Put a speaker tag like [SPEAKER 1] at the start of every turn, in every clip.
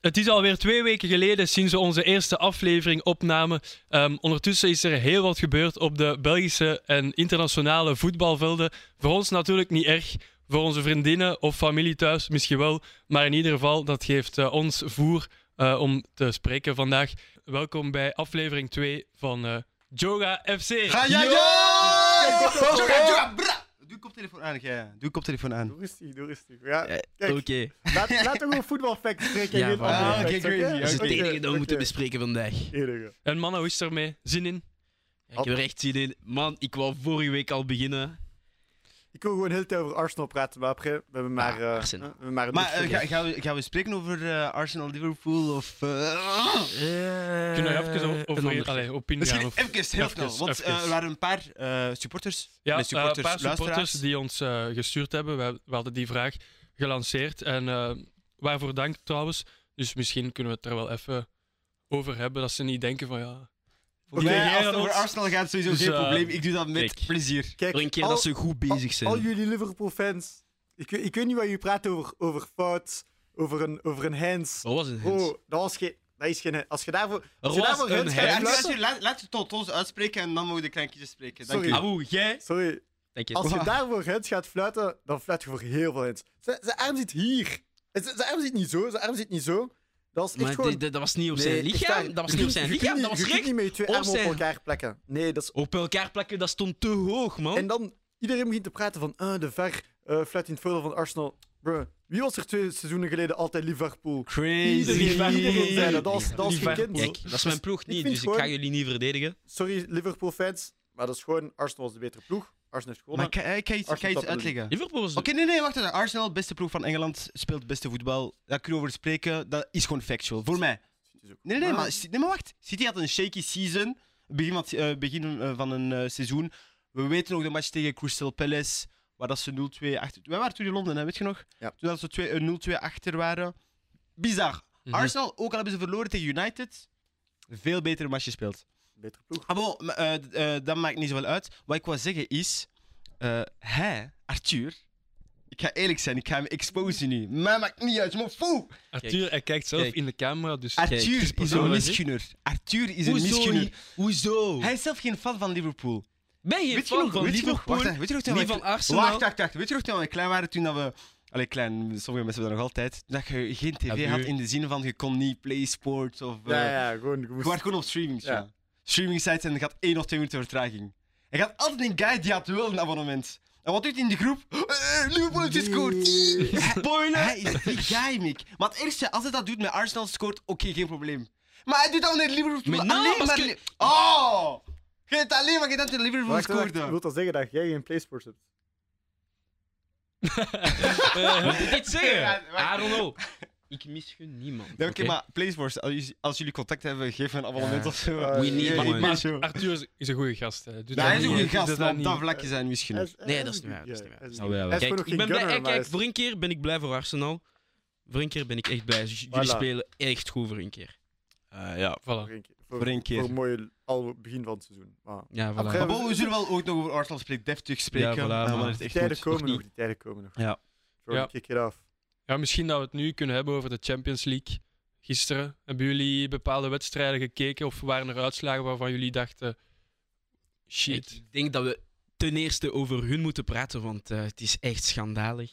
[SPEAKER 1] Het is alweer twee weken geleden sinds we onze eerste aflevering opnamen. Ehm, ondertussen is er heel wat gebeurd op de Belgische en internationale voetbalvelden. Voor ons natuurlijk niet erg. Voor onze vriendinnen of familie thuis misschien wel. Maar in ieder geval, dat geeft eh, ons voer eh, om te spreken vandaag. Welkom bij aflevering 2 van eh Joga FC.
[SPEAKER 2] Ga jij
[SPEAKER 3] Yo!
[SPEAKER 2] Doe koptelefoon aan, jij. Doe koptelefoon aan.
[SPEAKER 3] Doe rustig, doe rustig. Ja,
[SPEAKER 4] Ja,
[SPEAKER 3] kijk,
[SPEAKER 4] Oké,
[SPEAKER 3] laat, laten we voetbalfacts spreken.
[SPEAKER 4] Ja,
[SPEAKER 3] en niet
[SPEAKER 4] voilà.
[SPEAKER 3] andere
[SPEAKER 4] Ah,
[SPEAKER 2] oké,
[SPEAKER 3] facts, oké?
[SPEAKER 2] crazy,
[SPEAKER 4] dat is het
[SPEAKER 3] Oké,
[SPEAKER 4] enige dat we
[SPEAKER 3] oké.
[SPEAKER 4] moeten bespreken vandaag. Ja,
[SPEAKER 3] Enige.
[SPEAKER 1] En mannen, hoe is het ermee? Zin in?
[SPEAKER 4] ik heb er echt zin in. Man, ik wou vorige week al beginnen.
[SPEAKER 3] Ik wil gewoon heel de tijd over Arsenal praten, maar après, we hebben maar...
[SPEAKER 4] Ah,
[SPEAKER 3] eh,
[SPEAKER 4] Arsenal.
[SPEAKER 3] eh, we hebben maar,
[SPEAKER 2] Maar eh, ga-
[SPEAKER 3] ga,
[SPEAKER 2] gaan, we, gaan we spreken over eh, Arsenal Liverpool of. eh,
[SPEAKER 1] Kunnen we even
[SPEAKER 4] Eh, een
[SPEAKER 1] over, over
[SPEAKER 4] ander.
[SPEAKER 1] allee, op ingaan?
[SPEAKER 2] Misschien
[SPEAKER 1] of-
[SPEAKER 2] even heel
[SPEAKER 1] Even,
[SPEAKER 2] snel. Want eh,
[SPEAKER 1] even.
[SPEAKER 2] er waren een paar eh, supporters.
[SPEAKER 1] Ja,
[SPEAKER 2] Nee,
[SPEAKER 1] eh, een paar supporters
[SPEAKER 2] luisteraars.
[SPEAKER 1] die ons eh, gestuurd hebben. We, we hadden die vraag gelanceerd. En eh, waarvoor dank trouwens. Dus misschien kunnen we het er wel even over hebben. Dat ze niet denken van ja.
[SPEAKER 2] Ja,
[SPEAKER 1] Tegen
[SPEAKER 2] als het
[SPEAKER 1] ons.
[SPEAKER 2] over Arsenal gaat, sowieso
[SPEAKER 1] Dus,
[SPEAKER 2] geen
[SPEAKER 1] eh,
[SPEAKER 2] probleem. Ik doe dat met
[SPEAKER 4] kijk.
[SPEAKER 2] plezier.
[SPEAKER 3] Kijk,
[SPEAKER 4] Voor een keer
[SPEAKER 3] al,
[SPEAKER 4] dat ze goed bezig zijn.
[SPEAKER 3] al jullie Liverpool-fans, ik, weet- ik weet niet wat jullie praten over, over fout, over een, over een hands.
[SPEAKER 4] Wat was een hint?
[SPEAKER 3] Oh, dat, was geen, dat is geen... Als je daarvoor...
[SPEAKER 4] er
[SPEAKER 3] als je
[SPEAKER 4] was
[SPEAKER 3] daarvoor
[SPEAKER 4] een
[SPEAKER 3] hands
[SPEAKER 2] Ja,
[SPEAKER 3] gaat
[SPEAKER 4] hint.
[SPEAKER 2] en
[SPEAKER 3] fluiten-
[SPEAKER 2] laat, je- laat, laat het tot ons uitspreken en dan mogen de kleintjes spreken. Dank
[SPEAKER 3] Sorry.
[SPEAKER 2] u.
[SPEAKER 4] Aboe, jij?
[SPEAKER 3] Sorry,
[SPEAKER 4] Dank je.
[SPEAKER 3] als je
[SPEAKER 2] Wow.
[SPEAKER 3] daarvoor hands gaat fluiten, dan fluit je voor heel veel hands. Zijn zijn arm zit hier. En Zijn zijn arm zit niet zo, zijn arm zit niet zo. Dat is echt
[SPEAKER 4] maar
[SPEAKER 3] gewoon...
[SPEAKER 4] dit- dit- dat was niet op
[SPEAKER 3] Nee,
[SPEAKER 4] zijn
[SPEAKER 3] echt
[SPEAKER 4] lichaam.
[SPEAKER 3] waar.
[SPEAKER 4] Dat was niet op zijn
[SPEAKER 3] Je kunt
[SPEAKER 4] lichaam,
[SPEAKER 3] niet-
[SPEAKER 4] dat was
[SPEAKER 3] je kunt
[SPEAKER 4] recht.
[SPEAKER 3] niet met je twee
[SPEAKER 4] Op
[SPEAKER 3] armen op
[SPEAKER 4] zijn-
[SPEAKER 3] elkaar plekken. Nee, dat is...
[SPEAKER 4] Op elkaar plakken, dat stond te hoog, man.
[SPEAKER 3] En dan, iedereen begint te praten van eh, de VAR eh fluit in het voordeel van Arsenal. Bruh, wie was er twee seizoenen geleden altijd Liverpool? Iedereen, iedereen zei dat. Dat was, dat was
[SPEAKER 1] Liverpool.
[SPEAKER 3] gekend.
[SPEAKER 4] Kijk, dat is mijn ploeg niet,
[SPEAKER 3] vind
[SPEAKER 4] dus ik
[SPEAKER 3] gewoon-
[SPEAKER 4] ga jullie niet verdedigen.
[SPEAKER 3] Sorry Liverpool-fans, maar dat is gewoon... Arsenal was de betere ploeg. Arsenal heeft
[SPEAKER 2] Maar ik
[SPEAKER 3] gewonnen.
[SPEAKER 2] ga, ik ga iets, ik ga
[SPEAKER 3] Arsenal
[SPEAKER 2] iets
[SPEAKER 3] top doen.
[SPEAKER 2] uitleggen.
[SPEAKER 4] Liverpool was...
[SPEAKER 2] Oké, nee, nee, wacht even. Arsenal, beste ploeg van Engeland, speelt beste voetbal. Daar kunnen we over spreken. Dat is gewoon factual. Voor mij.
[SPEAKER 3] City is ook-
[SPEAKER 2] Nee, nee,
[SPEAKER 3] Ah.
[SPEAKER 2] maar, nee, maar wacht. City had een shaky season. Begin, wat- eh, begin eh, van een eh, seizoen. We weten nog de match tegen Crystal Palace. Waar dat ze 0-2 achter... Wij waren toen in Londen, hè, weet je nog?
[SPEAKER 3] Ja.
[SPEAKER 2] Toen dat ze twee- eh, 0-2 achter waren. Bizar.
[SPEAKER 1] Mhm.
[SPEAKER 2] Arsenal, ook al hebben ze verloren tegen United, veel betere match gespeeld.
[SPEAKER 3] Betere ploeg.
[SPEAKER 2] Ah, bon, maar, eh, d- eh, dat maakt niet zoveel uit. Wat ik wil zeggen is, eh, hij, Arthur, ik ga eerlijk zijn, ik ga hem exposen nu. Mij maakt niet uit, maar foe!
[SPEAKER 1] Arthur, hij kijkt zelf
[SPEAKER 4] Kijk.
[SPEAKER 1] in de camera. Dus
[SPEAKER 2] Arthur is, een
[SPEAKER 1] persoonlijk, hè?
[SPEAKER 2] misgunner. Arthur is een
[SPEAKER 4] Hoezo?
[SPEAKER 2] misgunner.
[SPEAKER 4] Hoezo?
[SPEAKER 2] Hij is zelf geen fan van Liverpool.
[SPEAKER 4] Ben je
[SPEAKER 2] Weet je
[SPEAKER 4] fan
[SPEAKER 2] nog,
[SPEAKER 4] van
[SPEAKER 2] weet je nog,
[SPEAKER 4] Liverpool?
[SPEAKER 2] wacht, hè, weet je nog toen
[SPEAKER 4] Niet
[SPEAKER 2] we-
[SPEAKER 4] van Arsenal?
[SPEAKER 2] Wacht, wacht, wacht. Weet je nog toen we klein waren, toen dat we... Allee, klein, sommige mensen hebben dat nog altijd. Dat je geen tv
[SPEAKER 4] Abu.
[SPEAKER 2] had in de zin van, je kon niet play sports of... eh,
[SPEAKER 3] Ja, ja, gewoon... je moest-
[SPEAKER 2] Je werd gewoon op streaming
[SPEAKER 3] Ja.
[SPEAKER 2] ja. Streaming sites en er gaat één of twee minuten vertraging. Er gaat altijd een guy die had wel een abonnement. En wat doet hij in de groep? Eh, Liverpool heeft gescoord. Spoiler! Hij is die guy, Mick. Maar het eerste, als hij dat doet met Arsenal scoort, oké, geen probleem. Maar hij doet dat wanneer Liverpool...
[SPEAKER 4] Maar nou,
[SPEAKER 2] alleen
[SPEAKER 4] parce
[SPEAKER 2] maar...
[SPEAKER 4] que-
[SPEAKER 2] Li- Oh! Je hebt alleen maar gedaan toen Liverpool
[SPEAKER 3] Wacht, wacht,
[SPEAKER 2] scoorde.
[SPEAKER 3] Wil dat zeggen dat jij geen PlaySports hebt?
[SPEAKER 4] Moet ik dit
[SPEAKER 2] Eh, Ja,
[SPEAKER 4] zeggen?
[SPEAKER 2] wacht.
[SPEAKER 4] I don't know. Ik misgun niemand.
[SPEAKER 2] Nee, oké, maar Playsforce, als, jullie- als jullie contact hebben, geef een abonnement
[SPEAKER 3] Ja.
[SPEAKER 2] of zo.
[SPEAKER 3] We
[SPEAKER 4] need
[SPEAKER 2] Ja,
[SPEAKER 4] money.
[SPEAKER 2] ik ben
[SPEAKER 1] Maar
[SPEAKER 2] zo.
[SPEAKER 1] Arthur is- is een goede gast. hè. Hij doet
[SPEAKER 2] Nee, hij is
[SPEAKER 1] dat
[SPEAKER 2] ook
[SPEAKER 1] niet,
[SPEAKER 2] een
[SPEAKER 1] hè. Hij
[SPEAKER 2] gast,
[SPEAKER 1] doet
[SPEAKER 2] maar
[SPEAKER 1] dat
[SPEAKER 2] op
[SPEAKER 1] niet.
[SPEAKER 2] dat vlakje zijn misschien.
[SPEAKER 3] Hij is- hij
[SPEAKER 4] Nee, dat is
[SPEAKER 3] goed.
[SPEAKER 4] niet waar, dat is
[SPEAKER 3] Ja,
[SPEAKER 4] niet waar.
[SPEAKER 3] hij is
[SPEAKER 2] Nou, wel, wel.
[SPEAKER 3] hij is
[SPEAKER 4] Kijk,
[SPEAKER 3] gewoon nog
[SPEAKER 4] ik ben
[SPEAKER 3] geen
[SPEAKER 4] blij.
[SPEAKER 3] gunner,
[SPEAKER 4] eh,
[SPEAKER 3] maar hij
[SPEAKER 4] Kijk,
[SPEAKER 3] is-
[SPEAKER 4] voor een keer ben ik blij voor Arsenal. Voor een keer ben ik echt blij. J- Jullie
[SPEAKER 3] Voilà.
[SPEAKER 4] spelen echt goed voor een keer.
[SPEAKER 2] ja.
[SPEAKER 1] Voilà.
[SPEAKER 3] Voor een keer.
[SPEAKER 2] Voor één keer.
[SPEAKER 3] Voor een mooi al begin van het seizoen. Maar
[SPEAKER 4] Ja, voilà.
[SPEAKER 3] Après,
[SPEAKER 2] Maar bon, we zullen wel ooit nog over Arsenal spreken, deftig spreken.
[SPEAKER 4] Ja, voilà,
[SPEAKER 2] maar
[SPEAKER 4] maar-
[SPEAKER 2] wanneer het
[SPEAKER 3] die
[SPEAKER 2] echt
[SPEAKER 3] tijden
[SPEAKER 2] moet.
[SPEAKER 3] komen
[SPEAKER 4] niet.
[SPEAKER 3] nog, die tijden komen nog.
[SPEAKER 2] Ah. Ja.
[SPEAKER 3] Jordan,
[SPEAKER 1] Ja.
[SPEAKER 3] kick it off.
[SPEAKER 1] Ja, misschien dat we het nu kunnen hebben over de Champions League. Gisteren hebben jullie bepaalde wedstrijden gekeken of waren er uitslagen waarvan jullie dachten: shit.
[SPEAKER 4] Ik denk dat we ten eerste over hun moeten praten, want eh, het is echt schandalig.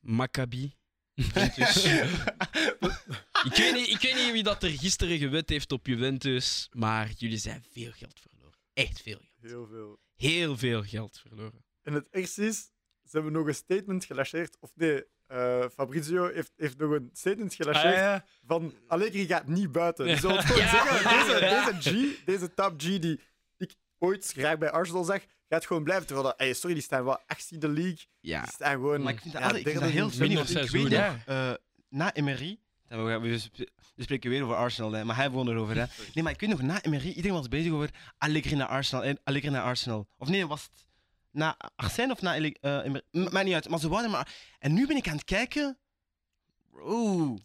[SPEAKER 4] Maccabi. Juventus. ik, weet niet, ik weet niet wie dat er gisteren gewet heeft op Juventus, maar jullie zijn veel geld verloren. Echt veel geld.
[SPEAKER 3] Heel veel.
[SPEAKER 4] Heel veel geld verloren.
[SPEAKER 3] En het ergste is, ze hebben nog een statement gelanceerd. Of nee, eh, Fabrizio heeft, heeft nog een statement
[SPEAKER 1] Ah,
[SPEAKER 3] gelanceerd van Allegri gaat niet buiten. Dus dat wil gewoon
[SPEAKER 4] Ja.
[SPEAKER 3] zeggen, deze,
[SPEAKER 4] Ja.
[SPEAKER 3] deze G, deze top G die ik ooit graag bij Arsenal zag, gaat gewoon blijven. Terwijl, dat- hey, sorry, die staan wel 18e league.
[SPEAKER 4] Ja.
[SPEAKER 3] Die staan gewoon...
[SPEAKER 2] Maar ik vind dat,
[SPEAKER 3] ja,
[SPEAKER 2] altijd- ik vind
[SPEAKER 3] derde
[SPEAKER 2] dat heel
[SPEAKER 3] league.
[SPEAKER 2] funny,
[SPEAKER 1] Minder
[SPEAKER 2] want ik
[SPEAKER 1] seizoen,
[SPEAKER 2] weet
[SPEAKER 4] ja.
[SPEAKER 2] nog, eh, na Emery... We, gaan- we sp- we spreken weer over Arsenal, hè, maar hij begon erover. Hè. Nee, maar ik weet nog, na Emery, iedereen was bezig over Allegri naar Arsenal. En Allegri naar Arsenal. Of nee, was het na Arsène of na Ele- eh, Emery? M- Maakt niet uit, maar ze wouden maar... En nu ben ik aan het kijken... Bro...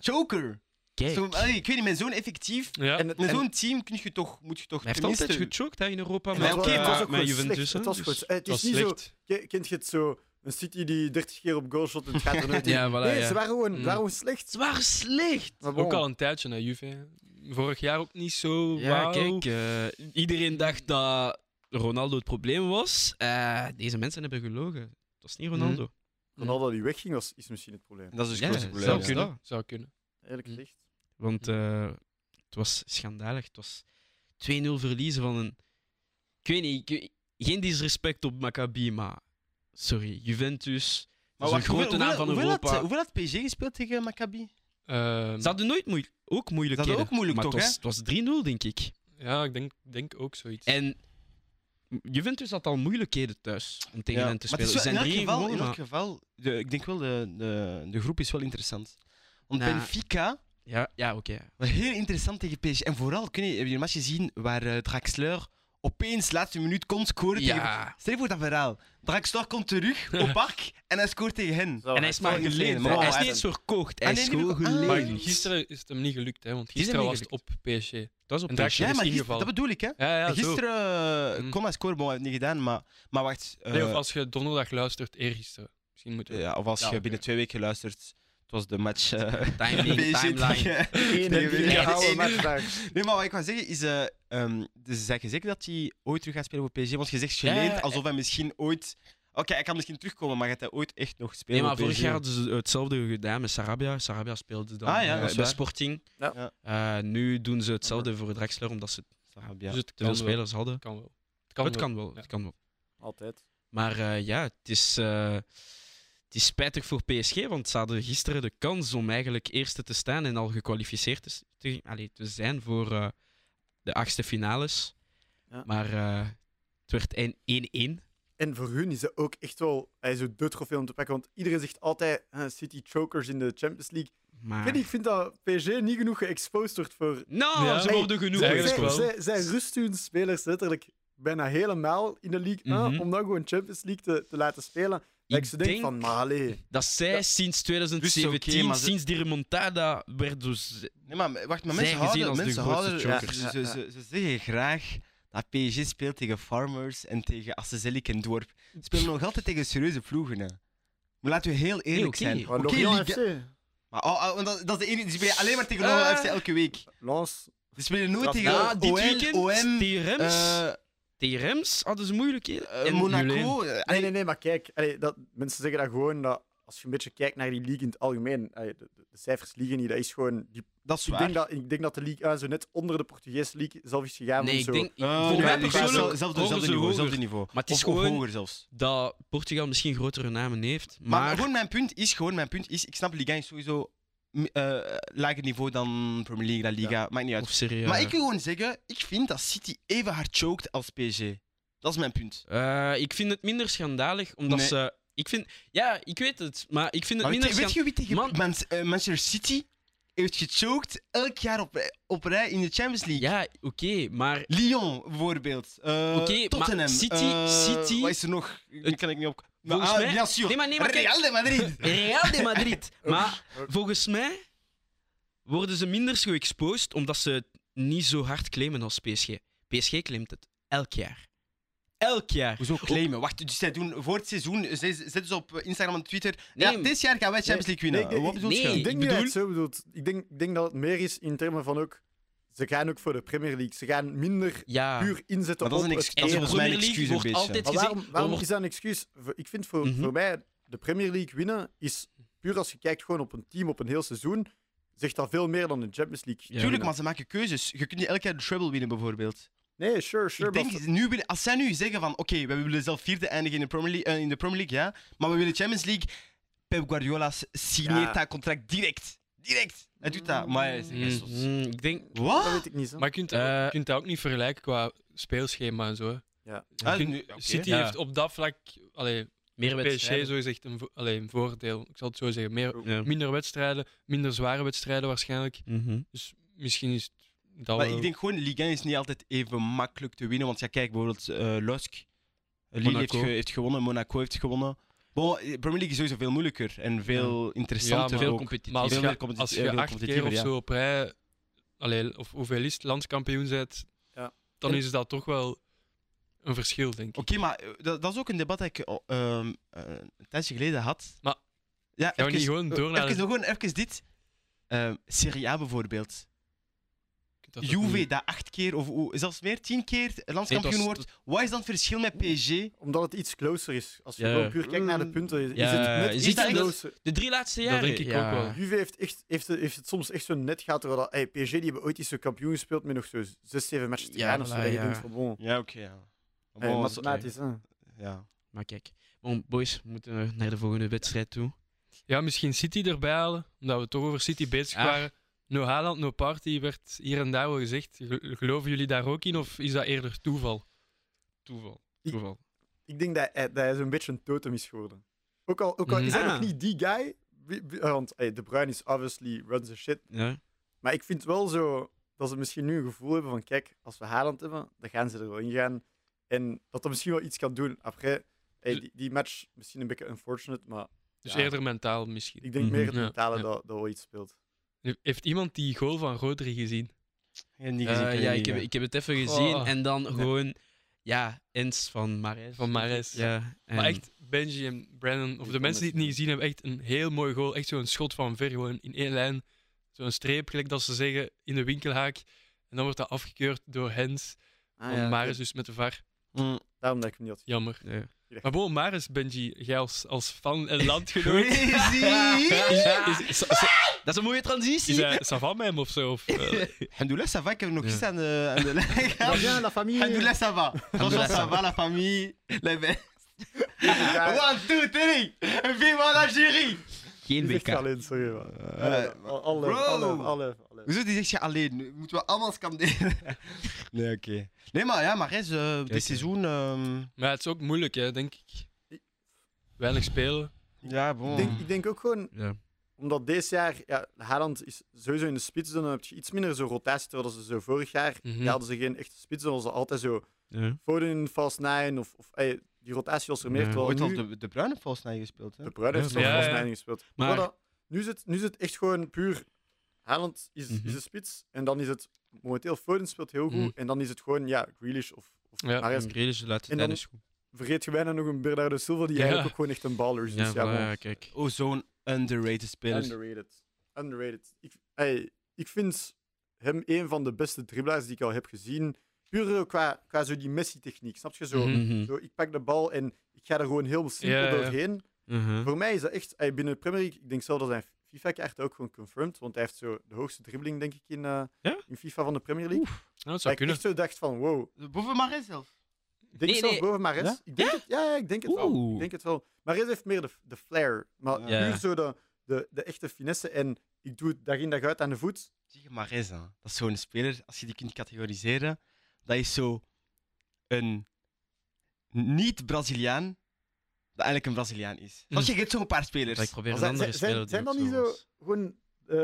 [SPEAKER 2] Joker!
[SPEAKER 4] Kijk.
[SPEAKER 2] Zo, allee, ik weet niet, met zo'n effectief...
[SPEAKER 1] Ja.
[SPEAKER 3] En het-
[SPEAKER 2] Met
[SPEAKER 3] en-
[SPEAKER 2] zo'n team kun je toch, moet je toch
[SPEAKER 4] Hij heeft
[SPEAKER 2] tenminste-
[SPEAKER 4] altijd gechokt hè, in Europa.
[SPEAKER 2] En
[SPEAKER 4] met,
[SPEAKER 2] hij- oké, het
[SPEAKER 4] eh,
[SPEAKER 2] was
[SPEAKER 3] ook
[SPEAKER 4] met
[SPEAKER 3] gewoon
[SPEAKER 4] Juventus.
[SPEAKER 3] slecht.
[SPEAKER 4] hè,
[SPEAKER 3] Het was
[SPEAKER 4] dus
[SPEAKER 3] gewoon- het is
[SPEAKER 4] was
[SPEAKER 3] niet zo-
[SPEAKER 4] slecht.
[SPEAKER 3] Ke- Kent je het zo? Een City die 30 keer op goal shot en het gaat er nooit in.
[SPEAKER 4] Ja, voilà,
[SPEAKER 3] nee,
[SPEAKER 4] ja.
[SPEAKER 3] ze waren gewoon,
[SPEAKER 1] Mm.
[SPEAKER 3] waren gewoon slecht.
[SPEAKER 4] Het was slecht.
[SPEAKER 3] Maar bon.
[SPEAKER 1] Ook al een tijdje naar Juve. hè. Vorig jaar ook niet zo.
[SPEAKER 4] Ja,
[SPEAKER 1] wauw.
[SPEAKER 4] kijk, eh, iedereen dacht dat Ronaldo het probleem was. Eh, deze mensen hebben gelogen. Het was niet Ronaldo.
[SPEAKER 2] Mhm.
[SPEAKER 3] Ronaldo die wegging was, is misschien het probleem.
[SPEAKER 2] Dat is dus
[SPEAKER 4] Ja,
[SPEAKER 2] het grootste
[SPEAKER 4] zou
[SPEAKER 2] probleem.
[SPEAKER 1] zou
[SPEAKER 2] ja.
[SPEAKER 1] kunnen.
[SPEAKER 4] dat.
[SPEAKER 1] Zou kunnen.
[SPEAKER 3] Eerlijk
[SPEAKER 1] Mm.
[SPEAKER 3] gezegd.
[SPEAKER 4] Want eh, het was schandalig. Het was 2-0 verliezen van een. Ik weet niet, ik- geen disrespect op Maccabi, maar. Sorry, Juventus.
[SPEAKER 2] Maar
[SPEAKER 4] Dat is een
[SPEAKER 2] wacht,
[SPEAKER 4] grote
[SPEAKER 2] hoeveel-
[SPEAKER 4] naam van
[SPEAKER 2] hoeveel had-
[SPEAKER 4] Europa.
[SPEAKER 2] Hoeveel had PSG gespeeld tegen Maccabi?
[SPEAKER 1] Ehm,
[SPEAKER 4] Ze hadden nooit moeilijk. Ook moeilijk.
[SPEAKER 2] Ze hadden ook moeilijk,
[SPEAKER 4] maar
[SPEAKER 2] toch,
[SPEAKER 4] Het was, het was 3-0, denk ik.
[SPEAKER 1] Ja, ik denk, denk ook zoiets.
[SPEAKER 4] En Juventus had al moeilijkheden thuis om tegen hen te
[SPEAKER 2] Maar
[SPEAKER 4] spelen.
[SPEAKER 2] het is
[SPEAKER 4] Ze
[SPEAKER 2] wel-
[SPEAKER 4] zijn
[SPEAKER 2] in elk
[SPEAKER 4] drie
[SPEAKER 2] geval,
[SPEAKER 4] gewonnen,
[SPEAKER 2] in elk
[SPEAKER 4] maar-
[SPEAKER 2] geval de, ik denk wel, de, de, de groep is wel interessant. Want
[SPEAKER 4] Nou.
[SPEAKER 2] Benfica
[SPEAKER 4] Ja, ja oké. ja.
[SPEAKER 2] was heel interessant tegen PSG. En vooral, kun je, heb je een match gezien waar eh, Draxler opeens laatste minuut kon scoren tegen...
[SPEAKER 4] Ja.
[SPEAKER 2] Stel je voor dat verhaal. Draxler komt terug op park en hij scoort tegen hen.
[SPEAKER 3] Zo,
[SPEAKER 4] En hij is maar
[SPEAKER 2] zou niet
[SPEAKER 4] geleend.
[SPEAKER 2] lenen, maar
[SPEAKER 4] hè. Hij
[SPEAKER 2] Oh, wel
[SPEAKER 4] is niet
[SPEAKER 2] uit-
[SPEAKER 4] eens verkocht. Hij
[SPEAKER 2] Oh, Ah, nee,
[SPEAKER 4] is
[SPEAKER 2] die
[SPEAKER 4] gewoon
[SPEAKER 2] heb ik- ah.
[SPEAKER 1] maar
[SPEAKER 4] geleend.
[SPEAKER 1] gisteren is het hem niet gelukt, hè, want
[SPEAKER 4] hem
[SPEAKER 1] gisteren
[SPEAKER 4] niet
[SPEAKER 1] was het op PSG.
[SPEAKER 4] Dat is op
[SPEAKER 1] En
[SPEAKER 4] zich.
[SPEAKER 1] Draxler is
[SPEAKER 2] Ja, maar gisteren, dat
[SPEAKER 1] ingevallen.
[SPEAKER 2] bedoel ik, hè.
[SPEAKER 1] Ja, ja, zo.
[SPEAKER 2] gisteren eh,
[SPEAKER 4] Hm.
[SPEAKER 1] Mm.
[SPEAKER 2] kon hij scoren, maar hij heeft het niet gedaan. Maar, maar wacht... eh,
[SPEAKER 1] Nee, of als je donderdag luistert, eergisteren. Misschien moeten we...
[SPEAKER 2] ja, of als
[SPEAKER 1] Ja,
[SPEAKER 2] je
[SPEAKER 1] oké.
[SPEAKER 2] binnen twee weken luistert, het was de match... eh,
[SPEAKER 4] Timing,
[SPEAKER 2] PSG
[SPEAKER 4] timeline.
[SPEAKER 2] tegen-
[SPEAKER 3] Eén
[SPEAKER 2] Nee,
[SPEAKER 3] en
[SPEAKER 2] weet ik
[SPEAKER 3] die
[SPEAKER 2] niet.
[SPEAKER 3] gouden
[SPEAKER 2] Eén-
[SPEAKER 3] matchdag.
[SPEAKER 2] Nee, maar wat ik wou zeggen is... eh ehm dus ze zeggen zeker dat hij ooit terug gaat spelen voor PSG. Want je zegt
[SPEAKER 4] Ja,
[SPEAKER 2] geleend,
[SPEAKER 4] ja,
[SPEAKER 2] alsof hij misschien ooit... Oké, hij kan misschien terugkomen, maar gaat hij ooit echt nog spelen
[SPEAKER 4] Nee, maar
[SPEAKER 2] voor
[SPEAKER 4] vorig
[SPEAKER 2] PSG?
[SPEAKER 4] jaar hadden ze hetzelfde gedaan met Sarabia. Sarabia speelde dan
[SPEAKER 2] Ah, ja,
[SPEAKER 4] eh,
[SPEAKER 2] dat is
[SPEAKER 4] bij
[SPEAKER 2] waar.
[SPEAKER 4] Sporting.
[SPEAKER 3] Ja.
[SPEAKER 2] Ja.
[SPEAKER 4] Eh, nu doen ze hetzelfde voor Drexler, omdat ze
[SPEAKER 2] Sarabia.
[SPEAKER 1] Dus het
[SPEAKER 4] te veel
[SPEAKER 1] kan wel.
[SPEAKER 4] spelers hadden.
[SPEAKER 1] Het kan wel. Het kan
[SPEAKER 4] het,
[SPEAKER 1] wel.
[SPEAKER 4] kan wel,
[SPEAKER 1] Ja.
[SPEAKER 4] het kan wel.
[SPEAKER 3] Altijd.
[SPEAKER 4] Maar eh, ja, het is, eh, het is spijtig voor PSG, want ze hadden gisteren de kans om eigenlijk eerste te staan en al gekwalificeerd te, s- te, allee, te zijn voor eh, de achtste finales.
[SPEAKER 3] Ja.
[SPEAKER 4] Maar eh, het werd een 1-1.
[SPEAKER 3] En voor hun is dat ook echt wel hij is de trofee om te pakken. Want iedereen zegt altijd eh, City chokers in de Champions League. Ik,
[SPEAKER 4] Maar...
[SPEAKER 3] weet niet, ik vind dat PSG niet genoeg geëxposed wordt voor...
[SPEAKER 4] Nou,
[SPEAKER 1] Ja.
[SPEAKER 4] ze worden genoeg.
[SPEAKER 1] Zij-
[SPEAKER 4] eigenlijk
[SPEAKER 1] wel.
[SPEAKER 4] wel.
[SPEAKER 3] zij, zij rusten hun spelers letterlijk bijna helemaal in de League 1
[SPEAKER 4] Mhm.
[SPEAKER 3] om dan gewoon Champions League te, te laten spelen. Dat ik ze denk, van, maar allee.
[SPEAKER 4] dat zij sinds 2017,
[SPEAKER 2] Dus oké, maar ze-
[SPEAKER 4] sinds die remontada, werd dus...
[SPEAKER 2] Nee, maar wacht, maar
[SPEAKER 4] Zij
[SPEAKER 2] mensen
[SPEAKER 4] gezien
[SPEAKER 2] houden...
[SPEAKER 4] als de
[SPEAKER 2] Mensen
[SPEAKER 4] grootste
[SPEAKER 2] houden
[SPEAKER 4] chokers.
[SPEAKER 2] ze, ze, ze, ze zeggen graag dat PSG speelt tegen Farmers en tegen Assezelik en Dorp. Ze spelen nog altijd tegen serieuze ploegen, hè. Maar laten we heel eerlijk
[SPEAKER 4] oké.
[SPEAKER 2] zijn.
[SPEAKER 3] Maar
[SPEAKER 2] Oké,
[SPEAKER 3] Lorient
[SPEAKER 2] Liga-
[SPEAKER 3] FC.
[SPEAKER 2] Maar oh, oh, want dat, dat is de enige... Die spelen alleen maar tegen Lorient
[SPEAKER 4] Eh.
[SPEAKER 2] FC elke week.
[SPEAKER 3] Lens.
[SPEAKER 2] Ze spelen nooit
[SPEAKER 3] Dat-
[SPEAKER 2] tegen
[SPEAKER 3] Ja,
[SPEAKER 4] Ja, dit
[SPEAKER 2] OL,
[SPEAKER 4] weekend,
[SPEAKER 2] OM,
[SPEAKER 4] TRM's,
[SPEAKER 2] eh,
[SPEAKER 4] TRM's hadden ze moeilijk. hè.
[SPEAKER 2] eh,
[SPEAKER 4] En Meulen.
[SPEAKER 2] Monaco. eh,
[SPEAKER 3] Nee, nee, nee, maar kijk. allee, dat, mensen zeggen dat gewoon dat als je een beetje kijkt naar die league in het algemeen, allee, de, de- de cijfers liegen niet, dat is gewoon... Die,
[SPEAKER 2] Dat is
[SPEAKER 3] ik, denk dat, ik denk dat de league 1 zo net onder de Portugese league zelf is gegaan.
[SPEAKER 4] Nee,
[SPEAKER 3] of
[SPEAKER 4] ik
[SPEAKER 3] zo.
[SPEAKER 4] denk...
[SPEAKER 2] Uh,
[SPEAKER 4] Voor
[SPEAKER 2] nee,
[SPEAKER 4] mij
[SPEAKER 2] nee,
[SPEAKER 4] persoonlijk
[SPEAKER 2] zelfde- zelfde,
[SPEAKER 4] horen
[SPEAKER 2] zelfde
[SPEAKER 4] ze
[SPEAKER 2] niveau,
[SPEAKER 4] hoger.
[SPEAKER 2] zelfde niveau.
[SPEAKER 4] Maar het is
[SPEAKER 2] Of- of
[SPEAKER 4] gewoon-
[SPEAKER 2] hoger zelfs.
[SPEAKER 4] dat Portugal misschien grotere namen heeft.
[SPEAKER 2] Maar,
[SPEAKER 4] Maar,
[SPEAKER 2] gewoon mijn punt is, gewoon mijn punt is, ik snap Liga is sowieso m- eh lager niveau dan Premier League, La Liga, maakt niet uit.
[SPEAKER 4] of serieus.
[SPEAKER 2] Maar ik wil gewoon zeggen, ik vind dat City even hard choked als PSG. Dat is mijn punt.
[SPEAKER 4] Eh, ik vind het minder schandalig, omdat
[SPEAKER 2] Nee.
[SPEAKER 4] ze... Ik vind... Ja, ik weet het, maar ik vind het
[SPEAKER 2] Maar weet,
[SPEAKER 4] minder
[SPEAKER 2] je- weet
[SPEAKER 4] schandalig.
[SPEAKER 2] je wie tegen
[SPEAKER 4] Man-
[SPEAKER 2] Man- eh, Manchester City heeft gechoked elk jaar op, eh, op rij in de Champions League?
[SPEAKER 4] Ja, oké, maar...
[SPEAKER 2] Lyon bijvoorbeeld. Eh,
[SPEAKER 4] Oké, maar
[SPEAKER 2] Tottenham.
[SPEAKER 4] City-
[SPEAKER 2] Eh,
[SPEAKER 4] City-
[SPEAKER 2] Wat is er nog? Ik
[SPEAKER 4] Het-
[SPEAKER 2] kan ik niet op.
[SPEAKER 4] Volgens
[SPEAKER 2] ah,
[SPEAKER 4] mij-
[SPEAKER 2] bien sûr.
[SPEAKER 4] Nee, maar nee, maar kijk-
[SPEAKER 2] Real de Madrid.
[SPEAKER 4] Real de Madrid. maar
[SPEAKER 3] ook.
[SPEAKER 4] volgens mij worden ze minder zo exposed, omdat ze het niet zo hard claimen als PSG. PSG claimt het elk jaar. Elk jaar.
[SPEAKER 2] Hoezo claimen? Wacht, dus zij doen voor het seizoen, zij zetten ze op Instagram en Twitter.
[SPEAKER 4] Nee,
[SPEAKER 2] ja, dit jaar gaan wij Champions League winnen.
[SPEAKER 3] Nee, nee,
[SPEAKER 2] Wat bedoel
[SPEAKER 4] nee.
[SPEAKER 2] je?
[SPEAKER 3] Ik denk
[SPEAKER 4] Ik
[SPEAKER 3] niet dat je
[SPEAKER 4] bedoel-
[SPEAKER 3] het zo bedoelt. Ik denk, ik denk dat het meer is in termen van ook... Ze gaan ook voor de Premier League. Ze gaan minder
[SPEAKER 4] Ja.
[SPEAKER 3] puur inzetten
[SPEAKER 2] Ah. Maar dat is
[SPEAKER 3] op
[SPEAKER 2] een
[SPEAKER 3] het
[SPEAKER 2] excuus. Dat is
[SPEAKER 4] en de
[SPEAKER 2] volgens mij een
[SPEAKER 4] Premier League
[SPEAKER 2] excuus een
[SPEAKER 4] wordt
[SPEAKER 2] beetje.
[SPEAKER 4] altijd
[SPEAKER 3] Maar
[SPEAKER 4] gezegd...
[SPEAKER 3] waarom, waarom
[SPEAKER 4] wordt-
[SPEAKER 3] is dat een excuus? Voor- Ik vind voor,
[SPEAKER 4] Mhm.
[SPEAKER 3] voor mij, de Premier League winnen is puur als je kijkt gewoon op een team op een heel seizoen, zegt dat veel meer dan de Champions League.
[SPEAKER 4] Ja.
[SPEAKER 2] Tuurlijk,
[SPEAKER 3] winnen.
[SPEAKER 2] maar ze maken keuzes. Je kunt niet elk jaar de treble winnen, bijvoorbeeld.
[SPEAKER 3] Nee, sure, sure.
[SPEAKER 2] Ik denk,
[SPEAKER 3] maar-
[SPEAKER 2] nu, willen- als zij nu zeggen van, oké, we willen zelf vierde eindigen in de Premier League, eh, in de Premier League ja, maar we willen Champions League. Pep Guardiola s- signeert
[SPEAKER 3] Ja.
[SPEAKER 2] dat contract direct. Direct. Hij doet dat. Maar hij is
[SPEAKER 4] Mm,
[SPEAKER 2] geen zot.
[SPEAKER 4] mm, ik denk...
[SPEAKER 3] dat
[SPEAKER 2] Wat?
[SPEAKER 3] weet ik niet. Zo.
[SPEAKER 1] Maar je kunt,
[SPEAKER 4] Eh,
[SPEAKER 1] je kunt dat ook niet vergelijken qua speelschema en zo. hè.
[SPEAKER 3] Ja.
[SPEAKER 1] Je
[SPEAKER 2] Ah,
[SPEAKER 1] kunt-
[SPEAKER 2] nu- oké.
[SPEAKER 1] City
[SPEAKER 4] Ja.
[SPEAKER 1] heeft op dat vlak... Allee,
[SPEAKER 4] Meer
[SPEAKER 1] PSG
[SPEAKER 4] wedstrijden.
[SPEAKER 1] zo gezegd een, vo- allee, een voordeel. Ik zal het zo zeggen. Meer,
[SPEAKER 4] Ja.
[SPEAKER 1] minder wedstrijden, minder zware wedstrijden waarschijnlijk.
[SPEAKER 4] Mhm.
[SPEAKER 1] Dus misschien is het dat
[SPEAKER 2] Maar
[SPEAKER 1] wel...
[SPEAKER 2] ik denk gewoon, Ligue 1 is niet altijd even makkelijk te winnen. Want ja, kijk, bijvoorbeeld eh Lusk. Eh, Lille heeft,
[SPEAKER 4] Monaco.
[SPEAKER 2] ge- heeft gewonnen, Monaco heeft gewonnen. Bon, eh, Premier League is sowieso veel moeilijker en veel interessanter.
[SPEAKER 1] maar
[SPEAKER 4] Veel
[SPEAKER 2] ook.
[SPEAKER 4] competitief.
[SPEAKER 1] maar als
[SPEAKER 2] veel
[SPEAKER 1] je,
[SPEAKER 2] meer competi-
[SPEAKER 1] als
[SPEAKER 2] eh,
[SPEAKER 1] je acht
[SPEAKER 2] veel
[SPEAKER 1] keer
[SPEAKER 2] competitiever,
[SPEAKER 1] of
[SPEAKER 2] ja.
[SPEAKER 1] zo op rij... Allee, of hoeveel is het, landskampioen bent,
[SPEAKER 3] Ja.
[SPEAKER 1] dan
[SPEAKER 4] En-
[SPEAKER 1] is dat toch wel... een verschil, denk ik.
[SPEAKER 2] Oké, maar eh, dat, dat is ook een debat dat ik oh, ehm, eh, een tijdje geleden had.
[SPEAKER 1] Maar-
[SPEAKER 2] ja,
[SPEAKER 1] Gaan we niet gewoon door naar
[SPEAKER 2] Even,
[SPEAKER 1] de-
[SPEAKER 2] gewoon even dit. Ehm, Serie A bijvoorbeeld.
[SPEAKER 1] Dat is ook
[SPEAKER 2] Juve,
[SPEAKER 1] niet-
[SPEAKER 2] dat acht keer of hoe- zelfs meer, tien keer landskampioen
[SPEAKER 4] Nee, dat is-
[SPEAKER 2] wordt. Wat is dan het verschil met PSG?
[SPEAKER 3] Omdat het iets closer is. Als je
[SPEAKER 4] Ja.
[SPEAKER 3] gewoon puur kijkt naar de punten, is
[SPEAKER 4] Ja,
[SPEAKER 3] het net
[SPEAKER 4] je
[SPEAKER 3] iets
[SPEAKER 2] ziet dat-
[SPEAKER 3] closer.
[SPEAKER 4] De drie laatste
[SPEAKER 1] Dat
[SPEAKER 4] jaren.
[SPEAKER 1] denk ik ook
[SPEAKER 4] ja.
[SPEAKER 1] wel.
[SPEAKER 3] Juve heeft, echt, heeft, het- heeft het soms echt zo net gehad. Terwijl dat, hey, PSG die hebben ooit eens zo kampioen gespeeld met nog zo zes, zeven matches te
[SPEAKER 4] Ja,
[SPEAKER 3] gaan. of zo,
[SPEAKER 4] voilà,
[SPEAKER 3] dat je
[SPEAKER 4] ja.
[SPEAKER 3] denkt van, bon.
[SPEAKER 2] Ja, oké. ja.
[SPEAKER 3] Hey,
[SPEAKER 2] Bon, Eh,
[SPEAKER 3] maar
[SPEAKER 2] zo-
[SPEAKER 3] zo- maar het is, hè.
[SPEAKER 2] ja.
[SPEAKER 4] Maar kijk, bon, boys, we moeten eh, naar de volgende wedstrijd toe.
[SPEAKER 1] Ja, misschien City erbij halen, omdat we toch over City bezig
[SPEAKER 4] Ah.
[SPEAKER 1] waren. No Haaland, no party werd hier en daar wel gezegd. Gel- Geloven jullie daar ook in of is dat eerder toeval? Toeval.
[SPEAKER 3] Ik-
[SPEAKER 1] toeval.
[SPEAKER 3] Ik denk dat hij, dat hij zo'n beetje een totem is geworden. Ook al,
[SPEAKER 1] Mm.
[SPEAKER 3] ook al is hij
[SPEAKER 4] Ja.
[SPEAKER 1] Ah.
[SPEAKER 3] nog niet die guy. wie- wie- eh, Want hey, De Bruyne is obviously runs the shit.
[SPEAKER 4] Ja.
[SPEAKER 3] Maar ik vind wel zo dat ze misschien nu een gevoel hebben van kijk, als we Haaland hebben, dan gaan ze er wel in gaan. En dat dat misschien wel iets kan doen. Après, hey, die, die match misschien een beetje unfortunate, maar
[SPEAKER 1] Dus
[SPEAKER 3] Ja.
[SPEAKER 1] eerder mentaal misschien.
[SPEAKER 3] ik denk meer het
[SPEAKER 1] Mhm. Ja,
[SPEAKER 3] mentale
[SPEAKER 1] ja.
[SPEAKER 3] dat, dat wel iets speelt.
[SPEAKER 1] Heeft iemand die goal van Rodri gezien?
[SPEAKER 2] Ik heb niet
[SPEAKER 4] Eh,
[SPEAKER 2] gezien, ik heb
[SPEAKER 4] ja,
[SPEAKER 2] niet
[SPEAKER 4] ik heb,
[SPEAKER 2] gezien.
[SPEAKER 4] ik heb het even
[SPEAKER 1] Goh.
[SPEAKER 4] gezien. En dan gewoon, ja, Ens van Mares.
[SPEAKER 1] Van Mares.
[SPEAKER 4] Ja,
[SPEAKER 1] Maar
[SPEAKER 4] en-
[SPEAKER 1] echt, Benji en Brandon, of
[SPEAKER 3] Die
[SPEAKER 1] de mensen die het
[SPEAKER 3] konden-
[SPEAKER 1] niet gezien hebben, echt een heel mooi goal. Echt zo'n schot van ver, gewoon in één lijn. Zo'n streep, gelijk dat ze zeggen, in de winkelhaak. En dan wordt dat afgekeurd door Hens.
[SPEAKER 3] Ah,
[SPEAKER 1] van Maris dus met de VAR.
[SPEAKER 2] Mm.
[SPEAKER 3] Daarom dat ik hem niet had.
[SPEAKER 1] Jammer.
[SPEAKER 4] Ja.
[SPEAKER 1] Maar bon, Maris, Benji, jij als, als fan en landgenoot. is,
[SPEAKER 2] Crazy!
[SPEAKER 1] is, is, is-
[SPEAKER 4] Dat is een mooie
[SPEAKER 1] is
[SPEAKER 4] transitie.
[SPEAKER 1] hij Savan met hem of zo? Of, eh,
[SPEAKER 2] Alhamdoulilah, ça va, ik heb nog
[SPEAKER 4] Ja.
[SPEAKER 2] iets aan de, aan euh, de lijn
[SPEAKER 3] Ja,
[SPEAKER 2] gehad.
[SPEAKER 3] la famille.
[SPEAKER 2] Alhamdoulilah, ça va. Franchement,
[SPEAKER 4] Alhamdoulilah, ça
[SPEAKER 2] ça va, la famille. Les best.
[SPEAKER 3] Ja.
[SPEAKER 2] One, two, three. Vive en Algérie.
[SPEAKER 4] Geen
[SPEAKER 3] Ik zeg
[SPEAKER 4] WK.
[SPEAKER 3] alleen, sorry. man.
[SPEAKER 2] Eh,
[SPEAKER 3] Alle, alle,
[SPEAKER 2] bro.
[SPEAKER 3] alle, alle, alle.
[SPEAKER 2] Hoezo die zegt je alleen? Nu Moeten we allemaal scanderen? Nee, oké. Nee, maar ja, maar is eh, dit
[SPEAKER 4] oké.
[SPEAKER 2] seizoen... ehm,
[SPEAKER 1] maar het is ook moeilijk, hè, denk ik. Weinig spelen.
[SPEAKER 2] ja,
[SPEAKER 3] Ik
[SPEAKER 2] bon.
[SPEAKER 3] denk, ik denk ook gewoon,
[SPEAKER 4] Ja.
[SPEAKER 3] omdat dit jaar, ja, Haaland is sowieso in de spits, dan heb je iets minder zo rotatie, terwijl ze zo vorig jaar,
[SPEAKER 1] Mhm.
[SPEAKER 3] ja, hadden ze geen echte spits, dan was ze altijd zo
[SPEAKER 4] Ja.
[SPEAKER 3] Foden, Fast Nine, of, of ey, die rotatie was er meer,
[SPEAKER 4] Ja.
[SPEAKER 3] terwijl
[SPEAKER 2] Ooit al
[SPEAKER 3] nu-
[SPEAKER 2] de, de bruine vals naar je gespeeld, hè?
[SPEAKER 3] De Bruyne heeft
[SPEAKER 4] Ja,
[SPEAKER 3] nog
[SPEAKER 1] ja,
[SPEAKER 3] Fast
[SPEAKER 1] ja.
[SPEAKER 3] Nine gespeeld.
[SPEAKER 4] Maar-
[SPEAKER 3] Maar dat- nu, zit, nu zit echt gewoon puur, Haaland is,
[SPEAKER 4] Mhm.
[SPEAKER 3] is de spits, en dan is het, momenteel Foden speelt heel goed,
[SPEAKER 1] Mhm.
[SPEAKER 3] en dan is het gewoon, ja, Grealish of, of
[SPEAKER 1] Ja.
[SPEAKER 3] Mahrez.
[SPEAKER 4] Grealish de laatste
[SPEAKER 3] En
[SPEAKER 4] tijd
[SPEAKER 3] dan-
[SPEAKER 4] is goed.
[SPEAKER 3] Vergeet je bijna nog een Bernardo Silva, die
[SPEAKER 1] Ja.
[SPEAKER 3] eigenlijk ook gewoon echt een baller is.
[SPEAKER 4] Ja,
[SPEAKER 3] dus ja,
[SPEAKER 4] voilà,
[SPEAKER 3] bon.
[SPEAKER 4] ja, kijk.
[SPEAKER 2] Oh, zo'n underrated speler.
[SPEAKER 3] Underrated. Underrated. Ik, ey, ik vind hem een van de beste dribblers die ik al heb gezien. Puur qua, qua zo die Messi-techniek. Snap je? Zo,
[SPEAKER 1] Mhm.
[SPEAKER 4] Mhm.
[SPEAKER 3] zo, ik pak de bal en ik ga er gewoon heel simpel
[SPEAKER 1] Ja, ja.
[SPEAKER 3] doorheen.
[SPEAKER 4] Mhm.
[SPEAKER 3] Voor mij is dat echt... ey, binnen de Premier League, ik denk zelf dat zijn FIFA-kaart ook gewoon confirmed. Want hij heeft zo de hoogste dribbling, denk ik, in, eh,
[SPEAKER 4] Ja?
[SPEAKER 3] in FIFA van de Premier League.
[SPEAKER 1] Nou, dat
[SPEAKER 3] Dat
[SPEAKER 1] zou
[SPEAKER 3] ik echt
[SPEAKER 1] kunnen.
[SPEAKER 3] zo dacht van, wow.
[SPEAKER 2] Boven Marais zelf.
[SPEAKER 3] Ik Denk
[SPEAKER 4] Nee,
[SPEAKER 3] zelf
[SPEAKER 4] nee.
[SPEAKER 3] boven Mares.
[SPEAKER 2] Ja?
[SPEAKER 3] Ik denk het, ja, ja, ik denk het wel.
[SPEAKER 4] Oeh.
[SPEAKER 3] Ik denk het wel. Mares heeft meer de, de flair. Maar
[SPEAKER 2] Ja.
[SPEAKER 3] puur zo de, de, de echte finesse. En ik doe het dag in dag uit aan de voet.
[SPEAKER 2] Zie je Marais, hè? Dat is zo'n speler, als je die kunt categoriseren, dat is zo een niet-Braziliaan, dat eigenlijk een Braziliaan is.
[SPEAKER 1] Hm.
[SPEAKER 2] Als je hebt zo'n paar spelers.
[SPEAKER 4] Maar ik probeer
[SPEAKER 3] Maar
[SPEAKER 4] een
[SPEAKER 3] zijn-
[SPEAKER 4] andere
[SPEAKER 3] zijn-
[SPEAKER 4] speler
[SPEAKER 3] zijn
[SPEAKER 4] die
[SPEAKER 3] dan niet zo
[SPEAKER 4] ook was.
[SPEAKER 3] gewoon...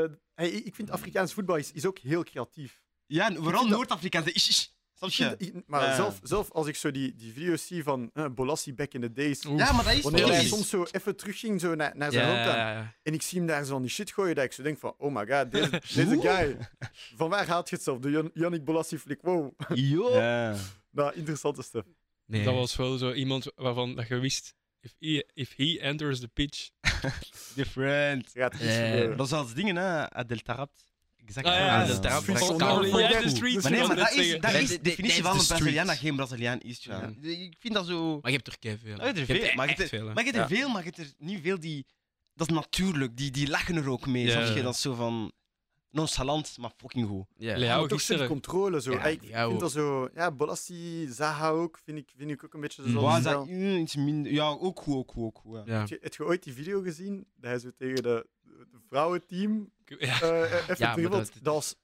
[SPEAKER 3] eh, hey, ik ik vind Afrikaans voetbal is, is ook heel creatief.
[SPEAKER 2] Ja, en vooral
[SPEAKER 3] vind dat-
[SPEAKER 2] Noord-Afrikaanse. Ish, ish. Snap
[SPEAKER 3] Ik
[SPEAKER 2] je?
[SPEAKER 3] vind- ik- maar
[SPEAKER 2] Ja.
[SPEAKER 3] zelf, zelf als ik zo die, die video's zie van eh, Bolassi back in the days...
[SPEAKER 1] Oeh.
[SPEAKER 2] Ja, maar dat is
[SPEAKER 3] Wanneer hij
[SPEAKER 1] Bolassi.
[SPEAKER 2] precies.
[SPEAKER 3] soms zo even terugging zo naar, naar zijn
[SPEAKER 4] Ja,
[SPEAKER 3] hometown.
[SPEAKER 4] ja, ja.
[SPEAKER 3] En ik zie hem daar zo van die shit gooien, dat ik zo denk van, oh my god, deze, deze guy. Van waar haalt je het zelf? De Jan- Yannick Bolassi flik, wow.
[SPEAKER 2] Ja.
[SPEAKER 3] Nou, interessante stuff.
[SPEAKER 4] Nee.
[SPEAKER 1] Dat was wel zo iemand waarvan dat je wist. If he, if he enters the pitch.
[SPEAKER 2] Different.
[SPEAKER 3] Er gaat iets
[SPEAKER 4] Eh,
[SPEAKER 3] gebeuren.
[SPEAKER 2] Dat is als dingen, hè? Adel Tarabt. Exact.
[SPEAKER 1] Ah, ja,
[SPEAKER 4] Ah, Adel Tarabt.
[SPEAKER 1] Fiets
[SPEAKER 4] dat
[SPEAKER 1] on
[SPEAKER 4] kan
[SPEAKER 1] all
[SPEAKER 4] ook
[SPEAKER 1] the way
[SPEAKER 4] goed.
[SPEAKER 1] the streets,
[SPEAKER 2] Maar nee,
[SPEAKER 1] wil
[SPEAKER 2] maar
[SPEAKER 1] ik
[SPEAKER 2] dat
[SPEAKER 1] net
[SPEAKER 2] is,
[SPEAKER 1] zeggen.
[SPEAKER 2] dat
[SPEAKER 4] Dit-
[SPEAKER 2] is
[SPEAKER 4] dit-
[SPEAKER 2] de
[SPEAKER 4] dit is
[SPEAKER 2] definitie
[SPEAKER 4] de
[SPEAKER 2] van een
[SPEAKER 4] street.
[SPEAKER 2] Braziliaan dat geen Braziliaan is. ja.
[SPEAKER 4] Ja.
[SPEAKER 2] Ik vind dat zo...
[SPEAKER 4] Maar je hebt er
[SPEAKER 2] Ja,
[SPEAKER 4] keiveel.
[SPEAKER 2] je hebt er
[SPEAKER 4] Je hebt
[SPEAKER 2] veel,
[SPEAKER 4] er
[SPEAKER 2] maar je
[SPEAKER 4] echt
[SPEAKER 2] hebt
[SPEAKER 4] veel. hè.
[SPEAKER 2] Maar je hebt er
[SPEAKER 4] Ja.
[SPEAKER 2] veel, maar je hebt er niet veel die. Dat is natuurlijk, die, die lachen er ook mee.
[SPEAKER 1] Ja.
[SPEAKER 2] Snap je dat is zo van. Nonchalant, maar fucking goed.
[SPEAKER 4] Ja.
[SPEAKER 1] Leao
[SPEAKER 3] Maar toch zo de
[SPEAKER 1] gisteren.
[SPEAKER 3] controle, zo.
[SPEAKER 4] Ja,
[SPEAKER 3] Ey, ik
[SPEAKER 4] die
[SPEAKER 3] vind
[SPEAKER 4] ouwe.
[SPEAKER 3] dat zo... Ja, Bolassi, Zaha ook, vind ik, vind ik ook een beetje
[SPEAKER 4] Mm.
[SPEAKER 3] zoals...
[SPEAKER 2] Waar is
[SPEAKER 3] zo-
[SPEAKER 2] dat mm, iets minder. Ja, ook goed, ook goed, ook goed. Ja.
[SPEAKER 4] Ja.
[SPEAKER 3] Heb je, heb je ooit die video gezien? Dat hij zo tegen de, de vrouwenteam
[SPEAKER 1] Ja,
[SPEAKER 3] eh, eh, even
[SPEAKER 4] Ja, maar
[SPEAKER 3] dribbelt.
[SPEAKER 4] dat-
[SPEAKER 3] Dat was...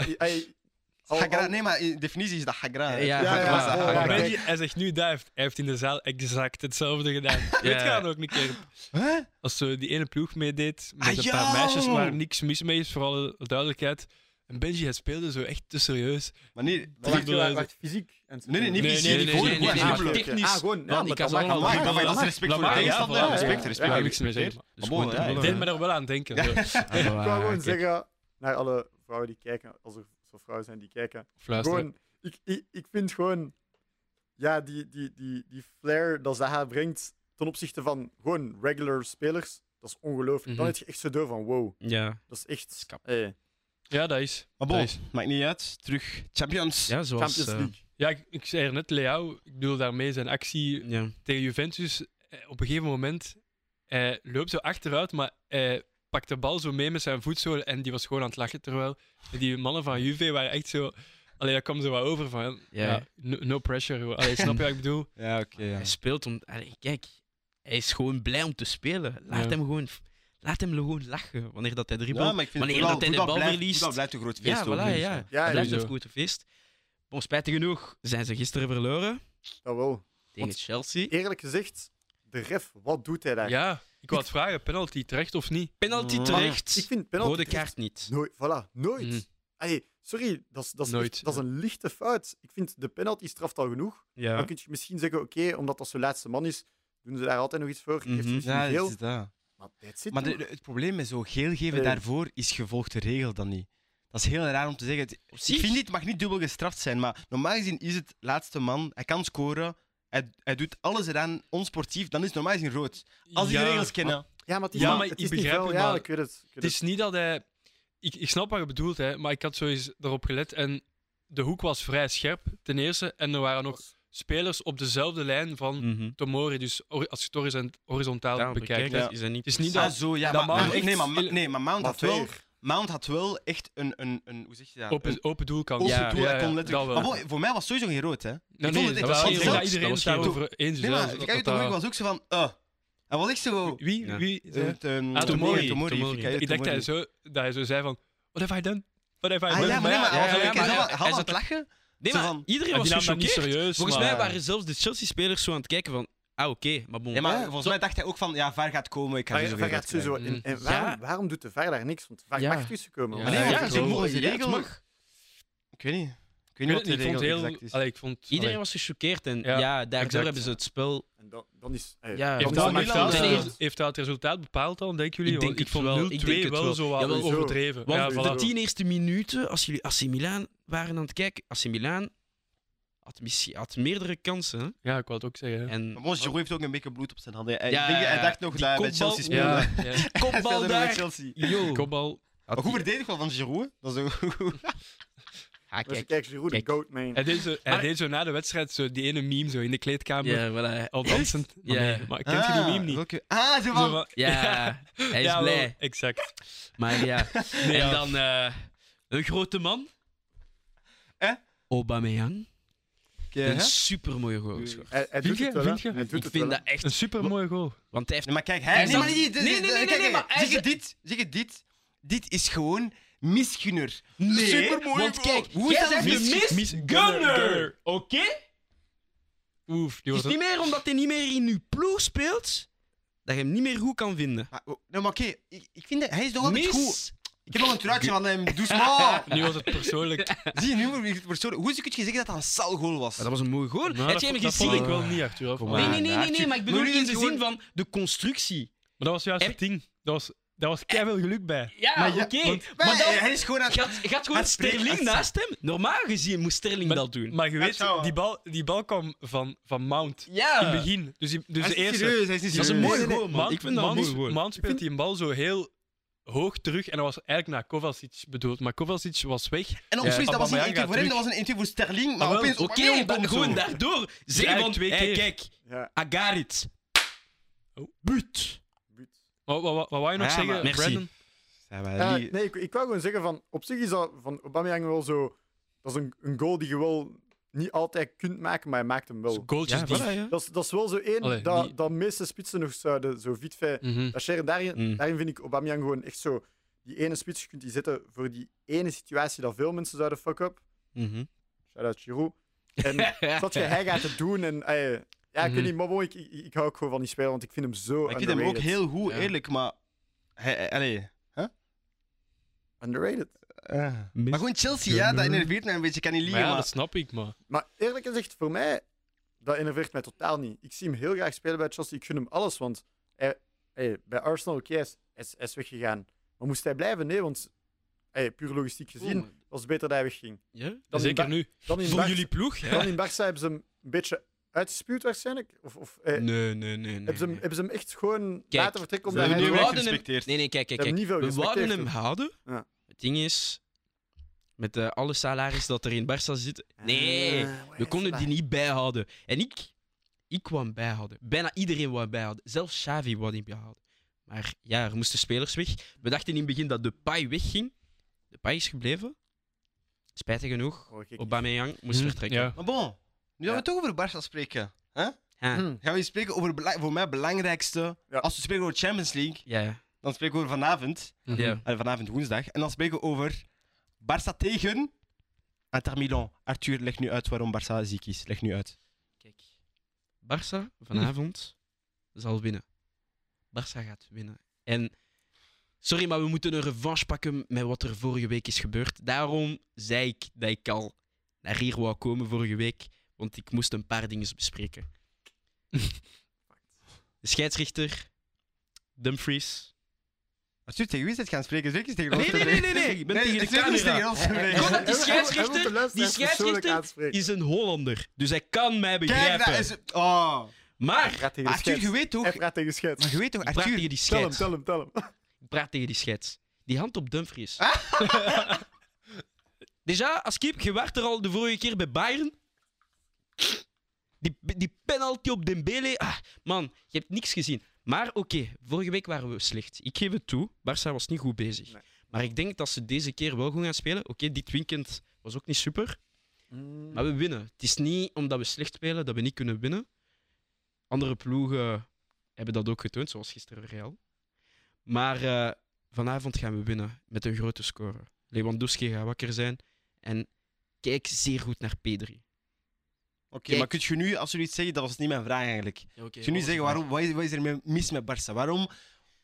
[SPEAKER 3] Ah, i- ey, al-
[SPEAKER 2] Hagra,
[SPEAKER 3] al-
[SPEAKER 2] nee, maar in definitie is dat Hagra. hè.
[SPEAKER 4] Ja,
[SPEAKER 3] ja,
[SPEAKER 2] Hagra is dat
[SPEAKER 3] ja,
[SPEAKER 1] maar
[SPEAKER 2] Hagra.
[SPEAKER 3] kijk.
[SPEAKER 1] Benji, hij zegt nu dive. Hij heeft in de zaal exact hetzelfde gedaan. Weet je dat ook een keer?
[SPEAKER 2] Hè?
[SPEAKER 1] Als zo die ene ploeg meedeed met
[SPEAKER 2] Ah,
[SPEAKER 1] een paar
[SPEAKER 2] ja!
[SPEAKER 1] meisjes waar niks mis mee is, voor alle duidelijkheid. En Benji, hij speelde zo echt te serieus.
[SPEAKER 2] Maar nee,
[SPEAKER 1] Dat
[SPEAKER 3] Wacht,
[SPEAKER 1] Dribbelen
[SPEAKER 3] wacht,
[SPEAKER 1] is-
[SPEAKER 3] wacht, fysiek. en zo.
[SPEAKER 2] nee, nee, niet
[SPEAKER 1] Nee,
[SPEAKER 2] fysiek.
[SPEAKER 1] nee, nee,
[SPEAKER 2] gewoon
[SPEAKER 1] nee,
[SPEAKER 2] gewoon
[SPEAKER 1] nee,
[SPEAKER 3] Ah,
[SPEAKER 1] nee,
[SPEAKER 2] dribbelen.
[SPEAKER 1] nee.
[SPEAKER 3] oké, oké. Ah, gewoon.
[SPEAKER 1] Man,
[SPEAKER 3] Ja,
[SPEAKER 1] ik kan
[SPEAKER 3] maar dat
[SPEAKER 1] ze
[SPEAKER 3] mag
[SPEAKER 1] allemaal
[SPEAKER 3] allemaal.
[SPEAKER 2] Maar- maar dat is respect voor de
[SPEAKER 1] Lamar, ja,
[SPEAKER 2] tegenstander.
[SPEAKER 1] voilà,
[SPEAKER 2] hè.
[SPEAKER 3] ja.
[SPEAKER 2] Respect,
[SPEAKER 1] Daar heb
[SPEAKER 2] respect. Ja,
[SPEAKER 1] ik niks mee zeggen.
[SPEAKER 4] Dus
[SPEAKER 2] Maar bon,
[SPEAKER 4] gewoon
[SPEAKER 2] ja,
[SPEAKER 1] Ik
[SPEAKER 4] dribbelen.
[SPEAKER 1] deed me daar wel aan denken. zo.
[SPEAKER 4] Ah,
[SPEAKER 3] Ik wou
[SPEAKER 4] voilà,
[SPEAKER 3] gewoon
[SPEAKER 4] kijk.
[SPEAKER 3] zeggen naar alle vrouwen die kijken, als er zo vrouwen zijn die kijken.
[SPEAKER 1] Fluisteren.
[SPEAKER 3] Gewoon, ik, ik, ik vind gewoon ja, die, die, die, die flair dat ze haar brengt ten opzichte van gewoon regular spelers, dat is ongelooflijk.
[SPEAKER 1] Mhm.
[SPEAKER 3] Dan heb je echt zo door van wow,
[SPEAKER 4] Ja.
[SPEAKER 3] dat is echt...
[SPEAKER 4] Skap.
[SPEAKER 3] eh,
[SPEAKER 1] Ja, dat is.
[SPEAKER 2] Maar bon,
[SPEAKER 1] Dat is-
[SPEAKER 2] maakt niet uit. Terug Champions.
[SPEAKER 4] Ja, zoals...
[SPEAKER 3] Champions
[SPEAKER 4] eh,
[SPEAKER 3] League.
[SPEAKER 1] Ja, ik, ik zei er net, Leao, ik bedoel daarmee zijn actie
[SPEAKER 4] ja.
[SPEAKER 1] tegen Juventus. eh, Op een gegeven moment hij loopt zo achteruit, maar hij pakt de bal zo mee met zijn voetzolen en die was gewoon aan het lachen. Terwijl die mannen van Juve waren echt zo. Allee, daar kwam ze wat over van. Ja. no, no pressure. gewoon. Allee, snap je wat ik bedoel?
[SPEAKER 2] Ja, oké. ja.
[SPEAKER 4] Hij speelt om... Allee, kijk, hij is gewoon blij om te spelen. Laat
[SPEAKER 1] Ja.
[SPEAKER 4] hem gewoon... Laat hem gewoon lachen wanneer dat hij dribbelt.
[SPEAKER 2] Ja, maar ik vind
[SPEAKER 4] Wanneer
[SPEAKER 2] voetbal-
[SPEAKER 4] dat hij de
[SPEAKER 2] voetbal
[SPEAKER 4] bal
[SPEAKER 2] blijft-
[SPEAKER 4] verliest.
[SPEAKER 2] voetbal blijft een groot feest.
[SPEAKER 4] Ja,
[SPEAKER 2] ook,
[SPEAKER 4] voilà,
[SPEAKER 2] dus,
[SPEAKER 4] ja.
[SPEAKER 2] eh.
[SPEAKER 3] Ja,
[SPEAKER 4] Het blijft
[SPEAKER 1] sowieso.
[SPEAKER 4] een goed feest. Bon, spijtig genoeg zijn ze gisteren verloren
[SPEAKER 3] dat wel.
[SPEAKER 4] tegen
[SPEAKER 3] Want-
[SPEAKER 4] Chelsea.
[SPEAKER 3] Eerlijk gezegd, de ref, wat doet hij daar?
[SPEAKER 1] Ja, ik wou het vragen: penalty terecht of niet?
[SPEAKER 4] Penalty
[SPEAKER 2] Maar-
[SPEAKER 3] Ik
[SPEAKER 4] terecht,
[SPEAKER 3] vind penalty
[SPEAKER 4] rode
[SPEAKER 3] terecht
[SPEAKER 4] kaart niet.
[SPEAKER 3] Nooit, voilà, nooit.
[SPEAKER 1] Mhm.
[SPEAKER 3] Allee, sorry, dat is, dat, is
[SPEAKER 1] Nooit,
[SPEAKER 3] echt- dat is een lichte fout. Ik vind de penalty straft al genoeg. Dan
[SPEAKER 4] Ja.
[SPEAKER 3] kun je misschien zeggen, oké, omdat dat zijn laatste man is, doen ze daar altijd nog iets voor. Geeft
[SPEAKER 4] Mhm.
[SPEAKER 3] hij misschien
[SPEAKER 2] Ja, dat
[SPEAKER 3] geel.
[SPEAKER 2] is dat.
[SPEAKER 3] Maar dit zit
[SPEAKER 2] Maar de- de- het probleem met zo geel geven
[SPEAKER 3] Eh.
[SPEAKER 2] daarvoor is gevolgd de regel dan niet. Dat is heel raar om te zeggen. Het-
[SPEAKER 4] Op
[SPEAKER 2] Ik
[SPEAKER 4] zich.
[SPEAKER 2] vind niet, het mag niet dubbel gestraft zijn, maar normaal gezien is het laatste man. Hij kan scoren. Hij, hij doet alles eraan onsportief. Dan is het normaal gezien rood. Als die
[SPEAKER 1] Ja,
[SPEAKER 2] de regels kennen.
[SPEAKER 3] Ja, maar het is,
[SPEAKER 1] Ja,
[SPEAKER 3] niet-
[SPEAKER 1] maar
[SPEAKER 3] het
[SPEAKER 1] ik
[SPEAKER 3] is niet
[SPEAKER 1] begrijp
[SPEAKER 3] vuil.
[SPEAKER 1] het,
[SPEAKER 3] Ja,
[SPEAKER 1] maar
[SPEAKER 3] ik weet het. Ik weet
[SPEAKER 1] Het is niet dat hij. Ik, ik snap wat je bedoelt, hè, maar ik had zo eens erop gelet en de hoek was vrij scherp, ten eerste. En er waren nog spelers op dezelfde lijn van
[SPEAKER 4] Mhm.
[SPEAKER 1] Tomori. Dus hor- als je het horizon- horizontaal
[SPEAKER 4] Ja,
[SPEAKER 1] bekijkt.
[SPEAKER 4] bekijk,
[SPEAKER 1] hè.
[SPEAKER 4] is dat niet
[SPEAKER 1] Het is niet
[SPEAKER 2] Ah,
[SPEAKER 1] dat-
[SPEAKER 2] zo, ja.
[SPEAKER 1] dat
[SPEAKER 2] maar,
[SPEAKER 1] Mount
[SPEAKER 2] maar-
[SPEAKER 1] echt-
[SPEAKER 2] nee, maar, Ma- nee, maar Mount,
[SPEAKER 3] Maar
[SPEAKER 2] had wel,
[SPEAKER 3] weer.
[SPEAKER 2] Mount had wel echt een. een, een hoe zeg je dat?
[SPEAKER 1] Open,
[SPEAKER 2] Een
[SPEAKER 1] open doelkant.
[SPEAKER 2] open
[SPEAKER 4] Ja,
[SPEAKER 2] doel.
[SPEAKER 1] ja,
[SPEAKER 2] hij kon
[SPEAKER 1] ja,
[SPEAKER 2] letterlijk-
[SPEAKER 1] dat wel.
[SPEAKER 2] Maar boy, voor mij was het sowieso geen rood, hè?
[SPEAKER 1] Nee,
[SPEAKER 2] ik vond
[SPEAKER 1] nee,
[SPEAKER 2] het
[SPEAKER 1] dat
[SPEAKER 2] echt
[SPEAKER 1] was,
[SPEAKER 2] wel
[SPEAKER 1] ik denk
[SPEAKER 2] zot.
[SPEAKER 1] dat iedereen
[SPEAKER 4] Dat was
[SPEAKER 1] het daarover eens is.
[SPEAKER 2] Nee,
[SPEAKER 1] hè,
[SPEAKER 2] maar
[SPEAKER 1] dat-
[SPEAKER 2] kijk,
[SPEAKER 1] dat-
[SPEAKER 2] Tomori was ook zo van. eh. Hij was echt zo.
[SPEAKER 1] Wie?
[SPEAKER 4] Ja.
[SPEAKER 1] wie
[SPEAKER 2] Eh, t- ehm,
[SPEAKER 1] Ah, Tomori,
[SPEAKER 2] Tomori,
[SPEAKER 4] Tomori.
[SPEAKER 2] Fikayo
[SPEAKER 1] ik dacht dat hij,
[SPEAKER 2] Tomori.
[SPEAKER 1] zo, dat hij zo zei van... What have I done? What have I
[SPEAKER 2] Ah,
[SPEAKER 1] done?
[SPEAKER 2] ja,
[SPEAKER 1] Maar
[SPEAKER 2] maar nee, maar
[SPEAKER 1] ja,
[SPEAKER 2] hij was
[SPEAKER 1] ja,
[SPEAKER 2] ook-
[SPEAKER 1] maar
[SPEAKER 2] hij
[SPEAKER 1] ja,
[SPEAKER 2] zat wel-
[SPEAKER 4] hij
[SPEAKER 2] hij
[SPEAKER 4] zat
[SPEAKER 2] was aan het lachen.
[SPEAKER 4] Nee,
[SPEAKER 2] Zo
[SPEAKER 4] maar
[SPEAKER 2] van-
[SPEAKER 4] iedereen
[SPEAKER 1] maar
[SPEAKER 4] was
[SPEAKER 1] Ah, die nam dat niet
[SPEAKER 4] gechoqueerd.
[SPEAKER 1] serieus.
[SPEAKER 4] Volgens
[SPEAKER 1] maar-
[SPEAKER 4] mij waren zelfs de Chelsea-spelers zo aan het kijken van... Ah, oké, maar bon.
[SPEAKER 2] Ja, maar
[SPEAKER 3] Ja,
[SPEAKER 2] volgens mij dacht hij ook van, ja, VAR gaat komen, ik ga
[SPEAKER 3] Maar
[SPEAKER 2] sowieso
[SPEAKER 3] VAR
[SPEAKER 2] weer
[SPEAKER 3] gaat sowieso
[SPEAKER 2] uitkijken.
[SPEAKER 1] krijgen.
[SPEAKER 3] in. En waarom, waarom doet de VAR daar niks? Want de VAR
[SPEAKER 4] Ja.
[SPEAKER 3] mag tussenkomen.
[SPEAKER 1] Ja.
[SPEAKER 3] want-
[SPEAKER 2] Maar nee,
[SPEAKER 1] Ja,
[SPEAKER 2] want
[SPEAKER 1] ik
[SPEAKER 2] ik zeg,
[SPEAKER 1] geloof-
[SPEAKER 2] volgens de
[SPEAKER 4] ja, het
[SPEAKER 2] regel...
[SPEAKER 4] mag.
[SPEAKER 2] Ik weet niet. Ik weet
[SPEAKER 1] Ik
[SPEAKER 2] niet
[SPEAKER 1] weet
[SPEAKER 2] wat
[SPEAKER 1] het niet,
[SPEAKER 2] de
[SPEAKER 1] ik
[SPEAKER 2] regel
[SPEAKER 1] vond heel...
[SPEAKER 2] exact is.
[SPEAKER 1] allee, ik vond...
[SPEAKER 4] Iedereen
[SPEAKER 1] allee,
[SPEAKER 4] was gechoqueerd en
[SPEAKER 1] Ja,
[SPEAKER 4] ja, daardoor
[SPEAKER 1] exact.
[SPEAKER 4] hebben ze het spel...
[SPEAKER 3] En dan, dan is... eh,
[SPEAKER 4] Ja,
[SPEAKER 1] heeft
[SPEAKER 4] want
[SPEAKER 1] dat,
[SPEAKER 2] dan
[SPEAKER 1] heeft,
[SPEAKER 2] Milan,
[SPEAKER 1] dat,
[SPEAKER 4] eh,
[SPEAKER 1] heeft- heeft dat het resultaat bepaald dan, denken jullie?
[SPEAKER 4] Ik
[SPEAKER 1] Want
[SPEAKER 4] denk het
[SPEAKER 1] vond
[SPEAKER 4] wel, ik
[SPEAKER 1] 0-2
[SPEAKER 4] denk het wel.
[SPEAKER 1] wel zo wat
[SPEAKER 4] Jawel.
[SPEAKER 1] overdreven.
[SPEAKER 4] Want
[SPEAKER 1] Ja,
[SPEAKER 3] eh,
[SPEAKER 1] voilà.
[SPEAKER 4] de tien eerste minuten, als jullie AC Milan waren aan het kijken... AC Milan had, missie- had meerdere kansen. hè.
[SPEAKER 1] Ja, ik wou het ook zeggen.
[SPEAKER 4] En
[SPEAKER 2] Maar Mons Giroud heeft ook een beetje bloed op zijn handen. Hij,
[SPEAKER 4] Ja,
[SPEAKER 2] ik denk, hij
[SPEAKER 4] ja,
[SPEAKER 2] dacht nog
[SPEAKER 4] die
[SPEAKER 2] dat hij bij
[SPEAKER 4] kopbal-
[SPEAKER 2] Chelsea speelde.
[SPEAKER 1] Ja,
[SPEAKER 2] Ja.
[SPEAKER 1] ja.
[SPEAKER 4] kopbal
[SPEAKER 2] bij
[SPEAKER 4] daar.
[SPEAKER 2] Chelsea.
[SPEAKER 4] Yo.
[SPEAKER 1] Kopbal.
[SPEAKER 4] Had
[SPEAKER 2] Maar goed
[SPEAKER 4] die-
[SPEAKER 2] verdedigd wel van Giroud. Dat is ook...
[SPEAKER 4] Ah,
[SPEAKER 3] Als je
[SPEAKER 4] kijk.
[SPEAKER 3] kijkt, Giroud, de
[SPEAKER 4] Kijk.
[SPEAKER 3] goat, man.
[SPEAKER 1] Hij deed, zo, hij
[SPEAKER 4] Maar-
[SPEAKER 1] deed zo na de wedstrijd zo die ene meme zo in de kleedkamer.
[SPEAKER 4] Ja, voilà.
[SPEAKER 1] Al dansend. Maar,
[SPEAKER 4] Ja.
[SPEAKER 1] nee, maar kent je die meme niet?
[SPEAKER 2] welke- Ah, zo
[SPEAKER 1] Zo
[SPEAKER 2] van...
[SPEAKER 1] van-
[SPEAKER 4] Ja, hij is
[SPEAKER 1] Ja, wel,
[SPEAKER 4] blij.
[SPEAKER 1] Exact.
[SPEAKER 4] Maar ja,
[SPEAKER 1] Nee,
[SPEAKER 4] en
[SPEAKER 1] ja.
[SPEAKER 4] dan eh, een grote man.
[SPEAKER 2] Eh?
[SPEAKER 4] Aubameyang.
[SPEAKER 2] Oké, hè?
[SPEAKER 4] Een supermooie goal gescoord.
[SPEAKER 3] Hij, hij doet
[SPEAKER 1] je?
[SPEAKER 3] het wel,
[SPEAKER 1] Vind
[SPEAKER 3] hè.
[SPEAKER 1] je?
[SPEAKER 3] Hij doet
[SPEAKER 4] Ik
[SPEAKER 3] het wel,
[SPEAKER 4] vind
[SPEAKER 3] hè.
[SPEAKER 4] dat echt...
[SPEAKER 1] Een supermooie goal.
[SPEAKER 4] Want hij heeft...
[SPEAKER 2] Nee, maar kijk,
[SPEAKER 4] Hij
[SPEAKER 2] hij... Nee,
[SPEAKER 4] zat-
[SPEAKER 2] maar niet... dit-
[SPEAKER 4] Nee, nee,
[SPEAKER 2] dit-
[SPEAKER 4] nee, nee,
[SPEAKER 2] kijk,
[SPEAKER 4] nee,
[SPEAKER 2] kijk,
[SPEAKER 4] maar hij
[SPEAKER 2] Zeg je
[SPEAKER 4] zat-
[SPEAKER 2] dit? Zeg je dit? Dit is gewoon misgunner.
[SPEAKER 4] Nee,
[SPEAKER 2] Supermooie
[SPEAKER 4] want
[SPEAKER 2] goal.
[SPEAKER 4] kijk,
[SPEAKER 2] Hoe
[SPEAKER 4] jij
[SPEAKER 2] is dat
[SPEAKER 4] bent de
[SPEAKER 2] mis-
[SPEAKER 4] Miss,
[SPEAKER 1] mis-
[SPEAKER 4] Gunner.
[SPEAKER 1] Gunner.
[SPEAKER 4] Oké?
[SPEAKER 1] Oef, die
[SPEAKER 4] Het
[SPEAKER 1] was
[SPEAKER 4] is niet meer omdat hij niet meer in uw ploeg speelt, dat je hem niet meer goed kan vinden.
[SPEAKER 2] Maar, oh, nee, maar oké. ik, ik vind dat... Hij is nog altijd goed.
[SPEAKER 4] Miss
[SPEAKER 2] Ik heb nog een truitje van hem. Doe smal.
[SPEAKER 1] Nu was het persoonlijk.
[SPEAKER 2] Zie je, nu wordt- wordt zo... Hoe is het kun je zeggen dat dat een salgoal was?
[SPEAKER 4] Maar Nou, dat was een mooie goal.
[SPEAKER 1] Maar
[SPEAKER 4] Heb
[SPEAKER 1] dat,
[SPEAKER 4] je hem
[SPEAKER 1] dat vond
[SPEAKER 4] gezien?
[SPEAKER 1] ik wel niet, Arthur. dat
[SPEAKER 4] Nee,
[SPEAKER 1] vond
[SPEAKER 4] nee,
[SPEAKER 1] ik-
[SPEAKER 4] nee, nee, nee, maar ik bedoel
[SPEAKER 2] Maar nu
[SPEAKER 4] in
[SPEAKER 2] is
[SPEAKER 4] de
[SPEAKER 2] het
[SPEAKER 4] zin van de constructie.
[SPEAKER 1] Maar dat was juist
[SPEAKER 4] En-
[SPEAKER 1] het ding. Dat was, daar was keihard geluk bij.
[SPEAKER 4] Ja,
[SPEAKER 2] Maar
[SPEAKER 4] oké.
[SPEAKER 2] ja,
[SPEAKER 4] Maar,
[SPEAKER 2] Maar,
[SPEAKER 4] dan
[SPEAKER 2] eh, hij is gewoon aan...
[SPEAKER 4] gaat, gaat gewoon
[SPEAKER 2] het spreekt-
[SPEAKER 4] Sterling
[SPEAKER 2] het-
[SPEAKER 4] naast hem. Normaal gezien moest Sterling dat doen.
[SPEAKER 1] Maar je weet,
[SPEAKER 2] zou wel.
[SPEAKER 1] die bal, die bal kwam van, van Mount
[SPEAKER 4] ja.
[SPEAKER 1] in het begin. Dus, die, dus
[SPEAKER 2] Hij
[SPEAKER 1] de
[SPEAKER 2] is niet
[SPEAKER 1] eerste.
[SPEAKER 2] serieus, hij is niet
[SPEAKER 4] Dat is een
[SPEAKER 2] serieus.
[SPEAKER 4] mooie
[SPEAKER 1] Nee, nee,
[SPEAKER 4] goal, man.
[SPEAKER 1] Mount-
[SPEAKER 4] Ik vind dat een
[SPEAKER 1] Mount-
[SPEAKER 4] mooie goal.
[SPEAKER 1] Mount speelt die bal zo heel hoog terug. En dat was eigenlijk naar Kovacic bedoeld. Maar Kovacic was weg.
[SPEAKER 2] En opeens,
[SPEAKER 1] Ja,
[SPEAKER 2] dat was
[SPEAKER 1] Aubameyang
[SPEAKER 2] niet 1-2 voor hem,
[SPEAKER 1] gaat
[SPEAKER 2] dat was een 1-2 voor Sterling. Maar
[SPEAKER 1] Ah, wel,
[SPEAKER 2] opeens,
[SPEAKER 4] Oké,
[SPEAKER 2] Aubameyang
[SPEAKER 4] dan
[SPEAKER 2] komt zo.
[SPEAKER 4] gewoon daardoor. Zeg
[SPEAKER 1] eigenlijk
[SPEAKER 4] van,
[SPEAKER 1] twee
[SPEAKER 4] hey,
[SPEAKER 1] keer.
[SPEAKER 4] kijk,
[SPEAKER 3] Ja,
[SPEAKER 4] Agarit.
[SPEAKER 1] Oh.
[SPEAKER 4] But.
[SPEAKER 3] buut.
[SPEAKER 1] Wat, wat, wat, wat wou je nog
[SPEAKER 2] Ja,
[SPEAKER 1] zeggen,
[SPEAKER 2] maar-
[SPEAKER 4] Merci.
[SPEAKER 1] Brandon?
[SPEAKER 2] Ja, maar
[SPEAKER 3] Ja,
[SPEAKER 2] die-
[SPEAKER 3] nee, ik, ik wou gewoon zeggen van op zich is dat van Aubameyang wel zo. Dat is een, een goal die je wel niet altijd kunt maken, maar hij maakt hem wel.
[SPEAKER 1] Goaltjes
[SPEAKER 4] Ja,
[SPEAKER 1] die...
[SPEAKER 4] voilà, ja.
[SPEAKER 3] Dat is, dat is wel zo één
[SPEAKER 1] Allee,
[SPEAKER 3] dat,
[SPEAKER 1] niet-
[SPEAKER 3] dat meeste spitsen nog zouden zo Vitve.
[SPEAKER 1] Mhm.
[SPEAKER 3] Dat share, daarin,
[SPEAKER 4] Mm.
[SPEAKER 3] daarin vind ik Aubameyang gewoon echt zo. Die ene spits je kunt die zetten voor die ene situatie dat veel mensen zouden fuck up.
[SPEAKER 4] Mhm.
[SPEAKER 3] Shout out Giroud. En dat je hij gaat het doen en eh, ja, ik
[SPEAKER 1] Mhm.
[SPEAKER 3] weet niet, maar bon, ik, ik, ik hou ook gewoon van die speler, want ik vind hem zo
[SPEAKER 2] maar ik
[SPEAKER 3] underrated.
[SPEAKER 2] vind hem ook heel goed,
[SPEAKER 4] Ja.
[SPEAKER 2] eerlijk, maar... Hij, hij- allee.
[SPEAKER 3] underrated.
[SPEAKER 2] Maar gewoon Chelsea, ja, dat enerveert mij een beetje, ik kan niet
[SPEAKER 1] Maar
[SPEAKER 2] liegen,
[SPEAKER 1] ja,
[SPEAKER 2] maar...
[SPEAKER 1] dat snap ik, maar...
[SPEAKER 3] Maar eerlijk gezegd, voor mij, dat enerveert mij totaal niet. Ik zie hem heel graag spelen bij Chelsea. Ik gun hem alles, want hij, hij- bij Arsenal, oké, hij is- hij is, hij is weggegaan. Maar moest hij blijven? Nee, want hey, puur logistiek gezien, was het beter dat hij wegging.
[SPEAKER 4] Ja?
[SPEAKER 3] Dan in
[SPEAKER 1] Zeker
[SPEAKER 3] Bar-
[SPEAKER 1] nu.
[SPEAKER 3] Dan in,
[SPEAKER 4] Van
[SPEAKER 3] Barca,
[SPEAKER 4] jullie ploeg? Ja?
[SPEAKER 3] dan in Barca hebben ze hem een beetje uitgespuwd waarschijnlijk. Of, of eh,
[SPEAKER 4] Nee, nee, nee. nee,
[SPEAKER 3] hebben, ze hem,
[SPEAKER 4] nee.
[SPEAKER 3] hebben ze hem echt gewoon
[SPEAKER 4] Kijk,
[SPEAKER 3] laten vertrekken
[SPEAKER 2] Ze
[SPEAKER 3] omdat
[SPEAKER 2] hebben
[SPEAKER 3] hij...
[SPEAKER 2] nu
[SPEAKER 4] We
[SPEAKER 2] weg
[SPEAKER 4] wouden hem-
[SPEAKER 2] gerespecteerd.
[SPEAKER 4] Nee, nee, kijk, kijk,
[SPEAKER 3] Ze hebben
[SPEAKER 4] kijk.
[SPEAKER 3] niet veel
[SPEAKER 4] We
[SPEAKER 3] gerespecteerd,
[SPEAKER 4] wouden hem
[SPEAKER 3] hoor.
[SPEAKER 4] houden.
[SPEAKER 3] Ja.
[SPEAKER 4] Het ding is, met eh, alle salaris dat er in Barça zit, nee,
[SPEAKER 3] Ah,
[SPEAKER 4] we konden die
[SPEAKER 3] voilà.
[SPEAKER 4] niet bijhouden. En ik, ik wou hem bijhouden. Bijna iedereen wou hem bijhouden. Zelfs Xavi wou hem bijhouden. Maar ja, er moesten spelers weg. We dachten in het begin dat Depay wegging. Depay is gebleven. Spijtig genoeg.
[SPEAKER 3] Oh, gek.
[SPEAKER 4] Aubameyang moest
[SPEAKER 1] Hm,
[SPEAKER 4] vertrekken.
[SPEAKER 1] ja.
[SPEAKER 2] Maar bon, nu
[SPEAKER 3] Ja.
[SPEAKER 2] gaan we toch over Barça spreken. hè?
[SPEAKER 4] Ah,
[SPEAKER 3] Hm.
[SPEAKER 2] Gaan we hier spreken over bela- voor mij belangrijkste.
[SPEAKER 3] Ja.
[SPEAKER 2] Als we spreken over Champions League,
[SPEAKER 4] ja.
[SPEAKER 2] dan spreken we over vanavond.
[SPEAKER 4] ja.
[SPEAKER 2] Eh, vanavond woensdag. En dan spreken we over Barça tegen Inter Milan. Arthur, leg nu uit waarom Barça ziek is. Leg nu uit.
[SPEAKER 4] Kijk, Barça vanavond zal winnen. Barça gaat winnen. En sorry, maar we moeten een revanche pakken met wat er vorige week is gebeurd. Daarom zei ik dat ik al naar hier wou komen vorige week, want ik moest een paar dingen bespreken. De scheidsrechter, Dumfries.
[SPEAKER 2] Arthur, tegen wie is het gaan spreken? Zeker is tegen
[SPEAKER 4] Nee,
[SPEAKER 2] ons.
[SPEAKER 4] nee, nee, nee, nee. Ik ben tegen de
[SPEAKER 2] zeker is tegen
[SPEAKER 4] camera.
[SPEAKER 2] ons.
[SPEAKER 3] Hij- hij-
[SPEAKER 2] spreken.
[SPEAKER 4] Kon dat die
[SPEAKER 3] hij- hij- hij wil de
[SPEAKER 4] scheidsrechter-
[SPEAKER 3] luisteraars
[SPEAKER 4] die
[SPEAKER 3] persoonlijk
[SPEAKER 4] scheidsrechter
[SPEAKER 3] aanspreken.
[SPEAKER 4] Is een Hollander, dus hij kan mij
[SPEAKER 2] Kijk, dat
[SPEAKER 4] begrijpen.
[SPEAKER 2] is... Oh.
[SPEAKER 3] Hij
[SPEAKER 4] Maar
[SPEAKER 3] praat tegen de
[SPEAKER 2] Arthur,
[SPEAKER 3] scheids.
[SPEAKER 2] je weet toch...
[SPEAKER 3] Hij praat tegen de scheids.
[SPEAKER 2] Maar je weet toch,
[SPEAKER 4] ik praat
[SPEAKER 2] Arthur...
[SPEAKER 4] tegen die
[SPEAKER 3] Tel hem,
[SPEAKER 4] scheids.
[SPEAKER 3] tel hem, tel hem.
[SPEAKER 4] Ik praat tegen die scheids. Die hand op Dumfries. Déjà, als keep, je werd er al de vorige keer bij Bayern. Die, die penalty op Dembele. Ah, man, je hebt niks gezien. Maar oké, vorige week waren we slecht. Ik geef het toe, Barça was niet goed bezig.
[SPEAKER 3] Nee.
[SPEAKER 4] Maar ik denk dat ze deze keer wel goed gaan spelen. Oké, dit weekend was ook niet super.
[SPEAKER 3] Mm.
[SPEAKER 4] Maar we winnen. Het is niet omdat we slecht spelen dat we niet kunnen winnen. Andere ploegen hebben dat ook getoond, zoals gisteren Real. Maar eh, vanavond gaan we winnen met een grote score. Lewandowski gaat wakker zijn en kijk zeer goed naar Pedri.
[SPEAKER 2] Oké, maar kun je nu, als jullie iets zeggen, dat was niet mijn vraag eigenlijk. Kun
[SPEAKER 4] Ja,
[SPEAKER 2] je nu zeggen, waarom, wat, is, wat is er mee- mis met Barça? Waarom?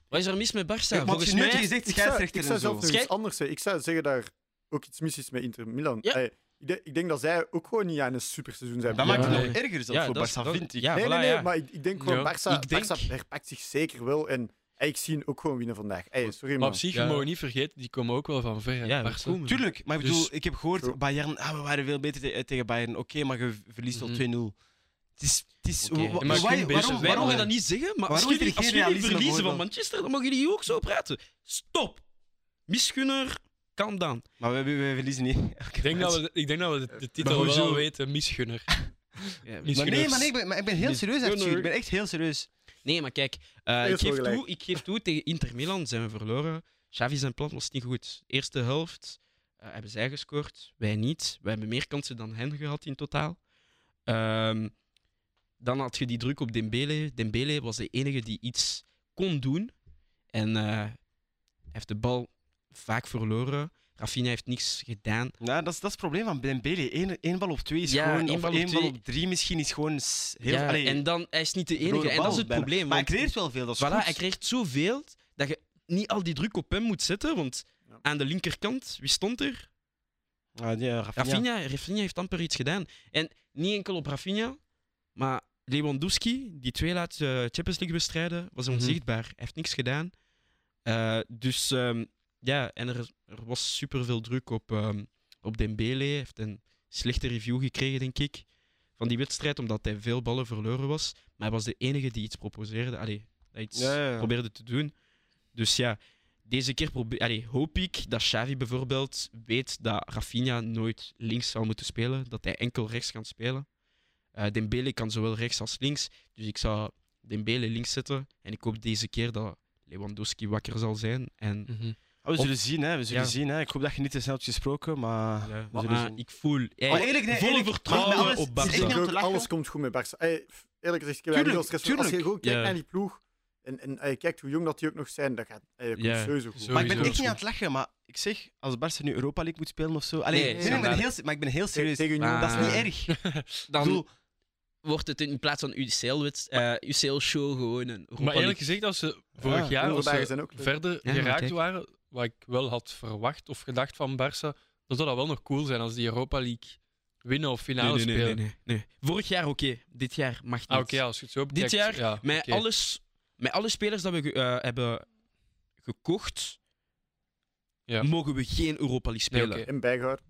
[SPEAKER 4] Wat is er mis met Barça?
[SPEAKER 2] Kijk, want
[SPEAKER 4] Volgens
[SPEAKER 2] je nu
[SPEAKER 4] mij...
[SPEAKER 2] hebt gezegd
[SPEAKER 3] Ik zou, ik
[SPEAKER 2] scheidsrechter
[SPEAKER 3] zou
[SPEAKER 2] en
[SPEAKER 3] zelf
[SPEAKER 2] zo.
[SPEAKER 3] nog iets
[SPEAKER 4] Schei-
[SPEAKER 3] anders zeggen. Ik zou zeggen daar ook iets mis is met Inter Milan.
[SPEAKER 4] Ja.
[SPEAKER 3] Hey, ik, denk, ik denk dat zij ook gewoon niet aan een superseizoen zijn.
[SPEAKER 2] Dat
[SPEAKER 3] begonnen.
[SPEAKER 2] maakt het
[SPEAKER 1] Ja.
[SPEAKER 2] nog erger zelfs voor
[SPEAKER 4] dat is-
[SPEAKER 2] Barça,
[SPEAKER 4] dat-
[SPEAKER 2] vind ik.
[SPEAKER 4] Ja,
[SPEAKER 3] nee,
[SPEAKER 4] voilà,
[SPEAKER 3] nee, nee,
[SPEAKER 4] ja.
[SPEAKER 3] maar ik, ik denk gewoon,
[SPEAKER 1] Ja.
[SPEAKER 3] Barça,
[SPEAKER 4] Ik denk-
[SPEAKER 3] Barça herpakt zich zeker wel. En hey, ik zie hen ook gewoon winnen vandaag. Hey, sorry
[SPEAKER 1] Maar
[SPEAKER 3] man.
[SPEAKER 1] op zich,
[SPEAKER 4] Ja.
[SPEAKER 1] we mogen niet vergeten, die komen ook wel van ver. hè,
[SPEAKER 4] Ja, we
[SPEAKER 1] Barca.
[SPEAKER 4] komen.
[SPEAKER 2] Tuurlijk, maar ik bedoel,
[SPEAKER 1] Dus-
[SPEAKER 2] ik heb gehoord,
[SPEAKER 3] True.
[SPEAKER 2] Bayern, ah, we waren veel beter te- eh, tegen Bayern. Oké, maar je v- verliest al
[SPEAKER 1] Mhm.
[SPEAKER 2] 2-0. Het is... Het is
[SPEAKER 4] Oké,
[SPEAKER 2] wa- wa-
[SPEAKER 1] maar
[SPEAKER 2] wa-
[SPEAKER 1] geen
[SPEAKER 2] waarom,
[SPEAKER 1] beetje-
[SPEAKER 2] waarom,
[SPEAKER 4] Wij mogen dat
[SPEAKER 2] niet...
[SPEAKER 4] niet zeggen, maar als
[SPEAKER 2] Waarom is er
[SPEAKER 4] jullie, als
[SPEAKER 2] geen
[SPEAKER 4] jullie
[SPEAKER 2] realisme
[SPEAKER 4] verliezen van
[SPEAKER 2] geworden?
[SPEAKER 4] Manchester, dan mogen jullie ook zo praten. Stop! Misgunner, calm down.
[SPEAKER 2] Maar we, we- we verliezen niet.
[SPEAKER 1] Ik denk dat we, ik denk dat we de, de titel wel
[SPEAKER 2] hoezo?
[SPEAKER 1] al weten, misgunner.
[SPEAKER 2] Maar nee,
[SPEAKER 1] Misgunners.
[SPEAKER 2] maar nee, ik ben, maar ik ben heel
[SPEAKER 4] Dus-
[SPEAKER 2] serieus,
[SPEAKER 4] Nee,
[SPEAKER 2] Arthur.
[SPEAKER 4] nee.
[SPEAKER 2] Ik ben echt heel serieus.
[SPEAKER 4] Nee, maar kijk, eh,
[SPEAKER 3] Eerst
[SPEAKER 4] ik, geef
[SPEAKER 3] wel gelijk.
[SPEAKER 4] toe, ik geef toe, tegen Inter Milan zijn we verloren. Xavi zijn plan was niet goed. Eerste helft eh, hebben zij gescoord, wij niet. Wij hebben meer kansen dan hen gehad in totaal. Ehm, dan had je die druk op Dembele. Dembele was de enige die iets kon doen. En eh, hij heeft de bal vaak verloren. Rafinha heeft niks gedaan.
[SPEAKER 2] Nou, dat is, dat is het probleem van Dembele. Eén, één bal op twee is
[SPEAKER 4] Ja,
[SPEAKER 2] gewoon...
[SPEAKER 4] één
[SPEAKER 2] of
[SPEAKER 4] bal op
[SPEAKER 2] één bal
[SPEAKER 4] twee.
[SPEAKER 2] op drie misschien is gewoon... s- Heel,
[SPEAKER 4] ja,
[SPEAKER 2] allee,
[SPEAKER 4] en dan, hij is niet de enige.
[SPEAKER 2] verloren
[SPEAKER 4] En dat is
[SPEAKER 2] bal
[SPEAKER 4] het
[SPEAKER 2] bijna.
[SPEAKER 4] probleem.
[SPEAKER 2] Maar hij
[SPEAKER 4] want-
[SPEAKER 2] creëert wel veel, dat is
[SPEAKER 4] Voilà,
[SPEAKER 2] goed.
[SPEAKER 4] hij krijgt zoveel dat je niet al die druk op hem moet zetten. Want
[SPEAKER 3] Ja.
[SPEAKER 4] aan de linkerkant, wie stond er?
[SPEAKER 2] Ah, die, eh, Rafinha.
[SPEAKER 4] Rafinha. Rafinha heeft amper iets gedaan. En niet enkel op Rafinha, maar Lewandowski, die twee laatste eh, Champions League bestrijden, was
[SPEAKER 1] Mhm.
[SPEAKER 4] onzichtbaar. Hij heeft niks gedaan. Eh, dus ehm, ja, en er, er was superveel druk op, ehm, op Dembele. Hij heeft een slechte review gekregen, denk ik, van die wedstrijd, omdat hij veel ballen verloren was. Maar hij was de enige die iets proposeerde. Allee, dat iets
[SPEAKER 2] Ja, ja, ja.
[SPEAKER 4] probeerde te doen. Dus ja, deze keer probe- allee, hoop ik dat Xavi bijvoorbeeld weet dat Rafinha nooit links zal moeten spelen. Dat hij enkel rechts kan spelen. Eh, Dembele kan zowel rechts als links. Dus ik zou Dembele links zetten. En ik hoop deze keer dat Lewandowski wakker zal zijn. En
[SPEAKER 1] Mhm.
[SPEAKER 2] Oh, we zullen zien, hè. We zullen
[SPEAKER 4] Ja.
[SPEAKER 2] zien, hè. Ik hoop dat je niet te snel hebt gesproken, maar...
[SPEAKER 4] Ja,
[SPEAKER 2] we zullen
[SPEAKER 4] maar
[SPEAKER 2] zien.
[SPEAKER 4] ik voel hey,
[SPEAKER 2] Maar eerlijk, nee,
[SPEAKER 4] volle
[SPEAKER 2] eerlijk,
[SPEAKER 4] vertrouwen
[SPEAKER 2] maar alles-
[SPEAKER 4] op
[SPEAKER 2] het is
[SPEAKER 4] Barca.
[SPEAKER 2] echt niet om
[SPEAKER 3] Ik
[SPEAKER 2] te
[SPEAKER 3] denk ook,
[SPEAKER 2] lachen.
[SPEAKER 3] alles komt goed met Barça. Hey, f- eerlijk gezegd, ik heb
[SPEAKER 2] Tuurlijk,
[SPEAKER 3] heel stress. van- Als je
[SPEAKER 2] tuurlijk.
[SPEAKER 3] gewoon kijkt
[SPEAKER 4] Ja.
[SPEAKER 3] naar die ploeg en, en eh, kijkt hoe jong dat die ook nog zijn, dat gaat eh, komt
[SPEAKER 4] Ja.
[SPEAKER 3] sowieso goed.
[SPEAKER 1] Zo-
[SPEAKER 2] Maar ik ben
[SPEAKER 1] Sowieso.
[SPEAKER 2] echt niet aan het lachen, maar ik zeg, als Barca nu Europa League moet spelen of zo. Allee,
[SPEAKER 4] Nee,
[SPEAKER 2] nee, nee, eh, ik ben
[SPEAKER 4] schandalig.
[SPEAKER 2] heel, se- maar ik ben heel
[SPEAKER 3] Te-
[SPEAKER 2] serieus.
[SPEAKER 3] tegen Union.
[SPEAKER 4] Maar-
[SPEAKER 2] Dat is niet erg. Ik
[SPEAKER 4] Dan
[SPEAKER 2] bedoel,
[SPEAKER 4] wordt het in plaats van eh, UCL-show gewoon een Europa
[SPEAKER 1] Maar eerlijk
[SPEAKER 4] League.
[SPEAKER 1] gezegd, als ze vorig
[SPEAKER 2] Ja,
[SPEAKER 1] jaar als
[SPEAKER 3] onderdagen
[SPEAKER 1] ze
[SPEAKER 3] zijn ook leuk.
[SPEAKER 1] verder
[SPEAKER 4] maar
[SPEAKER 1] geraakt
[SPEAKER 4] kijk.
[SPEAKER 1] waren, wat ik wel had verwacht of gedacht van Barça, dan zou dat wel nog cool zijn als die Europa League winnen of finale
[SPEAKER 4] nee, nee, nee,
[SPEAKER 1] spelen.
[SPEAKER 4] nee, nee. Vorig jaar oké, dit jaar mag niet.
[SPEAKER 1] Ah, oké, als je het zo bekijkt.
[SPEAKER 4] jaar,
[SPEAKER 1] ja,
[SPEAKER 4] Met,
[SPEAKER 1] oké.
[SPEAKER 4] alles, met alle spelers dat we ge- eh, hebben gekocht,
[SPEAKER 1] Ja.
[SPEAKER 4] mogen we geen Europa League
[SPEAKER 1] Nee,
[SPEAKER 4] spelen.
[SPEAKER 1] oké.
[SPEAKER 3] In bijgehouden.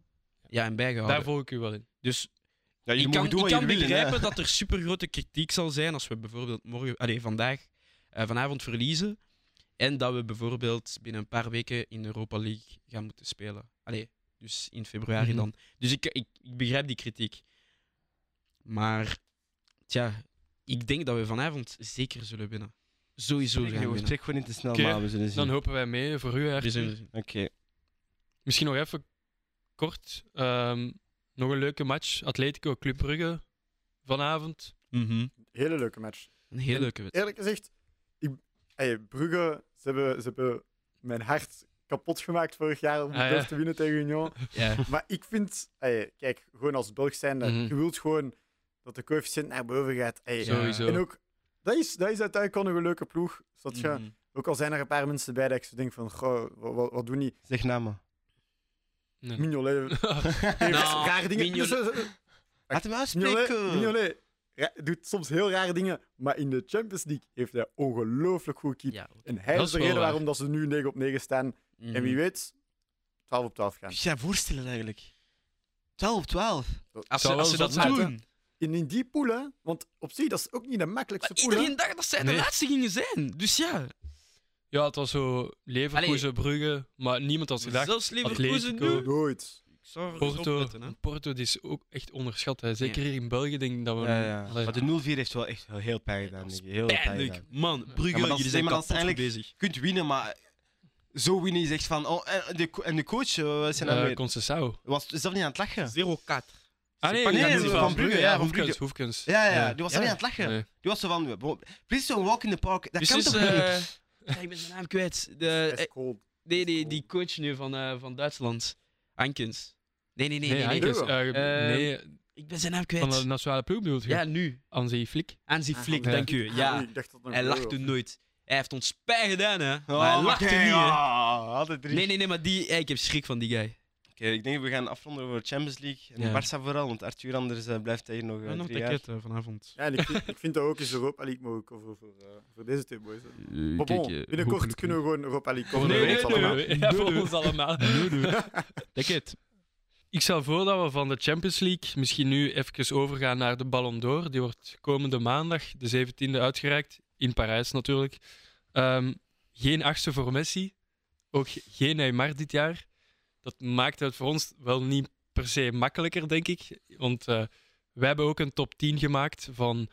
[SPEAKER 4] Ja, en bijgehouden.
[SPEAKER 1] Daar volg ik u wel in.
[SPEAKER 4] Dus
[SPEAKER 2] Ja, je
[SPEAKER 4] ik
[SPEAKER 2] moet
[SPEAKER 4] kan,
[SPEAKER 2] doen
[SPEAKER 4] ik
[SPEAKER 2] wat
[SPEAKER 4] kan
[SPEAKER 2] je wil.
[SPEAKER 4] begrijpen
[SPEAKER 2] hè.
[SPEAKER 4] dat er super grote kritiek zal zijn als we bijvoorbeeld morgen, allee, vandaag, eh, vanavond verliezen. En dat we bijvoorbeeld binnen een paar weken in Europa League gaan moeten spelen. Allee, dus in februari
[SPEAKER 1] Mhm.
[SPEAKER 4] dan. Dus ik, ik, ik begrijp die kritiek. Maar tja, ik denk dat we vanavond zeker zullen winnen. Sowieso
[SPEAKER 2] Spreek,
[SPEAKER 4] gaan
[SPEAKER 2] jongens,
[SPEAKER 4] winnen.
[SPEAKER 2] spreek gewoon niet te snel,
[SPEAKER 1] Oké,
[SPEAKER 2] maar we zullen zien.
[SPEAKER 1] Dan hopen wij mee voor u,
[SPEAKER 4] Er is
[SPEAKER 1] Arthur.
[SPEAKER 4] een-
[SPEAKER 2] Oké.
[SPEAKER 1] Misschien nog even kort. ehm, nog een leuke match. Atletico Club Brugge vanavond.
[SPEAKER 4] Mhm.
[SPEAKER 3] Hele leuke match.
[SPEAKER 4] Een heel leuke wedstrijd.
[SPEAKER 3] Eerlijk gezegd, ik, ey, Brugge, ze hebben, ze hebben mijn hart kapot gemaakt vorig jaar om
[SPEAKER 1] Ah, ja.
[SPEAKER 3] durf te winnen tegen Union.
[SPEAKER 4] Ja.
[SPEAKER 3] Maar ik vind, ey, kijk, gewoon als Belg zijnde,
[SPEAKER 1] Mhm.
[SPEAKER 3] je wilt gewoon dat de coëfficiënt naar boven gaat. ey.
[SPEAKER 4] Ja.
[SPEAKER 1] Sowieso.
[SPEAKER 3] En ook, dat is, dat is uiteindelijk wel nog een leuke ploeg. Zodat je,
[SPEAKER 2] Mm-hmm.
[SPEAKER 4] Mhm.
[SPEAKER 3] Ook al zijn er een paar mensen bij dat ik zo denk van, goh, wa- wa- wat, doen die?
[SPEAKER 2] Zeg namen.
[SPEAKER 1] Nee.
[SPEAKER 3] Mignolet heeft
[SPEAKER 4] Hm. Nou,
[SPEAKER 3] rare dingen.
[SPEAKER 4] Mignolet-
[SPEAKER 3] Dus, eh,
[SPEAKER 2] Laten we
[SPEAKER 3] Mignolet,
[SPEAKER 2] uitspreken.
[SPEAKER 3] Mignolet ra- doet soms heel rare dingen, maar in de Champions League heeft hij ongelooflijk goed keeper.
[SPEAKER 4] Ja. Mm.
[SPEAKER 3] En hij
[SPEAKER 1] Dat is
[SPEAKER 3] is de
[SPEAKER 1] wel
[SPEAKER 3] reden
[SPEAKER 1] waar.
[SPEAKER 3] waarom dat ze nu 9 op 9 staan.
[SPEAKER 4] Mhm.
[SPEAKER 3] En wie weet, 12 op 12 gaan.
[SPEAKER 2] Moet je je voorstellen eigenlijk? 12 op 12.
[SPEAKER 4] Als ze,
[SPEAKER 1] Zou
[SPEAKER 4] als ze
[SPEAKER 1] wel
[SPEAKER 4] dat
[SPEAKER 1] zot zijn.
[SPEAKER 4] doen.
[SPEAKER 3] En in die pool, hè, want op zich, dat is ook niet de makkelijkste pool. hè.
[SPEAKER 4] Iedereen dacht dat zij
[SPEAKER 1] Nee.
[SPEAKER 4] de laatste gingen zijn. Dus ja.
[SPEAKER 1] Ja, het was zo Leverkusen, Brugge, maar niemand had gedacht.
[SPEAKER 4] Zelfs Leverkusen
[SPEAKER 1] Atletico.
[SPEAKER 4] nu.
[SPEAKER 3] Nooit.
[SPEAKER 4] Ik zou er eens
[SPEAKER 1] Porto,
[SPEAKER 4] opletten, hè.
[SPEAKER 1] Porto die is ook echt onderschat. Hè. Zeker hier in België denk ik dat we...
[SPEAKER 2] Ja, ja.
[SPEAKER 1] Allee.
[SPEAKER 2] Maar de 0-4 heeft wel echt heel- heel pijn gedaan.
[SPEAKER 4] Dat is
[SPEAKER 2] denk ik. Heel pijn
[SPEAKER 4] Pijnlijk.
[SPEAKER 2] gedaan.
[SPEAKER 4] Man,
[SPEAKER 2] Ja,
[SPEAKER 4] Brugge,
[SPEAKER 2] maar dat
[SPEAKER 4] jullie
[SPEAKER 2] is-
[SPEAKER 4] zijn
[SPEAKER 2] nee, maar dat
[SPEAKER 4] kapot
[SPEAKER 2] is eigenlijk-
[SPEAKER 4] bezig.
[SPEAKER 2] Je kunt winnen, maar zo winnen is echt van... Oh, en, de, co- en de coach, eh, wat zijn
[SPEAKER 1] Eh,
[SPEAKER 2] nou weer?
[SPEAKER 1] Concessao.
[SPEAKER 2] Was zelf niet aan het lachen.
[SPEAKER 4] 0-4.
[SPEAKER 1] Ah nee,
[SPEAKER 2] pakken-
[SPEAKER 1] ik
[SPEAKER 2] Nee,
[SPEAKER 1] dacht van
[SPEAKER 2] van Brugge,
[SPEAKER 1] Brugge.
[SPEAKER 2] ja,
[SPEAKER 1] Ja,
[SPEAKER 2] van
[SPEAKER 1] Hoefkens,
[SPEAKER 2] Brugge.
[SPEAKER 1] Hoefkens.
[SPEAKER 2] Ja, ja, die was zelf niet aan het lachen.
[SPEAKER 1] Nee.
[SPEAKER 2] Die was zo van... bro, Please don't walk in the park. Dat
[SPEAKER 4] Dus
[SPEAKER 2] kan
[SPEAKER 4] is,
[SPEAKER 2] toch niet?
[SPEAKER 4] eh, ja, ik ben zijn naam kwijt. De,
[SPEAKER 3] Dat
[SPEAKER 4] eh,
[SPEAKER 3] is cool.
[SPEAKER 4] nee, nee, die coach nu van, eh, van Duitsland. Hankins. Nee, nee, nee.
[SPEAKER 1] Nee,
[SPEAKER 4] nee, nee,
[SPEAKER 1] Hankens,
[SPEAKER 3] Brugge.
[SPEAKER 1] eh,
[SPEAKER 4] Eh,
[SPEAKER 1] nee,
[SPEAKER 4] Ik ben zijn naam
[SPEAKER 1] van de
[SPEAKER 4] kwijt.
[SPEAKER 1] nationale ploeg bedoelt je?
[SPEAKER 4] Ja, nu.
[SPEAKER 1] Anzi Flick.
[SPEAKER 4] Aanzien
[SPEAKER 3] Ah, Oh.
[SPEAKER 4] Flik,
[SPEAKER 1] ja.
[SPEAKER 4] dank u. Ja,
[SPEAKER 3] ik dacht dat nog
[SPEAKER 4] hij
[SPEAKER 3] wel,
[SPEAKER 4] lachte
[SPEAKER 3] of-
[SPEAKER 4] nooit. Hij heeft ons pijn gedaan, hè.
[SPEAKER 2] Oh,
[SPEAKER 4] Maar hij
[SPEAKER 2] maar
[SPEAKER 4] lachte niet,
[SPEAKER 2] kijk,
[SPEAKER 4] hè.
[SPEAKER 2] ah, altijd drie.
[SPEAKER 4] Nee, nee, nee, maar die... eh, Ik heb schrik van die guy.
[SPEAKER 2] Oké, ik denk we gaan afronden over Champions League. En
[SPEAKER 4] Ja.
[SPEAKER 2] Barça vooral, want Arthur anders eh, blijft hij hier nog eh,
[SPEAKER 4] Ja, nog
[SPEAKER 2] drie jaar.
[SPEAKER 4] vanavond.
[SPEAKER 3] Ja, en ik, vind- ik vind dat ook eens Europa League mogen coveren voor, eh, voor deze twee boys. hè. Maar bon, binnenkort kunnen we gewoon Europa League
[SPEAKER 1] Voor
[SPEAKER 3] coveren.
[SPEAKER 1] de
[SPEAKER 3] voor
[SPEAKER 1] week
[SPEAKER 3] ons
[SPEAKER 1] allemaal.
[SPEAKER 3] allemaal.
[SPEAKER 1] Ja, voor ons allemaal. Ik stel voor dat we van de Champions League misschien nu even overgaan naar de Ballon d'Or. Die wordt komende maandag, de 17e, uitgereikt. In Parijs natuurlijk. Ehm, geen achtste voor Messi. Ook geen Neymar dit jaar. Dat maakt het voor ons wel niet per se makkelijker, denk ik. Want eh, wij hebben ook een top 10 gemaakt van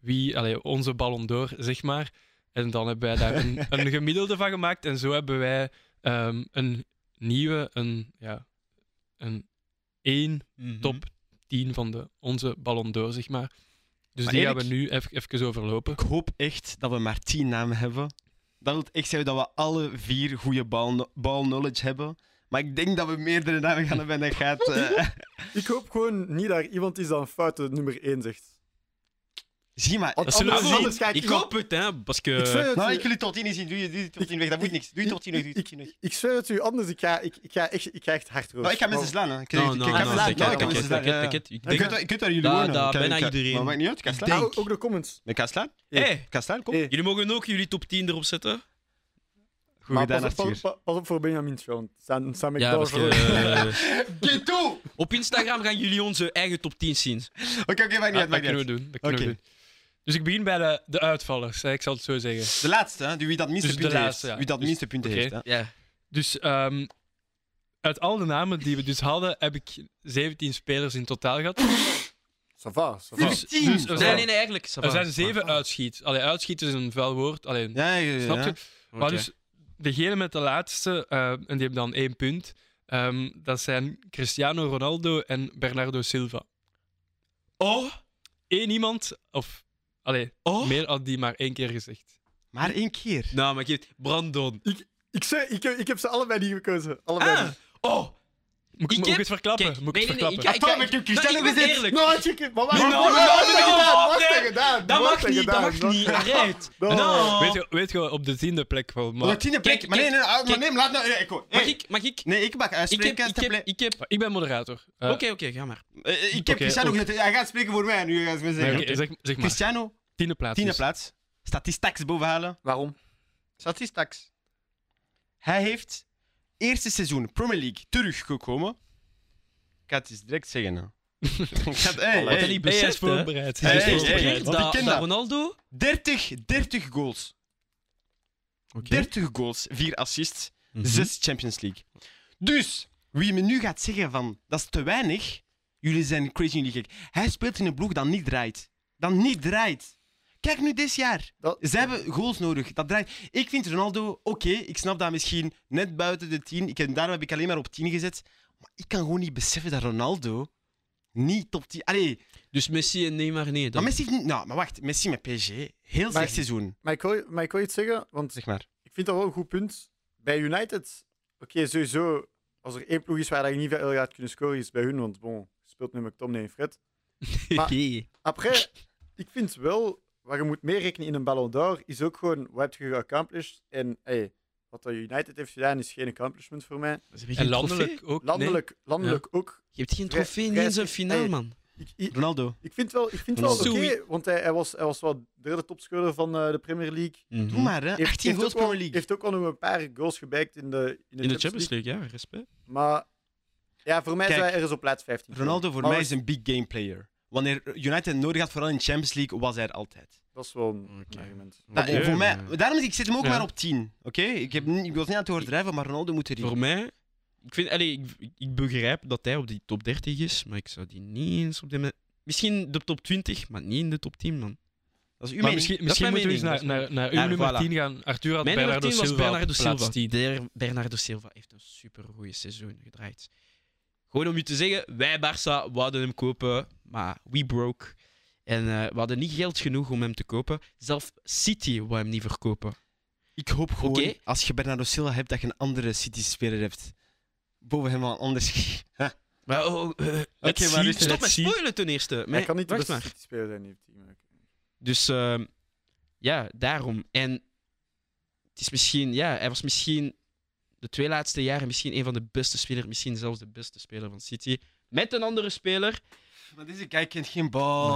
[SPEAKER 1] wie, allez, onze Ballon d'Or, zeg maar. En dan hebben wij daar een, een gemiddelde van gemaakt. En zo hebben wij ehm, een nieuwe, een, ja, een één
[SPEAKER 2] Mhm.
[SPEAKER 4] Mhm.
[SPEAKER 1] top 10 van de, onze Ballon d'Or, zeg maar. Dus
[SPEAKER 2] Maar
[SPEAKER 1] die
[SPEAKER 2] Erik-
[SPEAKER 1] gaan we nu even, even overlopen.
[SPEAKER 2] Ik hoop echt dat we maar tien namen hebben. Dat wil echt zeggen dat we alle vier goede bal, bal knowledge hebben. Maar ik denk dat we meerdere namen gaan hebben en dat gaat... eh,
[SPEAKER 3] Ik hoop gewoon niet dat er iemand is dat een foute nummer 1 zegt.
[SPEAKER 2] zie maar.
[SPEAKER 3] Want
[SPEAKER 1] zullen we
[SPEAKER 3] anders-
[SPEAKER 1] zien.
[SPEAKER 3] anders ga
[SPEAKER 4] Ik
[SPEAKER 3] iemand-
[SPEAKER 4] hoop het, hè. Parce
[SPEAKER 3] Ik zweer
[SPEAKER 4] que...
[SPEAKER 3] het
[SPEAKER 2] Nou,
[SPEAKER 3] u.
[SPEAKER 2] ik wil die tot tien zien. Doe je doe je tot tien weg. Dat moet niks. Doe je tot tien weg. Doe je tot tien weg.
[SPEAKER 3] Ik zweer het u, anders ik ga, ik, ik ga, echt, ik ga echt hard roepen.
[SPEAKER 2] Nou, ik ga mensen slaan. hè. Ik,
[SPEAKER 4] Nou,
[SPEAKER 2] ik-
[SPEAKER 4] nou,
[SPEAKER 2] ik ga mensen
[SPEAKER 4] nou,
[SPEAKER 2] slaan.
[SPEAKER 4] ticket,
[SPEAKER 2] Ja, ik ga mensen
[SPEAKER 4] ticket,
[SPEAKER 2] slaan. ja.
[SPEAKER 4] ticket, ticket. Ik
[SPEAKER 2] Ik
[SPEAKER 4] denk
[SPEAKER 2] weet waar- Ik weet waar jullie
[SPEAKER 4] Daar-
[SPEAKER 2] wonen.
[SPEAKER 4] daar
[SPEAKER 2] Ik ga-
[SPEAKER 4] bijna
[SPEAKER 2] ik ga-
[SPEAKER 4] iedereen.
[SPEAKER 2] Maar maakt niet uit. Ik ga
[SPEAKER 4] Ik
[SPEAKER 2] slaan.
[SPEAKER 4] denk-
[SPEAKER 3] Ook, ook de comments.
[SPEAKER 2] Ik ga slaan.
[SPEAKER 4] Hey,
[SPEAKER 1] Eh.
[SPEAKER 2] Ik ga slaan. Eh, Kom.
[SPEAKER 3] Hey.
[SPEAKER 4] jullie mogen ook jullie top 10 erop zetten.
[SPEAKER 2] Goed
[SPEAKER 3] Maar
[SPEAKER 2] gedaan,
[SPEAKER 3] pas, op, pas,
[SPEAKER 2] Arthur.
[SPEAKER 3] op- pas op voor Benjamin Schoon. Staan, staan ik
[SPEAKER 4] Ja,
[SPEAKER 3] daar
[SPEAKER 4] parce
[SPEAKER 3] voor.
[SPEAKER 4] que,
[SPEAKER 2] Get toe!
[SPEAKER 4] eh, op Instagram gaan jullie onze eigen top 10 zien.
[SPEAKER 2] Oké, oké, maakt niet
[SPEAKER 1] Ah,
[SPEAKER 2] uit.
[SPEAKER 1] dat
[SPEAKER 2] maakt niet
[SPEAKER 1] kunnen
[SPEAKER 2] uit.
[SPEAKER 1] we doen. Dat kunnen we
[SPEAKER 2] Oké.
[SPEAKER 1] doen. Dus ik begin bij de, de uitvallers, hè, ik zal het zo zeggen.
[SPEAKER 2] De laatste, hè? Die wie dat minste
[SPEAKER 1] Dus de
[SPEAKER 2] punten
[SPEAKER 1] laatste,
[SPEAKER 2] heeft.
[SPEAKER 1] ja.
[SPEAKER 2] Wie dat
[SPEAKER 1] Dus-
[SPEAKER 2] minste punten
[SPEAKER 1] oké.
[SPEAKER 2] heeft. hè.
[SPEAKER 4] Ja.
[SPEAKER 1] Dus ehm, uit al de namen die we dus hadden, heb ik 17 spelers in totaal gehad.
[SPEAKER 3] Ça va, ça va.
[SPEAKER 1] Dus, dus er,
[SPEAKER 4] Nee,
[SPEAKER 1] zijn,
[SPEAKER 4] nee, nee, eigenlijk. ça va.
[SPEAKER 1] er zijn zeven eh, uitschiet. Allee, uitschiet is een vuil woord. Allee,
[SPEAKER 2] Ja, ja, ja.
[SPEAKER 1] snap je?
[SPEAKER 2] ja.
[SPEAKER 4] Oké.
[SPEAKER 1] Maar dus degene met de laatste, eh, en die hebben dan één punt, ehm, dat zijn Cristiano Ronaldo en Bernardo Silva.
[SPEAKER 4] Oh,
[SPEAKER 1] Eén iemand, of allee,
[SPEAKER 4] oh.
[SPEAKER 1] meer had die maar één keer gezegd.
[SPEAKER 2] Maar één keer.
[SPEAKER 4] Nou, maar ik geef- Brandon.
[SPEAKER 3] Ik, zei, ik, heb- ik heb ze allebei niet gekozen. Allebei
[SPEAKER 4] Ah,
[SPEAKER 3] niet.
[SPEAKER 4] oh.
[SPEAKER 1] Moet
[SPEAKER 4] Ik
[SPEAKER 1] ik, moet ik
[SPEAKER 4] heb-
[SPEAKER 1] het verklappen?
[SPEAKER 4] Kijk,
[SPEAKER 1] moet ik
[SPEAKER 4] nee,
[SPEAKER 1] het
[SPEAKER 4] nee, nee,
[SPEAKER 1] verklappen?
[SPEAKER 4] ik- ik-
[SPEAKER 2] Tom, ik heb Cristiano
[SPEAKER 4] ik ben
[SPEAKER 2] gezegd.
[SPEAKER 4] eerlijk.
[SPEAKER 3] Nou, had je... Maar
[SPEAKER 4] Nee,
[SPEAKER 3] waarom?
[SPEAKER 4] nou,
[SPEAKER 3] Wat had je
[SPEAKER 4] nou,
[SPEAKER 3] gedaan?
[SPEAKER 4] nou,
[SPEAKER 3] Wat had je
[SPEAKER 4] nee.
[SPEAKER 3] gedaan?
[SPEAKER 4] Dat
[SPEAKER 3] Wat had
[SPEAKER 4] mag
[SPEAKER 3] je
[SPEAKER 4] niet, dat
[SPEAKER 3] gedaan?
[SPEAKER 4] mag
[SPEAKER 3] Wat-
[SPEAKER 4] niet. Arrête.
[SPEAKER 3] Nou.
[SPEAKER 1] Weet,
[SPEAKER 4] Nou.
[SPEAKER 1] je, weet je, op de tiende plek wel.
[SPEAKER 2] Maar
[SPEAKER 1] Maar...
[SPEAKER 2] tiende
[SPEAKER 4] Kijk,
[SPEAKER 2] plek. Maar nee,
[SPEAKER 4] kijk,
[SPEAKER 2] nee, ah, maar
[SPEAKER 4] kijk.
[SPEAKER 2] nee, maar laat nou. eh, ik hoor.
[SPEAKER 4] Mag
[SPEAKER 2] Eh,
[SPEAKER 4] ik, mag ik?
[SPEAKER 2] Nee, ik eh, mag
[SPEAKER 4] Ik heb,
[SPEAKER 2] uitspreken.
[SPEAKER 4] ik heb, ik heb...
[SPEAKER 1] Ik ben moderator. Eh,
[SPEAKER 4] Oké, oké, ga maar.
[SPEAKER 2] Eh, Ik heb
[SPEAKER 1] Oké,
[SPEAKER 2] Cristiano
[SPEAKER 1] ook.
[SPEAKER 2] gezet. Hij gaat spreken voor mij. Nu gaat ze me
[SPEAKER 1] nee,
[SPEAKER 2] zeggen.
[SPEAKER 1] oké, zeg, zeg maar,
[SPEAKER 2] Cristiano,
[SPEAKER 1] tiende plaats.
[SPEAKER 2] tiende
[SPEAKER 1] dus.
[SPEAKER 2] plaats. Statistax bovenhalen.
[SPEAKER 3] Waarom?
[SPEAKER 2] Statistax. Hij heeft Eerste seizoen, Premier League, teruggekomen. Ik ga het eens direct zeggen. hè. Ik ga het- hey,
[SPEAKER 4] Wat
[SPEAKER 2] hey.
[SPEAKER 4] hij niet
[SPEAKER 1] Hij is
[SPEAKER 4] beseft, hè.
[SPEAKER 1] voorbereid.
[SPEAKER 2] Hey,
[SPEAKER 1] Hij is
[SPEAKER 2] hey,
[SPEAKER 1] voorbereid.
[SPEAKER 2] hey, want ik
[SPEAKER 4] dat,
[SPEAKER 2] ken
[SPEAKER 4] dat
[SPEAKER 2] dat.
[SPEAKER 4] Ronaldo...
[SPEAKER 2] 30, 30 goals.
[SPEAKER 4] Oké.
[SPEAKER 2] 30 goals, 4 assists,
[SPEAKER 4] Mhm.
[SPEAKER 2] 6 Champions League. Dus, wie me nu gaat zeggen van, dat is te weinig, jullie zijn crazy jullie gek. Hij speelt in een ploeg dat niet draait. Dat niet draait. Kijk nu dit jaar.
[SPEAKER 3] Dat-
[SPEAKER 2] Ze hebben goals nodig. Dat draait. Ik vind Ronaldo, oké, ik snap dat misschien net buiten de 10. Ik heb, daarom heb ik alleen maar op 10 gezet. Maar ik kan gewoon niet beseffen dat Ronaldo niet top 10... Allee,
[SPEAKER 4] Dus Messi en Neymar, nee.
[SPEAKER 2] maar
[SPEAKER 4] Dan...
[SPEAKER 2] Messi heeft niet... Nou, maar wacht. Messi met PSG, heel slecht seizoen.
[SPEAKER 3] Maar ik, wil, maar ik wil iets zeggen, want
[SPEAKER 2] Zeg maar.
[SPEAKER 3] ik vind dat wel een goed punt. Bij United, oké, sowieso, als er één ploeg is waar je niet veel gaat kunnen scoren, is bij hun, want bon, je speelt nu McTominay en Fred. maar-
[SPEAKER 4] Oké.
[SPEAKER 3] Après, ik vind wel, waar je moet meerekenen in een Ballon d'Or, is ook gewoon, wat heb je geaccomplished? En hey, wat dat United heeft gedaan, is geen accomplishment voor mij.
[SPEAKER 4] Dat is een
[SPEAKER 1] En
[SPEAKER 4] geen trofee.
[SPEAKER 1] landelijk ook. nee.
[SPEAKER 3] Landelijk, landelijk ook.
[SPEAKER 4] Je hebt geen
[SPEAKER 3] Vrij-
[SPEAKER 4] trofee, niet
[SPEAKER 3] vrij-
[SPEAKER 4] eens een
[SPEAKER 3] Hey.
[SPEAKER 4] finale, man.
[SPEAKER 3] Ik, ik,
[SPEAKER 2] Ronaldo.
[SPEAKER 3] ik vind wel, ik vind wel oké,
[SPEAKER 1] Zoei.
[SPEAKER 3] want hij, hij, was, hij was wel derde topscorer van eh, de Premier League.
[SPEAKER 4] Mhm. Hm.
[SPEAKER 2] Doe maar, hè. 18 goals
[SPEAKER 3] ook wel-
[SPEAKER 2] Premier League.
[SPEAKER 3] heeft ook al nog een paar goals gebeikt in de, in de,
[SPEAKER 4] In de Champions League, ja, respect.
[SPEAKER 3] Maar ja, voor mij
[SPEAKER 2] Kijk,
[SPEAKER 3] zou hij ergens op plaats 15. komen.
[SPEAKER 2] Ronaldo voor
[SPEAKER 3] Maar
[SPEAKER 2] mij
[SPEAKER 3] was-
[SPEAKER 2] is een big game player. Wanneer United nodig had, vooral in Champions League, was hij er altijd.
[SPEAKER 3] Dat is wel een
[SPEAKER 4] Oké.
[SPEAKER 3] argument.
[SPEAKER 2] Dat-
[SPEAKER 4] Oké.
[SPEAKER 2] Nou, voor mij, daarom ik zit hem ook
[SPEAKER 1] Ja.
[SPEAKER 2] maar op 10. Oké? Ik, heb niet- ik was niet aan het overdrijven, maar Ronaldo moet erin.
[SPEAKER 4] Voor mij, ik, vind, allee, ik, ik begrijp dat hij op die top 30 is, maar ik zou die niet eens op dit moment. Misschien de top 20, maar niet in de top 10, man.
[SPEAKER 2] Dat is uw
[SPEAKER 1] Maar
[SPEAKER 2] mening.
[SPEAKER 1] misschien,
[SPEAKER 4] is
[SPEAKER 1] misschien
[SPEAKER 4] mijn
[SPEAKER 1] moeten we eens naar,
[SPEAKER 4] mening,
[SPEAKER 1] naar, naar uw
[SPEAKER 4] Ja,
[SPEAKER 1] nummer
[SPEAKER 4] voilà.
[SPEAKER 1] 10 gaan. Arthur had
[SPEAKER 4] Mijn
[SPEAKER 1] Bernardo
[SPEAKER 4] nummer 10
[SPEAKER 1] Silva.
[SPEAKER 4] was
[SPEAKER 1] op
[SPEAKER 4] Bernardo
[SPEAKER 1] plaats
[SPEAKER 4] Silva.
[SPEAKER 1] 10.
[SPEAKER 4] Der- Bernardo Silva heeft een supergoeie seizoen gedraaid. Gewoon om u te zeggen, wij Barça wouden hem kopen, maar we broke. En eh, we hadden niet geld genoeg om hem te kopen. Zelf City wou hem niet verkopen.
[SPEAKER 2] Ik hoop gewoon,
[SPEAKER 4] Oké.
[SPEAKER 2] als je Bernardo Silva hebt, dat je een andere City-speler hebt. Boven hem wel een anders.
[SPEAKER 4] Maar, oh, eh, let's
[SPEAKER 2] maar
[SPEAKER 4] see.
[SPEAKER 2] dus
[SPEAKER 4] Stop
[SPEAKER 1] let's
[SPEAKER 4] met
[SPEAKER 1] see.
[SPEAKER 4] spoilen ten eerste. Maar,
[SPEAKER 3] hij kan niet de
[SPEAKER 4] wacht
[SPEAKER 3] beste
[SPEAKER 4] maar.
[SPEAKER 3] City speler zijn, die team.
[SPEAKER 4] Dus ehm, ja, daarom. En het is misschien, ja, hij was misschien de twee laatste jaren misschien een van de beste spelers, misschien zelfs de beste speler van City. Met een andere speler.
[SPEAKER 2] maar deze guy kent geen bal.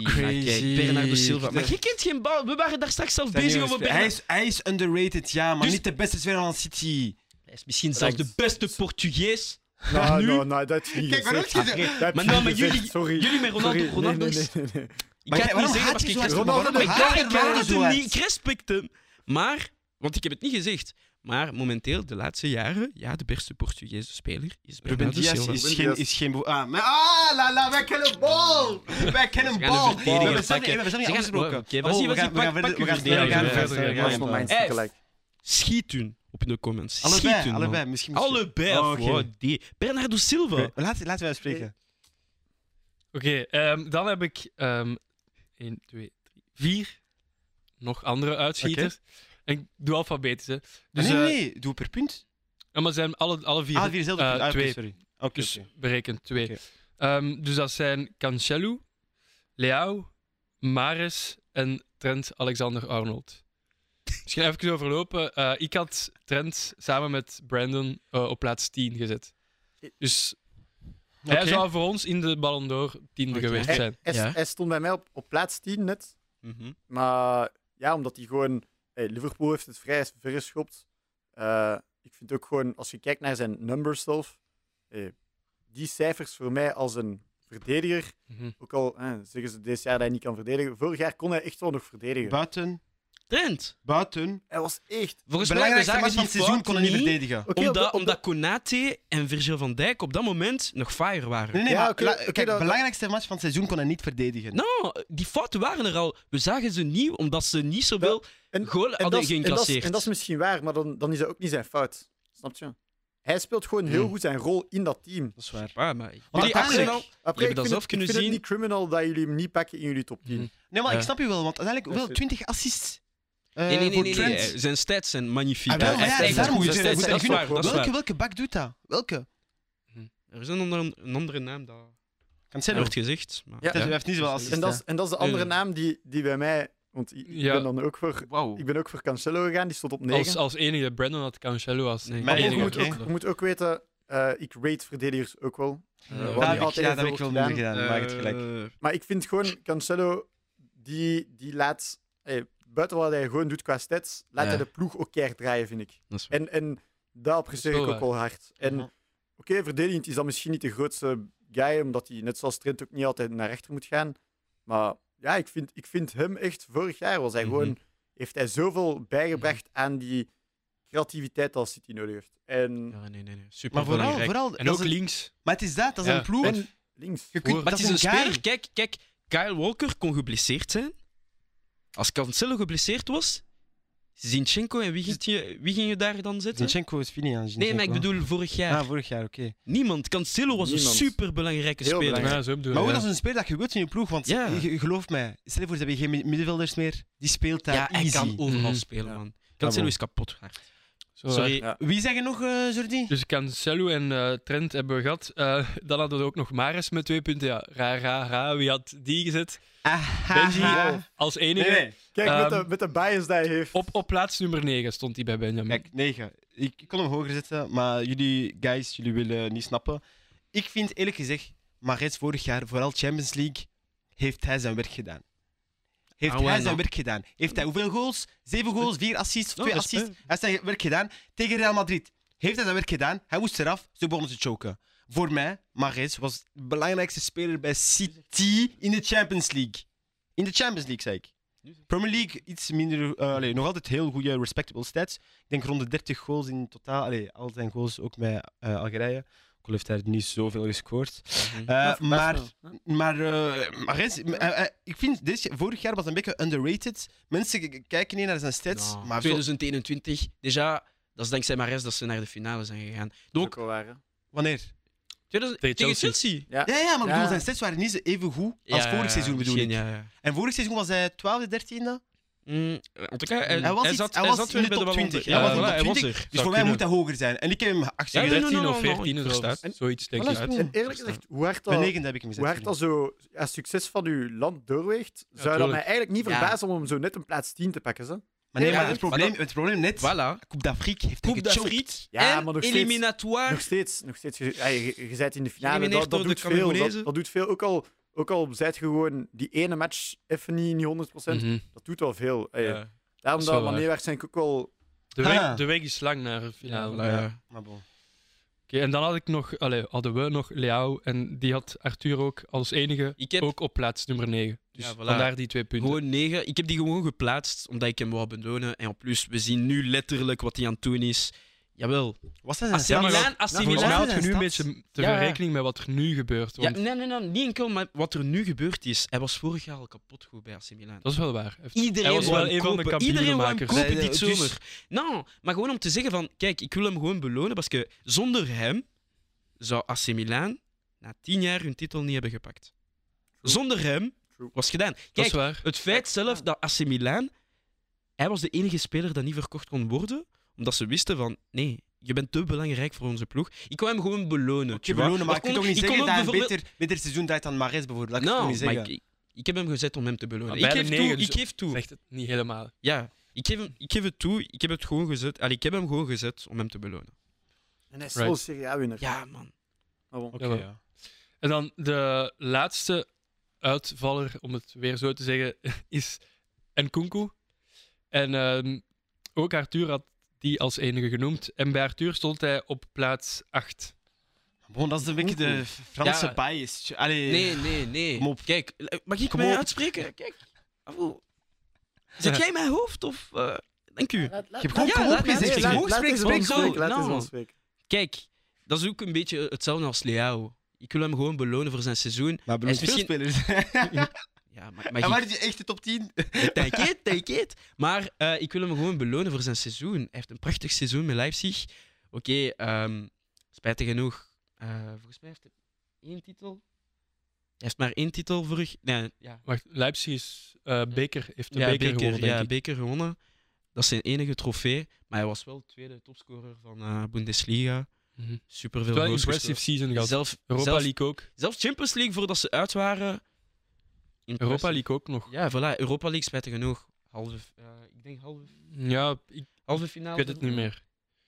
[SPEAKER 4] Maar
[SPEAKER 2] Oh, crazy.
[SPEAKER 4] kijk, Bernardo Silva. Maar je kent geen bal. We waren daar straks zelf
[SPEAKER 2] Zijn
[SPEAKER 4] bezig
[SPEAKER 2] nieuwe
[SPEAKER 4] over
[SPEAKER 2] speler. hij,
[SPEAKER 4] Bernardo.
[SPEAKER 2] is, hij is underrated, ja, maar
[SPEAKER 4] Dus-
[SPEAKER 2] niet de beste speler van City.
[SPEAKER 4] Hij is misschien zelfs de beste Portugees.
[SPEAKER 3] Nou,
[SPEAKER 4] nu?
[SPEAKER 3] nou, nou, dat is niet
[SPEAKER 2] Kijk, maar
[SPEAKER 3] gezegd.
[SPEAKER 2] ook gezegd.
[SPEAKER 3] Dat heb
[SPEAKER 4] Maar
[SPEAKER 3] je
[SPEAKER 4] nou,
[SPEAKER 3] niet
[SPEAKER 4] maar
[SPEAKER 3] gezegd,
[SPEAKER 4] jullie-
[SPEAKER 3] Sorry.
[SPEAKER 4] Jullie met Ronaldo.
[SPEAKER 3] Sorry.
[SPEAKER 4] Ronaldo
[SPEAKER 3] nee,
[SPEAKER 4] is...
[SPEAKER 3] nee, nee, nee, nee.
[SPEAKER 4] Ik ga het niet zeggen, want ik
[SPEAKER 2] zo hard?
[SPEAKER 3] Ronaldo
[SPEAKER 2] Waarom
[SPEAKER 3] de
[SPEAKER 4] Ik
[SPEAKER 2] haat
[SPEAKER 4] haat,
[SPEAKER 2] je
[SPEAKER 4] ik
[SPEAKER 2] Ronaldo
[SPEAKER 4] haat het
[SPEAKER 2] zo
[SPEAKER 4] hem
[SPEAKER 2] hard?
[SPEAKER 4] niet, ik respect hem. Maar, want ik heb het niet gezegd, maar momenteel, de laatste jaren, ja, de beste Portugese speler is
[SPEAKER 2] Ruben
[SPEAKER 4] Bernardo
[SPEAKER 2] Diaz
[SPEAKER 4] Silva.
[SPEAKER 2] is
[SPEAKER 3] Ruben
[SPEAKER 2] geen,
[SPEAKER 3] Diaz.
[SPEAKER 2] is geen boe- ah, maar, ah, la la, wij kennen bal! Wij kennen
[SPEAKER 4] gaan de
[SPEAKER 2] bal! We
[SPEAKER 4] verdediging
[SPEAKER 2] hebben zelf
[SPEAKER 4] pakken.
[SPEAKER 2] niet- we hebben zelf niet
[SPEAKER 4] Ze gaan-
[SPEAKER 2] afgesproken.
[SPEAKER 4] Oké,
[SPEAKER 2] Maar
[SPEAKER 4] was
[SPEAKER 2] bon,
[SPEAKER 4] ie,
[SPEAKER 2] we
[SPEAKER 4] was ie,
[SPEAKER 2] gaan- we
[SPEAKER 4] pak-
[SPEAKER 2] gaan verder-
[SPEAKER 4] pak
[SPEAKER 2] we gaan
[SPEAKER 4] jullie
[SPEAKER 2] verder- we gaan
[SPEAKER 1] verdediging.
[SPEAKER 2] verder- we gaan
[SPEAKER 1] Ja,
[SPEAKER 3] Arsenal
[SPEAKER 2] verder.
[SPEAKER 3] Mainz
[SPEAKER 4] Hey.
[SPEAKER 3] gelijk.
[SPEAKER 4] Schiet hun op in de comments. Schiet
[SPEAKER 2] Allebei,
[SPEAKER 4] hun, man.
[SPEAKER 2] allebei, misschien. misschien.
[SPEAKER 4] Allebei.
[SPEAKER 2] Oh, oké.
[SPEAKER 4] wow, die. Bernardo Silva.
[SPEAKER 2] Oké, Laten, laten wij spreken.
[SPEAKER 1] Oké, ehm, dan heb ik ehm 1, 2, 3, 4 nog andere uitschieters. En ik doe alfabetisch, hè. Dus,
[SPEAKER 2] nee,
[SPEAKER 1] eh,
[SPEAKER 2] nee, nee, doe per punt.
[SPEAKER 1] ja, maar ze zijn alle, alle vier,
[SPEAKER 2] Ah, vier dezelfde
[SPEAKER 1] eh,
[SPEAKER 2] punten. Ah, oké,
[SPEAKER 1] twee.
[SPEAKER 2] sorry. Oké,
[SPEAKER 1] Dus
[SPEAKER 2] oké.
[SPEAKER 1] berekend twee.
[SPEAKER 2] Oké.
[SPEAKER 1] Ehm, dus dat zijn Cancelo, Leao, Mares en Trent Alexander-Arnold. Misschien even overlopen. Eh, ik had Trent samen met Brandon eh, op plaats 10 gezet. Dus hij
[SPEAKER 2] Oké.
[SPEAKER 1] zou voor ons in de Ballon d'Or tiende
[SPEAKER 4] Oké.
[SPEAKER 1] geweest
[SPEAKER 4] Hey,
[SPEAKER 1] zijn.
[SPEAKER 3] Hij-
[SPEAKER 4] Ja.
[SPEAKER 3] Hij stond bij mij op, op plaats 10 net.
[SPEAKER 4] Mhm.
[SPEAKER 3] Maar ja, omdat hij gewoon. hey, Liverpool heeft het vrij vergeschopt. Eh ik vind ook gewoon, als je kijkt naar zijn numbers zelf. eh, die cijfers voor mij als een verdediger.
[SPEAKER 1] Mhm.
[SPEAKER 3] Ook al eh, zeggen ze dit jaar dat hij niet kan verdedigen. Vorig jaar kon hij echt wel nog verdedigen.
[SPEAKER 2] Buiten,
[SPEAKER 4] Trent.
[SPEAKER 2] buiten.
[SPEAKER 3] Hij was echt.
[SPEAKER 4] Volgens mij
[SPEAKER 2] Belangrijkste
[SPEAKER 4] zagen
[SPEAKER 2] match
[SPEAKER 4] ze
[SPEAKER 2] van
[SPEAKER 4] die
[SPEAKER 2] het seizoen
[SPEAKER 4] fout
[SPEAKER 2] kon hij niet
[SPEAKER 4] niet,
[SPEAKER 2] verdedigen.
[SPEAKER 3] Oké, op de-
[SPEAKER 4] Omdat,
[SPEAKER 3] op de-
[SPEAKER 4] omdat Konate en Virgil van Dijk op dat moment nog fire waren.
[SPEAKER 2] Nee, nee,
[SPEAKER 3] Ja,
[SPEAKER 2] maar
[SPEAKER 3] oké,
[SPEAKER 2] la-
[SPEAKER 3] oké,
[SPEAKER 2] kijk,
[SPEAKER 3] dat-
[SPEAKER 2] belangrijkste match van het seizoen kon hij niet verdedigen.
[SPEAKER 4] Nou, die fouten waren er al. We zagen ze niet omdat ze niet zoveel
[SPEAKER 3] en-
[SPEAKER 4] goal
[SPEAKER 3] En dat,
[SPEAKER 4] hadden
[SPEAKER 3] is, en, dat is,
[SPEAKER 4] geïncasseerd.
[SPEAKER 3] en dat is misschien waar, maar dan, dan is dat ook niet zijn fout. Snap je? Hij speelt gewoon heel
[SPEAKER 4] Mhm.
[SPEAKER 2] Hmm.
[SPEAKER 3] goed zijn rol in dat team.
[SPEAKER 2] Dat is waar.
[SPEAKER 4] Ja, Ah, maar ik-
[SPEAKER 2] Want
[SPEAKER 4] Jullie
[SPEAKER 2] uiteindelijk-
[SPEAKER 4] Arsenal-
[SPEAKER 3] Après,
[SPEAKER 4] dat
[SPEAKER 3] ik vind
[SPEAKER 4] zelf
[SPEAKER 3] het,
[SPEAKER 4] kunnen
[SPEAKER 3] ik vind
[SPEAKER 4] zien.
[SPEAKER 3] het niet criminal dat jullie hem niet pakken in jullie top 10.
[SPEAKER 1] Mhm.
[SPEAKER 2] Nee, maar ik
[SPEAKER 4] Eh.
[SPEAKER 2] snap je wel, want uiteindelijk wel 20 assists. eh,
[SPEAKER 4] Nee, nee, nee,
[SPEAKER 2] voor
[SPEAKER 4] nee,
[SPEAKER 2] Trent.
[SPEAKER 4] nee, nee. Zijn stats zijn magnifiek.
[SPEAKER 2] Ah, wel,
[SPEAKER 4] Hij
[SPEAKER 2] maar
[SPEAKER 4] heeft
[SPEAKER 2] ja,
[SPEAKER 4] echt
[SPEAKER 2] daarom
[SPEAKER 4] goede
[SPEAKER 2] moet je-
[SPEAKER 4] stats.
[SPEAKER 2] moet je-
[SPEAKER 4] Dat is waar, dat is
[SPEAKER 2] Welke,
[SPEAKER 4] waar.
[SPEAKER 2] welke bak doet dat? Welke?
[SPEAKER 4] Er is een andere, een andere naam dat
[SPEAKER 2] Cancelo.
[SPEAKER 4] wordt gezegd. Maar,
[SPEAKER 3] Ja.
[SPEAKER 2] Hij heeft niet zoveel assists.
[SPEAKER 3] En, dat is, en dat is de
[SPEAKER 1] Nee,
[SPEAKER 4] Eh.
[SPEAKER 3] andere
[SPEAKER 1] nee.
[SPEAKER 3] naam die, die bij mij. Want ik, ik
[SPEAKER 1] Ja.
[SPEAKER 3] ben dan ook voor,
[SPEAKER 2] Wauw.
[SPEAKER 4] Eh,
[SPEAKER 3] ik ben ook voor Cancelo gegaan, die stond op 9.
[SPEAKER 1] Als, als enige, Brandon had Cancelo als
[SPEAKER 4] Nee.
[SPEAKER 3] maar
[SPEAKER 2] Maar
[SPEAKER 3] je,
[SPEAKER 1] enige.
[SPEAKER 2] enige,
[SPEAKER 3] moet
[SPEAKER 2] oké.
[SPEAKER 3] ook, je moet ook weten, eh, ik rate verdedigers ook wel. Eh, wat
[SPEAKER 4] Ja. Daar
[SPEAKER 3] niet
[SPEAKER 4] heb ik-
[SPEAKER 3] altijd
[SPEAKER 2] ja,
[SPEAKER 3] even
[SPEAKER 2] daar heb ik
[SPEAKER 3] wordt
[SPEAKER 2] wel minder
[SPEAKER 3] gedaan.
[SPEAKER 4] Eh,
[SPEAKER 3] Eh,
[SPEAKER 2] gedaan, maar ik heb gelijk.
[SPEAKER 3] Maar ik vind gewoon Cancelo, die, die laat. eh, buiten wat hij gewoon doet qua stats, laat
[SPEAKER 4] Ja.
[SPEAKER 3] hij de ploeg ook keihard draaien, vind ik.
[SPEAKER 4] Dat is waar.
[SPEAKER 3] En, en dat apprecieer
[SPEAKER 1] Dat
[SPEAKER 3] ik
[SPEAKER 1] is wel
[SPEAKER 3] ook wel hard. En
[SPEAKER 2] Mhm.
[SPEAKER 3] oké, verdedigend is dat misschien niet de grootste guy, omdat hij net zoals Trent ook niet altijd naar rechter moet gaan. Maar ja, ik vind, ik vind hem echt, vorig jaar was hij
[SPEAKER 4] Mhm.
[SPEAKER 3] gewoon, heeft hij zoveel bijgebracht
[SPEAKER 1] Mhm.
[SPEAKER 3] aan die creativiteit als City nodig heeft. En
[SPEAKER 4] Ja, nee, nee, nee. Super
[SPEAKER 2] Maar vooral,
[SPEAKER 4] belangrijk.
[SPEAKER 2] vooral
[SPEAKER 1] En
[SPEAKER 2] dat
[SPEAKER 1] ook
[SPEAKER 2] is een-
[SPEAKER 1] links.
[SPEAKER 2] maar het is dat, dat is
[SPEAKER 1] Ja.
[SPEAKER 2] een ploeg.
[SPEAKER 3] En- links.
[SPEAKER 2] Je kunt,
[SPEAKER 1] Hoor.
[SPEAKER 4] Maar
[SPEAKER 2] dat
[SPEAKER 4] het is een
[SPEAKER 2] guy.
[SPEAKER 4] speler. Kijk, kijk, Kyle Walker kon geblesseerd zijn. Als Cancelo geblesseerd was, Zinchenko en wie ging je, wie ging je daar dan zetten?
[SPEAKER 2] Zinchenko is fini aan
[SPEAKER 4] Nee, maar ik bedoel vorig jaar.
[SPEAKER 2] Ah, vorig jaar, oké.
[SPEAKER 4] Niemand. Cancelo was
[SPEAKER 3] Niemand.
[SPEAKER 4] een superbelangrijke
[SPEAKER 3] Heel
[SPEAKER 4] speler.
[SPEAKER 3] belangrijk.
[SPEAKER 1] Ja, zo bedoel
[SPEAKER 2] Maar
[SPEAKER 1] ik,
[SPEAKER 2] ook
[SPEAKER 1] ja.
[SPEAKER 2] dat is een speler dat je wilt in je ploeg, want
[SPEAKER 4] Ja.
[SPEAKER 2] je- je- geloof mij, stel je voor, ze hebben geen mid- middenvelders meer, die speelt daar
[SPEAKER 4] Ja, hij
[SPEAKER 2] easy.
[SPEAKER 4] kan overal
[SPEAKER 1] Mhm.
[SPEAKER 4] spelen,
[SPEAKER 3] Ja.
[SPEAKER 4] man. Cancelo
[SPEAKER 2] Jawel.
[SPEAKER 4] is kapot. hard.
[SPEAKER 1] Zo waar.
[SPEAKER 4] Sorry.
[SPEAKER 3] Ja.
[SPEAKER 2] Wie zeggen nog, eh Jordi?
[SPEAKER 1] Dus Cancelo en eh, Trent hebben we gehad. Eh, dan hadden we ook nog Maris met twee punten. Ja, ra, ra, ra. Wie had die gezet?
[SPEAKER 2] Ah,
[SPEAKER 1] Benji
[SPEAKER 2] Aha.
[SPEAKER 1] als enige.
[SPEAKER 2] Nee, nee.
[SPEAKER 3] Kijk, met,
[SPEAKER 1] Ehm,
[SPEAKER 3] de, met de bias die hij heeft.
[SPEAKER 1] Op, op plaats nummer 9 stond hij bij Benjamin.
[SPEAKER 2] Kijk, 9. Ik ik kon hem hoger zetten, maar jullie guys, jullie willen niet snappen. Ik vind eerlijk gezegd, Mares vorig jaar, vooral Champions League, heeft hij zijn werk gedaan. Heeft
[SPEAKER 4] Ah,
[SPEAKER 2] hij
[SPEAKER 4] wel,
[SPEAKER 2] zijn
[SPEAKER 4] nou.
[SPEAKER 2] werk gedaan? Heeft hij hoeveel goals? Zeven goals, vier assists,
[SPEAKER 4] Oh,
[SPEAKER 2] twee
[SPEAKER 4] respect.
[SPEAKER 2] assists. Hij heeft zijn werk gedaan tegen Real Madrid. Heeft hij zijn werk gedaan? Hij moest eraf, ze begonnen te choken. Voor mij, Mares was de belangrijkste speler bij City in de Champions League. In de Champions League, zei ik. Premier League iets minder, eh allee, nog altijd heel goede respectable stats. Ik denk rond de 30 goals in totaal. Allee, al zijn goals ook met eh, Algerije. Ook al heeft hij er niet zoveel gescoord.
[SPEAKER 4] Mhm.
[SPEAKER 2] Eh, maar maar, eh, maar hij is- eh, eh, ik vind dit, vorig jaar was een beetje underrated. Mensen k- kijken niet naar zijn stats.
[SPEAKER 4] Nou,
[SPEAKER 2] maar zo-
[SPEAKER 4] 2021, déjà, dat is dankzij Mares dat ze naar de finale zijn gegaan.
[SPEAKER 3] Dat ook
[SPEAKER 4] Ook
[SPEAKER 3] wel waar, hè.
[SPEAKER 2] wanneer?
[SPEAKER 4] 2000
[SPEAKER 1] Tegen
[SPEAKER 4] tegen Chelsea.
[SPEAKER 1] Chelsea.
[SPEAKER 3] Ja.
[SPEAKER 2] Ja, ja maar ik
[SPEAKER 3] Ja.
[SPEAKER 2] bedoel, zijn stats waren niet zo even goed als
[SPEAKER 4] Ja,
[SPEAKER 2] vorig seizoen bedoel
[SPEAKER 4] misschien,
[SPEAKER 2] ik.
[SPEAKER 4] ja, ja.
[SPEAKER 2] En vorig seizoen was hij 12e, 13e.
[SPEAKER 4] Mm, en tout cas, hij,
[SPEAKER 2] Hij was
[SPEAKER 4] hij
[SPEAKER 2] iets-
[SPEAKER 4] zat,
[SPEAKER 2] hij
[SPEAKER 4] hij
[SPEAKER 2] was
[SPEAKER 4] zat
[SPEAKER 2] in
[SPEAKER 4] weer
[SPEAKER 2] de
[SPEAKER 4] bij de
[SPEAKER 2] top 20.
[SPEAKER 4] wandel.
[SPEAKER 1] Hij was in de
[SPEAKER 4] voilà,
[SPEAKER 2] top 20,
[SPEAKER 4] er.
[SPEAKER 2] Dus
[SPEAKER 1] Zou
[SPEAKER 2] voor mij
[SPEAKER 1] kunnen.
[SPEAKER 2] moet hij hoger zijn. En ik heb hem 18
[SPEAKER 4] Ja,
[SPEAKER 2] gezet.
[SPEAKER 4] nee,
[SPEAKER 1] 13
[SPEAKER 4] nee,
[SPEAKER 1] of
[SPEAKER 4] nee, nee,
[SPEAKER 1] 14 of
[SPEAKER 4] ik
[SPEAKER 1] zo.
[SPEAKER 4] versta.
[SPEAKER 1] Zoiets denk
[SPEAKER 2] Voilà,
[SPEAKER 1] ik.
[SPEAKER 2] is goed.
[SPEAKER 1] uit.
[SPEAKER 3] En eerlijk gezegd, hoe hard
[SPEAKER 2] Bij
[SPEAKER 3] dat,
[SPEAKER 2] 9 heb ik hem gezet.
[SPEAKER 3] hoe hard dat zo ja, succes van uw land doorweegt, zou dat
[SPEAKER 1] tuurlijk.
[SPEAKER 3] mij eigenlijk niet
[SPEAKER 4] Ja.
[SPEAKER 3] verbazen om hem zo net een plaats 10 te pakken. Zo.
[SPEAKER 2] Maar nee,
[SPEAKER 4] Ja,
[SPEAKER 2] maar
[SPEAKER 4] ja.
[SPEAKER 2] het probleem, het probleem net,
[SPEAKER 4] Voilà.
[SPEAKER 2] Coupe d'Afrique heeft hij
[SPEAKER 4] Coupe
[SPEAKER 2] gechoked.
[SPEAKER 4] d'Afrique
[SPEAKER 3] Ja,
[SPEAKER 4] en
[SPEAKER 3] maar nog steeds- Nog
[SPEAKER 4] eliminatoire.
[SPEAKER 3] steeds, nog steeds. Je, ja, je, je- je bent in de finale.
[SPEAKER 4] Geëlimineerd
[SPEAKER 3] Dat, dat
[SPEAKER 4] door
[SPEAKER 3] doet
[SPEAKER 4] de
[SPEAKER 3] veel.
[SPEAKER 4] Cameroenezen.
[SPEAKER 3] Dat, dat doet veel. Ook al, ook al zijt je gewoon die ene match even niet, niet 100
[SPEAKER 1] Mhm.
[SPEAKER 3] dat doet al veel. Eh,
[SPEAKER 4] Ja,
[SPEAKER 3] Daarom
[SPEAKER 1] is
[SPEAKER 3] dat
[SPEAKER 1] wel waar.
[SPEAKER 3] wanneer waarschijnlijk ook al.
[SPEAKER 1] De, weg,
[SPEAKER 2] Ah.
[SPEAKER 1] de weg is lang naar de finale.
[SPEAKER 4] voilà, ja.
[SPEAKER 2] Maar bon.
[SPEAKER 1] Oké, en dan had ik nog, allee, hadden we nog Leao. En die had Arthur ook als enige
[SPEAKER 4] Ik heb
[SPEAKER 1] ook op plaats nummer 9. Dus
[SPEAKER 4] Ja, voilà.
[SPEAKER 1] vandaar die twee punten.
[SPEAKER 4] gewoon negen. Ik heb die gewoon geplaatst omdat ik hem wou belonen. En op plus, we zien nu letterlijk wat hij aan het doen is. Jawel.
[SPEAKER 2] Was dat zijn
[SPEAKER 4] AC
[SPEAKER 1] maar
[SPEAKER 2] stats?
[SPEAKER 1] wel-
[SPEAKER 4] Milan, AC
[SPEAKER 2] nou,
[SPEAKER 1] Volgens
[SPEAKER 2] Ja,
[SPEAKER 1] mij
[SPEAKER 4] Milan.
[SPEAKER 1] had je nu een
[SPEAKER 2] dat-
[SPEAKER 1] beetje te
[SPEAKER 4] Ja, ja.
[SPEAKER 1] verrekening met wat er nu gebeurt.
[SPEAKER 4] Ja,
[SPEAKER 1] Want
[SPEAKER 4] nee, nee, nee, niet enkel, maar wat er nu gebeurd is. Hij was vorig jaar al kapot goed bij AC Milan.
[SPEAKER 1] Dat is wel waar. Hij
[SPEAKER 4] Iedereen
[SPEAKER 1] was
[SPEAKER 4] wou
[SPEAKER 1] wel
[SPEAKER 4] hem
[SPEAKER 1] een van de
[SPEAKER 4] kopen. Iedereen wou hem
[SPEAKER 1] kampioenenmakers.
[SPEAKER 2] Nee,
[SPEAKER 4] kopen dit
[SPEAKER 2] nee, dus-
[SPEAKER 4] zomer. Nou, maar gewoon om te zeggen van, kijk, ik wil hem gewoon belonen, want zonder hem zou AC Milan na tien jaar hun titel niet hebben gepakt. Zonder hem
[SPEAKER 3] True.
[SPEAKER 4] was gedaan.
[SPEAKER 1] Dat is
[SPEAKER 4] Kijk,
[SPEAKER 1] waar.
[SPEAKER 4] het feit zelf dat AC Milan, hij was de enige speler dat niet verkocht kon worden, omdat ze wisten van, nee, je bent te belangrijk voor onze ploeg. Ik wou hem gewoon belonen.
[SPEAKER 2] Je
[SPEAKER 4] tu vois.
[SPEAKER 2] belonen, maar
[SPEAKER 4] Dat
[SPEAKER 2] ik kan
[SPEAKER 4] kon-
[SPEAKER 2] toch niet
[SPEAKER 4] ik
[SPEAKER 2] zeggen
[SPEAKER 4] kon
[SPEAKER 2] dat
[SPEAKER 4] ook
[SPEAKER 2] hij een
[SPEAKER 4] bijvoorbeeld-
[SPEAKER 2] beter, beter seizoen draait dan Mares bijvoorbeeld. Dat kan ik toch
[SPEAKER 4] Nou,
[SPEAKER 2] niet
[SPEAKER 4] maar
[SPEAKER 2] zeggen.
[SPEAKER 4] ik, ik, ik heb hem gezet om hem te belonen.
[SPEAKER 1] Maar
[SPEAKER 4] Ik
[SPEAKER 1] bij
[SPEAKER 4] geef,
[SPEAKER 1] de
[SPEAKER 4] toe,
[SPEAKER 1] negen
[SPEAKER 4] ik
[SPEAKER 1] dus-
[SPEAKER 4] geef toe.
[SPEAKER 1] Zegt het niet helemaal.
[SPEAKER 4] Ja, ik geef, hem, ik geef het toe. Ik heb, het gewoon gezet, allee, ik heb hem gewoon gezet om hem te belonen.
[SPEAKER 3] En hij is
[SPEAKER 1] Right.
[SPEAKER 3] wel Serie A-winnaar.
[SPEAKER 4] Ja, man.
[SPEAKER 2] Ah,
[SPEAKER 3] Maar bon.
[SPEAKER 1] Oké, Jawel. En dan de laatste uitvaller, om het weer zo te zeggen, is Nkunku. En ehm, ook Arthur had die als enige genoemd. En bij Arthur stond hij op plaats 8.
[SPEAKER 2] Bon, dat is een beetje de Franse
[SPEAKER 4] Ja.
[SPEAKER 2] bias. Allee,
[SPEAKER 4] Nee, nee, nee.
[SPEAKER 2] Kom op.
[SPEAKER 4] Kijk, eh, mag ik
[SPEAKER 2] Kom
[SPEAKER 4] mij
[SPEAKER 2] op.
[SPEAKER 4] uitspreken? Kijk. Abo. Zet jij mijn hoofd of... eh, Dank u.
[SPEAKER 3] Laat- laat-
[SPEAKER 2] Je hebt gewoon
[SPEAKER 4] Ja,
[SPEAKER 2] kom
[SPEAKER 4] laat-
[SPEAKER 2] op gezegd.
[SPEAKER 4] laat-
[SPEAKER 2] Je
[SPEAKER 4] laat-
[SPEAKER 2] mag
[SPEAKER 4] laat-
[SPEAKER 2] spreken,
[SPEAKER 4] laat-
[SPEAKER 2] spreken,
[SPEAKER 3] eens
[SPEAKER 4] zo.
[SPEAKER 2] spreken.
[SPEAKER 3] spreken, laat eens
[SPEAKER 4] nou.
[SPEAKER 3] wel spreken.
[SPEAKER 4] Kijk, dat is ook een beetje hetzelfde als Leao. Ik wil hem gewoon belonen voor zijn seizoen.
[SPEAKER 2] Maar
[SPEAKER 4] beloon
[SPEAKER 2] beloond
[SPEAKER 4] veel
[SPEAKER 2] veel spelers.
[SPEAKER 4] Ja, maar,
[SPEAKER 2] En
[SPEAKER 4] maar
[SPEAKER 2] waar is je echt de top 10?
[SPEAKER 4] t'inquiète, t'inquiète. Maar eh, ik wil hem gewoon belonen voor zijn seizoen. Hij heeft een prachtig seizoen met Leipzig. Oké, ehm, spijtig genoeg. eh, volgens mij heeft hij één titel. Hij heeft maar één titel vorig... Nee, ja,
[SPEAKER 1] Wacht, Leipzig is eh, beker, heeft de beker, gewonnen, denk
[SPEAKER 4] ja,
[SPEAKER 1] ik.
[SPEAKER 4] beker gewonnen. Dat is zijn enige trofee. Maar hij was wel tweede topscorer van eh Bundesliga.
[SPEAKER 1] Mhm. Het
[SPEAKER 4] Super
[SPEAKER 1] is
[SPEAKER 4] veel
[SPEAKER 1] wel een
[SPEAKER 4] goals
[SPEAKER 1] impressive
[SPEAKER 4] gescoord.
[SPEAKER 1] season gehad.
[SPEAKER 4] Zelf,
[SPEAKER 1] Europa
[SPEAKER 4] zelf,
[SPEAKER 1] League ook.
[SPEAKER 4] zelfs Champions League voordat ze uit waren. Impressive.
[SPEAKER 1] Europa League ook nog.
[SPEAKER 4] Ja, voilà. Europa League spijtig genoeg. Halve, eh, ik denk halve,
[SPEAKER 1] Ja, ik
[SPEAKER 4] halve finale.
[SPEAKER 1] weet het niet meer.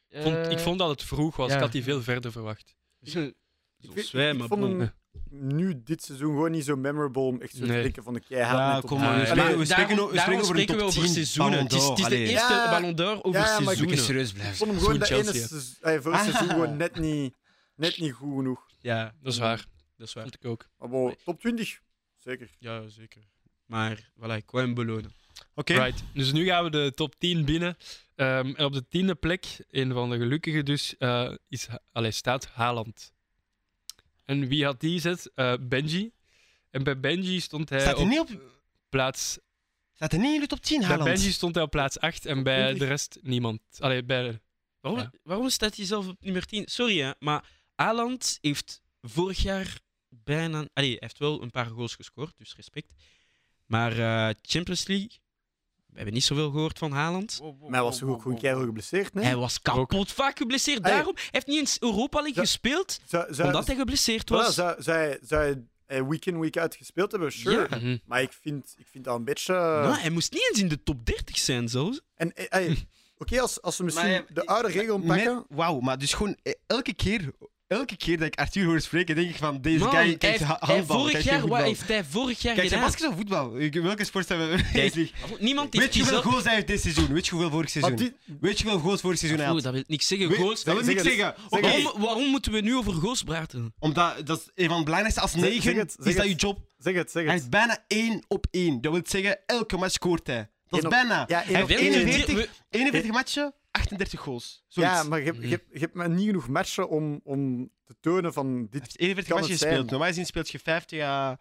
[SPEAKER 1] Ik
[SPEAKER 4] Eh,
[SPEAKER 1] vond, ik vond dat het vroeg was.
[SPEAKER 4] ja.
[SPEAKER 1] Ik had die veel verder verwacht.
[SPEAKER 4] Zo
[SPEAKER 3] Ik, vind- ik
[SPEAKER 4] zwijm, maar
[SPEAKER 3] vond
[SPEAKER 4] bon.
[SPEAKER 3] hem nu dit seizoen gewoon niet zo memorable om echt zo te
[SPEAKER 1] Nee.
[SPEAKER 3] denken van de keihard.
[SPEAKER 2] Ja,
[SPEAKER 3] net op-
[SPEAKER 2] kom
[SPEAKER 1] maar,
[SPEAKER 3] Allee,
[SPEAKER 1] we
[SPEAKER 2] spreken- we
[SPEAKER 4] daarom-
[SPEAKER 2] spreken o- we spreken
[SPEAKER 4] daarom
[SPEAKER 2] over de
[SPEAKER 4] spreken we
[SPEAKER 2] top
[SPEAKER 4] over
[SPEAKER 2] 10
[SPEAKER 4] seizoenen.
[SPEAKER 2] Ballon
[SPEAKER 4] Het is, het is de
[SPEAKER 2] d'Or, allee.
[SPEAKER 4] eerste
[SPEAKER 3] Ja.
[SPEAKER 4] Ballon d'Or over
[SPEAKER 3] Ja, ja, maar ik-
[SPEAKER 4] seizoenen.
[SPEAKER 2] serieus blijven.
[SPEAKER 3] vond hem
[SPEAKER 1] Zo'n
[SPEAKER 3] gewoon dat ene
[SPEAKER 1] Chelsea.
[SPEAKER 3] seizoen- eh, voor het
[SPEAKER 2] Ah.
[SPEAKER 3] seizoen gewoon net niet, net niet goed genoeg.
[SPEAKER 4] Ja,
[SPEAKER 1] Dat is waar.
[SPEAKER 4] Dat is waar.
[SPEAKER 1] Vond ik ook.
[SPEAKER 3] Maar bon,
[SPEAKER 4] Nee.
[SPEAKER 3] top 20, zeker.
[SPEAKER 4] Ja, zeker. Maar, voilà, ik wou hem belonen.
[SPEAKER 2] Oké.
[SPEAKER 1] Right. Dus nu gaan we de top 10 binnen. Ehm, en op de tiende plek, een van de gelukkigen dus, eh, is, allee, staat Haaland. En wie had die zet? Eh, Benji. En bij Benji stond hij
[SPEAKER 2] Staat hij
[SPEAKER 1] Eh, op
[SPEAKER 2] niet op-
[SPEAKER 1] plaats...
[SPEAKER 2] staat hij niet in de top 10,
[SPEAKER 1] Bij Benji
[SPEAKER 2] Haaland?
[SPEAKER 1] stond hij op plaats 8 en bij
[SPEAKER 3] 20.
[SPEAKER 1] de rest niemand. Allee, bij...
[SPEAKER 4] Waarom,
[SPEAKER 1] Ja.
[SPEAKER 4] waarom staat hij zelf op nummer 10? Sorry, hè, maar Aland heeft vorig jaar bijna... Allee, hij heeft wel een paar goals gescoord, dus respect. Maar eh, Champions League, we hebben niet zoveel gehoord van Haaland.
[SPEAKER 3] Maar hij was toch ook gewoon keihard geblesseerd, nee?
[SPEAKER 4] Hij was kapot vaak geblesseerd.
[SPEAKER 3] Ah, ja.
[SPEAKER 4] Daarom hij heeft niet eens Europa League
[SPEAKER 3] Zou-
[SPEAKER 4] gespeeld,
[SPEAKER 3] Zou, zou,
[SPEAKER 4] omdat hij geblesseerd
[SPEAKER 3] voilà,
[SPEAKER 4] was.
[SPEAKER 3] zou, zou, hij- zou hij eh, week in, week uit gespeeld hebben? Sure.
[SPEAKER 2] Hm.
[SPEAKER 4] Ja.
[SPEAKER 1] Mhm.
[SPEAKER 3] Maar ik vind, ik vind dat een beetje...
[SPEAKER 4] Nou, hij moest niet eens in de top 30 zijn zelfs.
[SPEAKER 3] En eh, eh, oké, als, als we misschien
[SPEAKER 2] Maar, eh,
[SPEAKER 3] de oude regel pakken...
[SPEAKER 2] Met- Wauw, maar dus gewoon eh, elke keer, elke keer dat ik Arthur hoor spreken, denk ik van deze
[SPEAKER 4] Man,
[SPEAKER 2] guy kijkt
[SPEAKER 4] hij-
[SPEAKER 2] ha-
[SPEAKER 4] hij
[SPEAKER 2] handbal,
[SPEAKER 4] vorig
[SPEAKER 2] kijkt
[SPEAKER 4] jaar,
[SPEAKER 2] geen
[SPEAKER 4] wat
[SPEAKER 2] voetbal.
[SPEAKER 4] heeft hij vorig jaar
[SPEAKER 2] Kijk, zijn
[SPEAKER 4] gedaan?
[SPEAKER 2] baskets of voetbal? Ik- Welke sport zijn we
[SPEAKER 4] Kijk,
[SPEAKER 2] Weet
[SPEAKER 4] Niemand heeft
[SPEAKER 2] je hoeveel
[SPEAKER 4] diezelfde...
[SPEAKER 2] goals hij heeft dit seizoen? Weet je hoeveel vorig
[SPEAKER 3] Maar
[SPEAKER 2] seizoen?
[SPEAKER 3] dit-
[SPEAKER 2] Weet je hoeveel goals vorig seizoen hij
[SPEAKER 4] Oeh,
[SPEAKER 2] had?
[SPEAKER 4] dat wil niks zeggen.
[SPEAKER 2] Weet-
[SPEAKER 4] Goals.
[SPEAKER 2] Dat wil
[SPEAKER 3] Zeg
[SPEAKER 2] niks
[SPEAKER 3] het.
[SPEAKER 2] zeggen.
[SPEAKER 3] Zeg het.
[SPEAKER 2] Oké,
[SPEAKER 4] Waarom, waarom moeten we nu over goals praten?
[SPEAKER 2] Omdat dat is een van de belangrijkste. Als
[SPEAKER 3] Zeg- zeg
[SPEAKER 2] negen
[SPEAKER 3] het, zeg
[SPEAKER 2] is dat
[SPEAKER 3] het.
[SPEAKER 2] je job.
[SPEAKER 3] Zeg het, zeg
[SPEAKER 2] Hij
[SPEAKER 3] het.
[SPEAKER 2] is bijna één op één. Dat wil zeggen, elke match scoort hij. Dat
[SPEAKER 3] Eén
[SPEAKER 2] is
[SPEAKER 3] op-
[SPEAKER 2] bijna.
[SPEAKER 3] Ja, één
[SPEAKER 2] Hij
[SPEAKER 3] op
[SPEAKER 2] heeft
[SPEAKER 4] één.
[SPEAKER 2] 41,
[SPEAKER 4] We-
[SPEAKER 2] 41 matchen, 38 goals. Zoiets.
[SPEAKER 3] Ja, maar je, hebt- je, hebt- je hebt maar niet genoeg matchen om, om te tonen van
[SPEAKER 2] Hij
[SPEAKER 3] dit...
[SPEAKER 2] heeft 41
[SPEAKER 3] Kan
[SPEAKER 2] matchen
[SPEAKER 3] het zijn.
[SPEAKER 2] gespeeld. Normaal gezien speelt je 50 à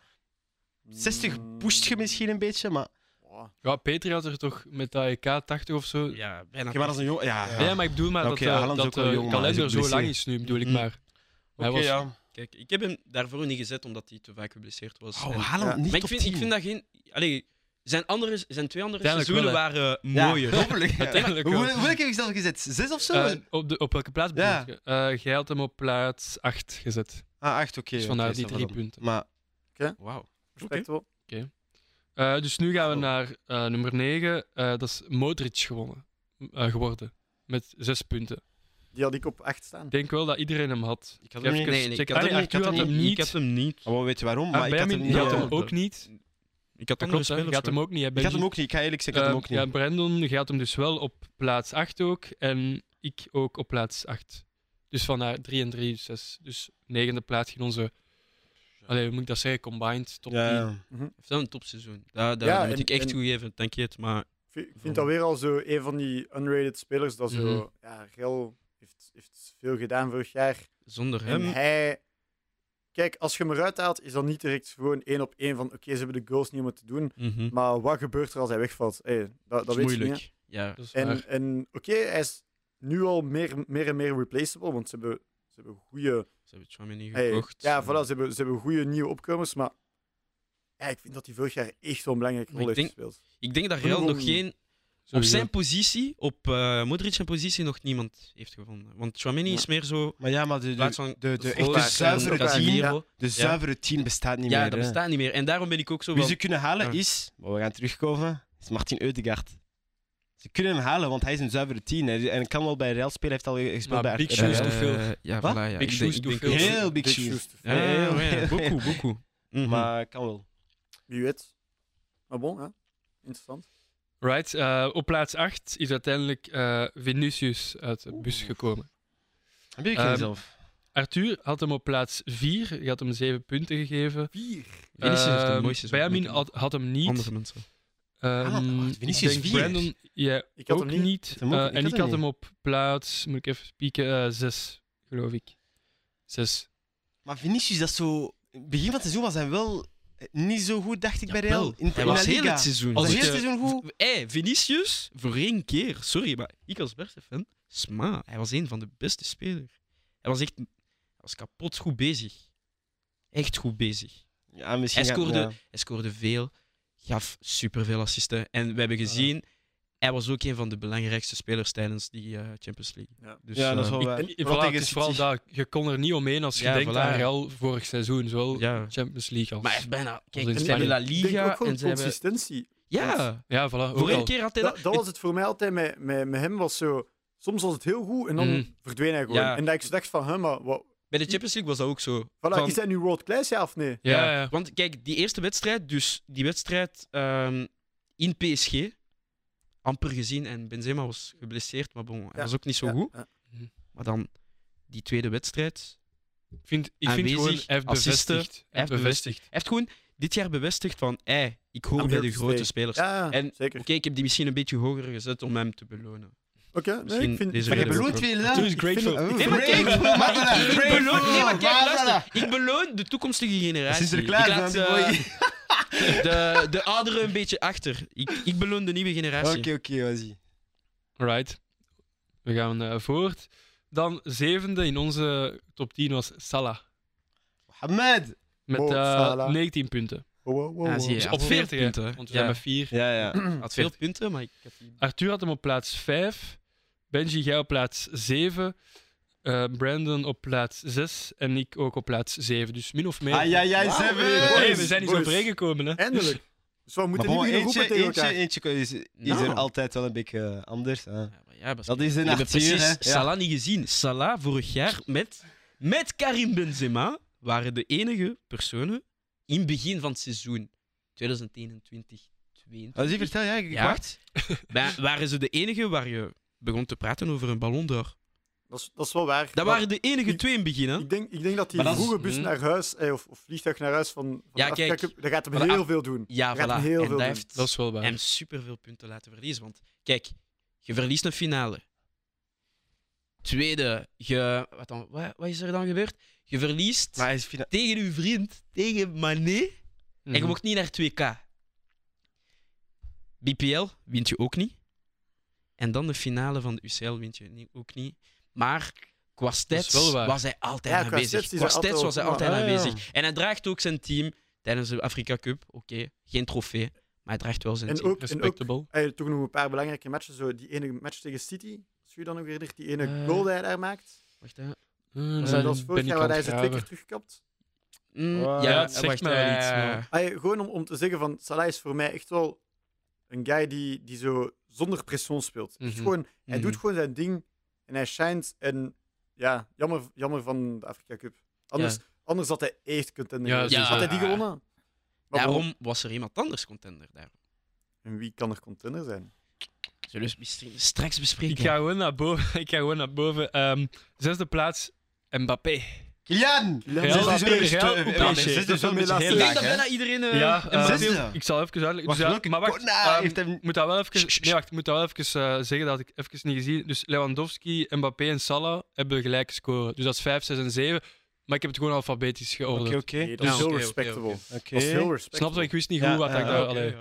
[SPEAKER 2] 60
[SPEAKER 3] Mm.
[SPEAKER 2] pusht je misschien een beetje, maar...
[SPEAKER 3] Oh.
[SPEAKER 1] Ja, Petri had er toch met dat EK 80 of zo. Ja,
[SPEAKER 4] Ja, bijna.
[SPEAKER 2] Ja, maar dat is een jong... Ja, ja.
[SPEAKER 1] maar ik bedoel maar
[SPEAKER 2] Oké,
[SPEAKER 1] dat, eh,
[SPEAKER 2] Haaland is
[SPEAKER 1] dat
[SPEAKER 2] ook wel
[SPEAKER 1] de
[SPEAKER 2] jong, maar hij is
[SPEAKER 1] kalender zo lang
[SPEAKER 2] geblesseerd.
[SPEAKER 1] is nu, bedoel ik
[SPEAKER 2] Mhm.
[SPEAKER 1] maar. Hij
[SPEAKER 2] Oké,
[SPEAKER 1] was-
[SPEAKER 2] ja.
[SPEAKER 4] Kijk, ik heb hem daarvoor niet gezet omdat hij te vaak geblesseerd was. En-
[SPEAKER 2] Oh, Haaland
[SPEAKER 3] Ja.
[SPEAKER 2] niet
[SPEAKER 4] maar ik
[SPEAKER 2] top
[SPEAKER 4] vind, ik
[SPEAKER 2] 10.
[SPEAKER 4] vind dat geen. Allee, zijn, andere, zijn twee andere
[SPEAKER 1] Uiteindelijk
[SPEAKER 4] seizoenen
[SPEAKER 1] wel,
[SPEAKER 4] waren
[SPEAKER 2] Ja,
[SPEAKER 4] mooier.
[SPEAKER 2] hopelijk.
[SPEAKER 1] Uiteindelijk
[SPEAKER 2] Hoe,
[SPEAKER 1] wel.
[SPEAKER 2] hoe heb ik zelf gezet? Zes of zo?
[SPEAKER 1] Eh, op, de, op welke plaats
[SPEAKER 2] Ja.
[SPEAKER 1] bedoel je? Eh, jij had hem op plaats 8 gezet.
[SPEAKER 2] ah, acht, oké.
[SPEAKER 1] Dus
[SPEAKER 2] oké,
[SPEAKER 1] vandaar
[SPEAKER 2] dat
[SPEAKER 1] die
[SPEAKER 2] is
[SPEAKER 1] drie
[SPEAKER 2] wel.
[SPEAKER 1] punten.
[SPEAKER 2] Maar
[SPEAKER 4] Wauw.
[SPEAKER 3] Respectful.
[SPEAKER 1] Eh, dus nu gaan we
[SPEAKER 2] Oh.
[SPEAKER 1] naar eh, nummer 9. Eh, dat is Modric gewonnen, eh, geworden. Met zes punten.
[SPEAKER 3] Die had ik op 8 staan.
[SPEAKER 1] Ik denk wel dat iedereen hem had.
[SPEAKER 2] ik had hem
[SPEAKER 1] Even
[SPEAKER 2] niet.
[SPEAKER 4] Nee, nee, ik
[SPEAKER 1] checken.
[SPEAKER 4] had
[SPEAKER 1] Ah,
[SPEAKER 4] hem
[SPEAKER 1] nee,
[SPEAKER 4] niet, ik had
[SPEAKER 1] Arthur
[SPEAKER 4] hem niet. Ik had hem niet.
[SPEAKER 2] Oh, weet je waarom?
[SPEAKER 1] Ah,
[SPEAKER 2] Maar ik had hem
[SPEAKER 1] Benjamin,
[SPEAKER 2] niet.
[SPEAKER 1] die had
[SPEAKER 2] eh,
[SPEAKER 1] hem
[SPEAKER 4] eh,
[SPEAKER 1] ook niet.
[SPEAKER 4] Ik had
[SPEAKER 1] Dat
[SPEAKER 4] andere
[SPEAKER 1] klopt, hè.
[SPEAKER 4] spelers.
[SPEAKER 1] Je had hem ook niet, hè,
[SPEAKER 2] Ik had
[SPEAKER 1] Benji?
[SPEAKER 2] hem ook niet. Ik ga eerlijk zeggen, ik had hem ook
[SPEAKER 1] Eh,
[SPEAKER 2] niet.
[SPEAKER 1] Ja, Brandon gaat hem dus wel op plaats 8 ook. En ik ook op plaats 8. Dus vandaar 3 en 3, 6. Dus negende plaats in onze. Allee, hoe moet ik dat zeggen? Combined top 10.
[SPEAKER 2] Ja, ja.
[SPEAKER 4] Heeft wel een topseizoen. Daar, daar
[SPEAKER 3] Ja,
[SPEAKER 4] dat moet
[SPEAKER 3] en-
[SPEAKER 4] ik echt
[SPEAKER 3] en-
[SPEAKER 4] toegeven, dank je het. Maar
[SPEAKER 3] Ik vind- ik vind dat weer al zo een van die unrated spelers dat zo...
[SPEAKER 1] Mhm.
[SPEAKER 3] Ja, Gel heeft, heeft veel gedaan vorig jaar.
[SPEAKER 4] zonder
[SPEAKER 3] En
[SPEAKER 4] hem.
[SPEAKER 3] hij... Kijk, als je hem eruit haalt, is dat niet direct gewoon één op één van oké, ze hebben de goals niet om het te doen.
[SPEAKER 4] Mhm.
[SPEAKER 3] Maar wat gebeurt er als hij wegvalt? Hey, dat dat
[SPEAKER 4] is
[SPEAKER 3] weet je niet. hè.
[SPEAKER 4] moeilijk. ja.
[SPEAKER 1] Dat is waar.
[SPEAKER 3] En, en oké, hij is nu al meer, meer en meer replaceable, want ze hebben, ze hebben goede.
[SPEAKER 4] Ze hebben Chouameni
[SPEAKER 3] Hey,
[SPEAKER 4] gekocht.
[SPEAKER 3] ja, voilà, ze hebben, ze hebben goede nieuwe opkomers, maar ja, ik vind dat hij vorig jaar echt wel een belangrijke
[SPEAKER 4] Maar
[SPEAKER 3] rol
[SPEAKER 4] ik
[SPEAKER 3] heeft
[SPEAKER 4] denk-
[SPEAKER 3] gespeeld.
[SPEAKER 4] Ik denk dat Real nog
[SPEAKER 3] Sowieso.
[SPEAKER 4] geen Op zijn positie, op eh Modric zijn positie, nog niemand heeft gevonden. Want Chouameni
[SPEAKER 3] Ja.
[SPEAKER 4] is meer zo...
[SPEAKER 2] Maar ja, maar de,
[SPEAKER 4] plaats
[SPEAKER 2] de,
[SPEAKER 4] van
[SPEAKER 2] de, de
[SPEAKER 4] Volk,
[SPEAKER 2] echte
[SPEAKER 3] waar,
[SPEAKER 2] zuivere
[SPEAKER 3] dat is
[SPEAKER 2] tien,
[SPEAKER 3] hier.
[SPEAKER 4] Casemiro.
[SPEAKER 2] de zuivere tien bestaat niet
[SPEAKER 4] Ja,
[SPEAKER 2] meer.
[SPEAKER 4] dat
[SPEAKER 2] hè.
[SPEAKER 4] bestaat niet meer. En daarom ben ik ook zo
[SPEAKER 2] Wie
[SPEAKER 4] van...
[SPEAKER 2] ze kunnen halen
[SPEAKER 1] Ja.
[SPEAKER 2] is, maar we gaan terugkomen, is Martin Eudegaard. Ze kunnen hem halen, want hij is een zuivere tien. hè. En kan wel bij Real spelen, hij heeft al gespeeld
[SPEAKER 1] Maar
[SPEAKER 2] bij
[SPEAKER 1] Big
[SPEAKER 2] Ar-
[SPEAKER 4] Eh,
[SPEAKER 1] shoes
[SPEAKER 2] Real.
[SPEAKER 1] te veel.
[SPEAKER 4] Ja,
[SPEAKER 2] Wat?
[SPEAKER 4] voilà, ja.
[SPEAKER 1] Big
[SPEAKER 4] Ik
[SPEAKER 1] shoes
[SPEAKER 4] denk-
[SPEAKER 1] te
[SPEAKER 4] ik
[SPEAKER 1] veel.
[SPEAKER 4] denk ook-
[SPEAKER 2] Heel big
[SPEAKER 3] Big
[SPEAKER 2] shoes.
[SPEAKER 3] shoes te
[SPEAKER 4] Ja,
[SPEAKER 3] veel.
[SPEAKER 4] ja, ja,
[SPEAKER 2] Heel-
[SPEAKER 4] ja. Beaucoup, beaucoup. Mhm.
[SPEAKER 2] Maar kan wel.
[SPEAKER 3] Wie weet. Maar bon, ja. Interessant.
[SPEAKER 1] Right. eh, op plaats 8 is uiteindelijk eh, Vinicius uit de bus gekomen.
[SPEAKER 2] Heb ik
[SPEAKER 1] Ehm,
[SPEAKER 2] geen zelf.
[SPEAKER 1] Arthur had hem op plaats 4. Je had hem 7 punten gegeven.
[SPEAKER 3] Vier.
[SPEAKER 2] eh,
[SPEAKER 4] Vinicius heeft een
[SPEAKER 1] Ehm,
[SPEAKER 4] mooi seizoen.
[SPEAKER 1] Benjamin
[SPEAKER 4] Met
[SPEAKER 1] had, had hem niet.
[SPEAKER 4] Andere mensen.
[SPEAKER 1] Ehm,
[SPEAKER 2] Ah, wacht, Vinicius
[SPEAKER 1] ik denk
[SPEAKER 2] vier.
[SPEAKER 1] Brandon, jij
[SPEAKER 3] Ik had
[SPEAKER 1] ook
[SPEAKER 3] hem niet.
[SPEAKER 1] niet.
[SPEAKER 2] hem ook-
[SPEAKER 1] Eh,
[SPEAKER 2] ik
[SPEAKER 1] en
[SPEAKER 2] had
[SPEAKER 1] ik
[SPEAKER 2] hem
[SPEAKER 1] had
[SPEAKER 2] niet.
[SPEAKER 1] hem op plaats, moet ik even pieken, eh, zes, geloof ik. Zes.
[SPEAKER 2] Maar Vinicius, dat is zo... Begin van het seizoen was hij wel eh, niet zo goed, dacht ik, bij
[SPEAKER 4] Jawel.
[SPEAKER 2] Real. In,
[SPEAKER 4] Hij
[SPEAKER 2] in La
[SPEAKER 4] was heel
[SPEAKER 2] Liga.
[SPEAKER 4] het seizoen.
[SPEAKER 2] Als
[SPEAKER 1] Als
[SPEAKER 2] heel
[SPEAKER 1] je-
[SPEAKER 2] het seizoen goed.
[SPEAKER 4] Hé, Vinicius, voor één keer. Sorry, maar ik als Barca-fan, sma. Hij was een van de beste spelers. Hij was echt... Hij was kapot goed bezig. Echt goed bezig.
[SPEAKER 2] Ja, misschien
[SPEAKER 4] Hij
[SPEAKER 2] gaat-
[SPEAKER 4] scoorde-
[SPEAKER 2] ja.
[SPEAKER 4] Hij scoorde veel, gaf superveel assisten. En we hebben gezien, hij was ook een van de belangrijkste spelers tijdens die eh, Champions League.
[SPEAKER 3] Ja.
[SPEAKER 4] Dus,
[SPEAKER 2] ja, dat is
[SPEAKER 4] eh,
[SPEAKER 2] wel waar.
[SPEAKER 1] En,
[SPEAKER 2] Vooral
[SPEAKER 1] voilà, het
[SPEAKER 2] tegen
[SPEAKER 1] is vooral
[SPEAKER 2] City.
[SPEAKER 1] dat, je kon er niet omheen als je
[SPEAKER 4] Ja,
[SPEAKER 1] denkt
[SPEAKER 4] voilà.
[SPEAKER 1] aan Real vorig seizoen. Zowel
[SPEAKER 4] Ja.
[SPEAKER 1] Champions League als...
[SPEAKER 4] Maar hij is bijna... Kijk,
[SPEAKER 1] in
[SPEAKER 4] ze
[SPEAKER 1] Spanje.
[SPEAKER 4] hebben La
[SPEAKER 3] Ik denk ook
[SPEAKER 4] Liga
[SPEAKER 3] gewoon
[SPEAKER 4] en ze hebben...
[SPEAKER 3] consistentie.
[SPEAKER 4] Ja,
[SPEAKER 1] ja, voilà.
[SPEAKER 4] voor
[SPEAKER 1] Ook
[SPEAKER 4] één
[SPEAKER 1] al.
[SPEAKER 4] keer had hij
[SPEAKER 3] Dat,
[SPEAKER 4] dat...
[SPEAKER 3] dat was het voor mij altijd met, met, met hem. Was zo, soms was het heel goed en dan
[SPEAKER 1] Mhm.
[SPEAKER 3] verdween hij gewoon.
[SPEAKER 4] Mm. Ja.
[SPEAKER 3] En dat ik zo dacht van, hè, maar wat,
[SPEAKER 5] Bij de Champions League was dat ook zo.
[SPEAKER 3] Voilà,
[SPEAKER 5] Van-
[SPEAKER 3] is dat nu world class, ja of nee?
[SPEAKER 1] Ja, ja.
[SPEAKER 4] Want kijk, die eerste wedstrijd, dus die wedstrijd ehm, in PSG, amper gezien en Benzema was geblesseerd, maar bon, hij
[SPEAKER 3] Ja,
[SPEAKER 4] was ook niet zo
[SPEAKER 3] Ja,
[SPEAKER 4] goed.
[SPEAKER 3] ja.
[SPEAKER 4] Maar dan die tweede wedstrijd.
[SPEAKER 1] Ik vind, ik vind
[SPEAKER 4] Aanwezig,
[SPEAKER 1] gewoon, hij heeft
[SPEAKER 4] assist,
[SPEAKER 1] bevestigd. Hij heeft bevestigd.
[SPEAKER 4] Hij heeft gewoon dit jaar bevestigd van, hé, ik hoor
[SPEAKER 3] I'm
[SPEAKER 4] bij
[SPEAKER 3] here
[SPEAKER 4] de
[SPEAKER 3] to
[SPEAKER 4] grote
[SPEAKER 3] stay."
[SPEAKER 4] spelers.
[SPEAKER 3] Ja,
[SPEAKER 4] En-
[SPEAKER 3] zeker.
[SPEAKER 4] Oké, ik heb die misschien een beetje hoger gezet om hem te belonen.
[SPEAKER 3] Oké, nee,
[SPEAKER 4] Misschien
[SPEAKER 3] ik vind...
[SPEAKER 4] deze
[SPEAKER 2] Maar je
[SPEAKER 4] reden ook
[SPEAKER 2] beloont
[SPEAKER 4] wel.
[SPEAKER 2] weer
[SPEAKER 1] Toen
[SPEAKER 2] lang.
[SPEAKER 1] is grateful.
[SPEAKER 2] Oh,
[SPEAKER 4] Nee, maar kijk,
[SPEAKER 2] grateful,
[SPEAKER 4] maar
[SPEAKER 2] maar
[SPEAKER 4] ik-
[SPEAKER 2] voilà,
[SPEAKER 4] ik beloon, nee, maar kijk,
[SPEAKER 2] grateful,
[SPEAKER 4] luister.
[SPEAKER 2] voilà.
[SPEAKER 4] Ik beloon de toekomstige
[SPEAKER 2] Ze
[SPEAKER 4] generatie.
[SPEAKER 2] is er klaar,
[SPEAKER 4] ik laat
[SPEAKER 2] man,
[SPEAKER 4] eh,
[SPEAKER 2] boy.
[SPEAKER 4] de, de ouderen een beetje achter. Ik, ik beloon de nieuwe generatie.
[SPEAKER 2] Oké, oké, was
[SPEAKER 1] Right. We gaan eh, voort. Dan zevende in onze top 10 was Salah.
[SPEAKER 2] Ahmed.
[SPEAKER 1] Met
[SPEAKER 3] Mo
[SPEAKER 1] eh,
[SPEAKER 3] Salah.
[SPEAKER 1] 19 punten.
[SPEAKER 3] Wow, wow, wow,
[SPEAKER 4] Ah,
[SPEAKER 3] wow.
[SPEAKER 4] zie je.
[SPEAKER 1] Dus
[SPEAKER 4] Ja.
[SPEAKER 1] op
[SPEAKER 4] Veel
[SPEAKER 1] 40, hè,
[SPEAKER 4] punten, hè.
[SPEAKER 1] Want we
[SPEAKER 4] Ja. Hm.
[SPEAKER 1] zijn met 4.
[SPEAKER 2] Ja, ja.
[SPEAKER 4] had veel punten, maar ik heb die...
[SPEAKER 1] Arthur had hem op plaats 5. Benji, jij op plaats 7. eh, Brandon op plaats 6. En ik ook op plaats 7. Dus min of meer.
[SPEAKER 2] Ah, ja, jij
[SPEAKER 3] Wauw,
[SPEAKER 2] zeven.
[SPEAKER 3] boys.
[SPEAKER 1] Hey, we zijn niet
[SPEAKER 3] Boys.
[SPEAKER 1] overeengekomen, hè?
[SPEAKER 3] Eindelijk. Dus we
[SPEAKER 2] Maar
[SPEAKER 3] moeten
[SPEAKER 2] bon,
[SPEAKER 3] niet meer
[SPEAKER 2] eentje,
[SPEAKER 3] roepen tegen
[SPEAKER 2] eentje,
[SPEAKER 3] elkaar.
[SPEAKER 2] eentje is, is
[SPEAKER 4] Nou.
[SPEAKER 2] er altijd wel een beetje eh, anders. hè.
[SPEAKER 4] Ja, maar ja,
[SPEAKER 2] Dat is een
[SPEAKER 4] ik heb
[SPEAKER 2] Arthur,
[SPEAKER 4] precies
[SPEAKER 2] hè. Ja.
[SPEAKER 4] Salah niet gezien. Salah vorig jaar met, met Karim Benzema waren de enige personen in het begin van het seizoen 2021
[SPEAKER 2] Wat is
[SPEAKER 4] 22
[SPEAKER 2] die vertel? Ja, ik ik
[SPEAKER 4] Ja.
[SPEAKER 2] wacht.
[SPEAKER 4] ben- waren ze de enige waar je begon te praten over een ballon d'Or.
[SPEAKER 3] Dat is, dat is wel waar.
[SPEAKER 4] Dat
[SPEAKER 3] Maar
[SPEAKER 4] waren de enige
[SPEAKER 3] ik-
[SPEAKER 4] twee in het begin, hè?
[SPEAKER 3] Ik denk, ik denk dat die
[SPEAKER 2] Maar dat is-
[SPEAKER 3] vroege bus
[SPEAKER 4] hmm.
[SPEAKER 3] naar huis, eh, of, of vliegtuig naar huis van, van
[SPEAKER 4] Ja,
[SPEAKER 3] de Afrika
[SPEAKER 4] kijk.
[SPEAKER 3] Cup, dat gaat hem
[SPEAKER 4] Maar de
[SPEAKER 3] heel
[SPEAKER 4] Af-
[SPEAKER 3] veel doen.
[SPEAKER 4] Ja,
[SPEAKER 3] Je gaat heel
[SPEAKER 4] voilà. en
[SPEAKER 3] veel
[SPEAKER 4] dat
[SPEAKER 3] doen.
[SPEAKER 4] heeft
[SPEAKER 1] Dat is wel waar.
[SPEAKER 4] hem superveel punten laten verliezen. Want kijk, je verliest een finale. Tweede, je... Wat, dan, wat, wat is er dan gebeurd? Je verliest...
[SPEAKER 2] Maar hij is fina-
[SPEAKER 4] tegen uw vriend, tegen Mané. En je
[SPEAKER 1] Mhm.
[SPEAKER 4] mocht niet naar 2K. BPL wint je ook niet. En dan de finale van de UCL wint je ni- ook niet. Maar qua stats
[SPEAKER 1] wel waar. Ah,
[SPEAKER 4] was hij altijd
[SPEAKER 3] Ja, qua
[SPEAKER 4] aanwezig.
[SPEAKER 3] stats is
[SPEAKER 4] Qua
[SPEAKER 3] hij
[SPEAKER 4] stats
[SPEAKER 3] altijd
[SPEAKER 4] was hij
[SPEAKER 3] wel
[SPEAKER 4] altijd
[SPEAKER 3] goed, maar-
[SPEAKER 4] aanwezig. En hij draagt ook zijn team tijdens de Afrika Cup. Oké, geen trofee, maar hij draagt wel zijn
[SPEAKER 3] En
[SPEAKER 4] team.
[SPEAKER 3] ook, en ook
[SPEAKER 1] Respectable.
[SPEAKER 3] eh, toch nog een paar belangrijke matchen. Zo, die ene match tegen City, als je je dan nog herinnert, die ene
[SPEAKER 4] Eh.
[SPEAKER 3] goal die hij daar maakt.
[SPEAKER 4] Wacht, hè.
[SPEAKER 1] Eh,
[SPEAKER 3] dat was
[SPEAKER 1] ben
[SPEAKER 3] vorig
[SPEAKER 1] ik
[SPEAKER 3] jaar
[SPEAKER 1] aan
[SPEAKER 3] waar hij
[SPEAKER 1] het
[SPEAKER 3] ze twee
[SPEAKER 1] graven.
[SPEAKER 3] keer terugkapt.
[SPEAKER 4] Mm,
[SPEAKER 2] Wow.
[SPEAKER 1] Ja,
[SPEAKER 4] ja,
[SPEAKER 1] het zegt
[SPEAKER 4] wacht,
[SPEAKER 1] me wel
[SPEAKER 4] eh,
[SPEAKER 1] iets, maar-
[SPEAKER 3] Ah, ja, gewoon om, om te zeggen van, Salah is voor mij echt wel een guy die, die zo zonder pression speelt. Echt
[SPEAKER 1] Mhm.
[SPEAKER 3] gewoon, hij
[SPEAKER 4] mhm.
[SPEAKER 3] doet gewoon zijn ding en hij shines. En ja, jammer, jammer van de Afrika Cup. Anders, anders had hij echt contender
[SPEAKER 1] Ja,
[SPEAKER 3] geweest.
[SPEAKER 4] dat is
[SPEAKER 3] Had hij
[SPEAKER 4] waar.
[SPEAKER 3] die gewonnen? Maar
[SPEAKER 4] Daarom was er iemand anders contender daar.
[SPEAKER 3] En wie kan er contender zijn?
[SPEAKER 4] Zullen we misschien straks bespreken.
[SPEAKER 1] Ik ga gewoon naar boven. Ik ga gewoon naar boven. Ehm, zesde plaats, Mbappé.
[SPEAKER 2] Kilian!
[SPEAKER 1] Real
[SPEAKER 2] Zesde
[SPEAKER 1] Mbappé,
[SPEAKER 2] sowieso-
[SPEAKER 1] Real
[SPEAKER 2] eh,
[SPEAKER 1] Mbappé.
[SPEAKER 2] eh, zesde
[SPEAKER 1] Dat is
[SPEAKER 2] sowieso
[SPEAKER 1] wel
[SPEAKER 2] met
[SPEAKER 1] de
[SPEAKER 2] heel
[SPEAKER 1] laatste.
[SPEAKER 4] Ik denk
[SPEAKER 2] laag,
[SPEAKER 4] dat
[SPEAKER 2] hè.
[SPEAKER 4] bijna iedereen eh,
[SPEAKER 1] Ja,
[SPEAKER 4] een
[SPEAKER 1] eh,
[SPEAKER 4] Mbappé-
[SPEAKER 2] Zesde.
[SPEAKER 1] Ik zal even uitleggen. Dus
[SPEAKER 2] Wacht,
[SPEAKER 1] ja,
[SPEAKER 2] welke
[SPEAKER 1] maar wacht,
[SPEAKER 2] corner
[SPEAKER 1] ehm,
[SPEAKER 2] heeft hem...
[SPEAKER 1] Ik moet dat wel even, nee, wacht, ik moet dat wel even eh, zeggen, dat had ik even niet gezien. Dus Lewandowski, Mbappé en Salah hebben gelijk scoren. Dus dat is 5, 6 en 7. Maar ik heb het gewoon alfabetisch geordend.
[SPEAKER 2] Oké,
[SPEAKER 3] Nee,
[SPEAKER 2] oké.
[SPEAKER 3] dat is
[SPEAKER 1] Ja,
[SPEAKER 3] heel
[SPEAKER 4] oké, oké,
[SPEAKER 3] respectable.
[SPEAKER 4] oké.
[SPEAKER 2] Oké.
[SPEAKER 3] Dat is heel respectable.
[SPEAKER 1] Snap je? Ik wist niet
[SPEAKER 2] Ja,
[SPEAKER 1] hoe wat
[SPEAKER 2] ja,
[SPEAKER 4] Ah,
[SPEAKER 1] ik
[SPEAKER 2] ja,
[SPEAKER 1] daar...
[SPEAKER 2] oké,
[SPEAKER 1] allee.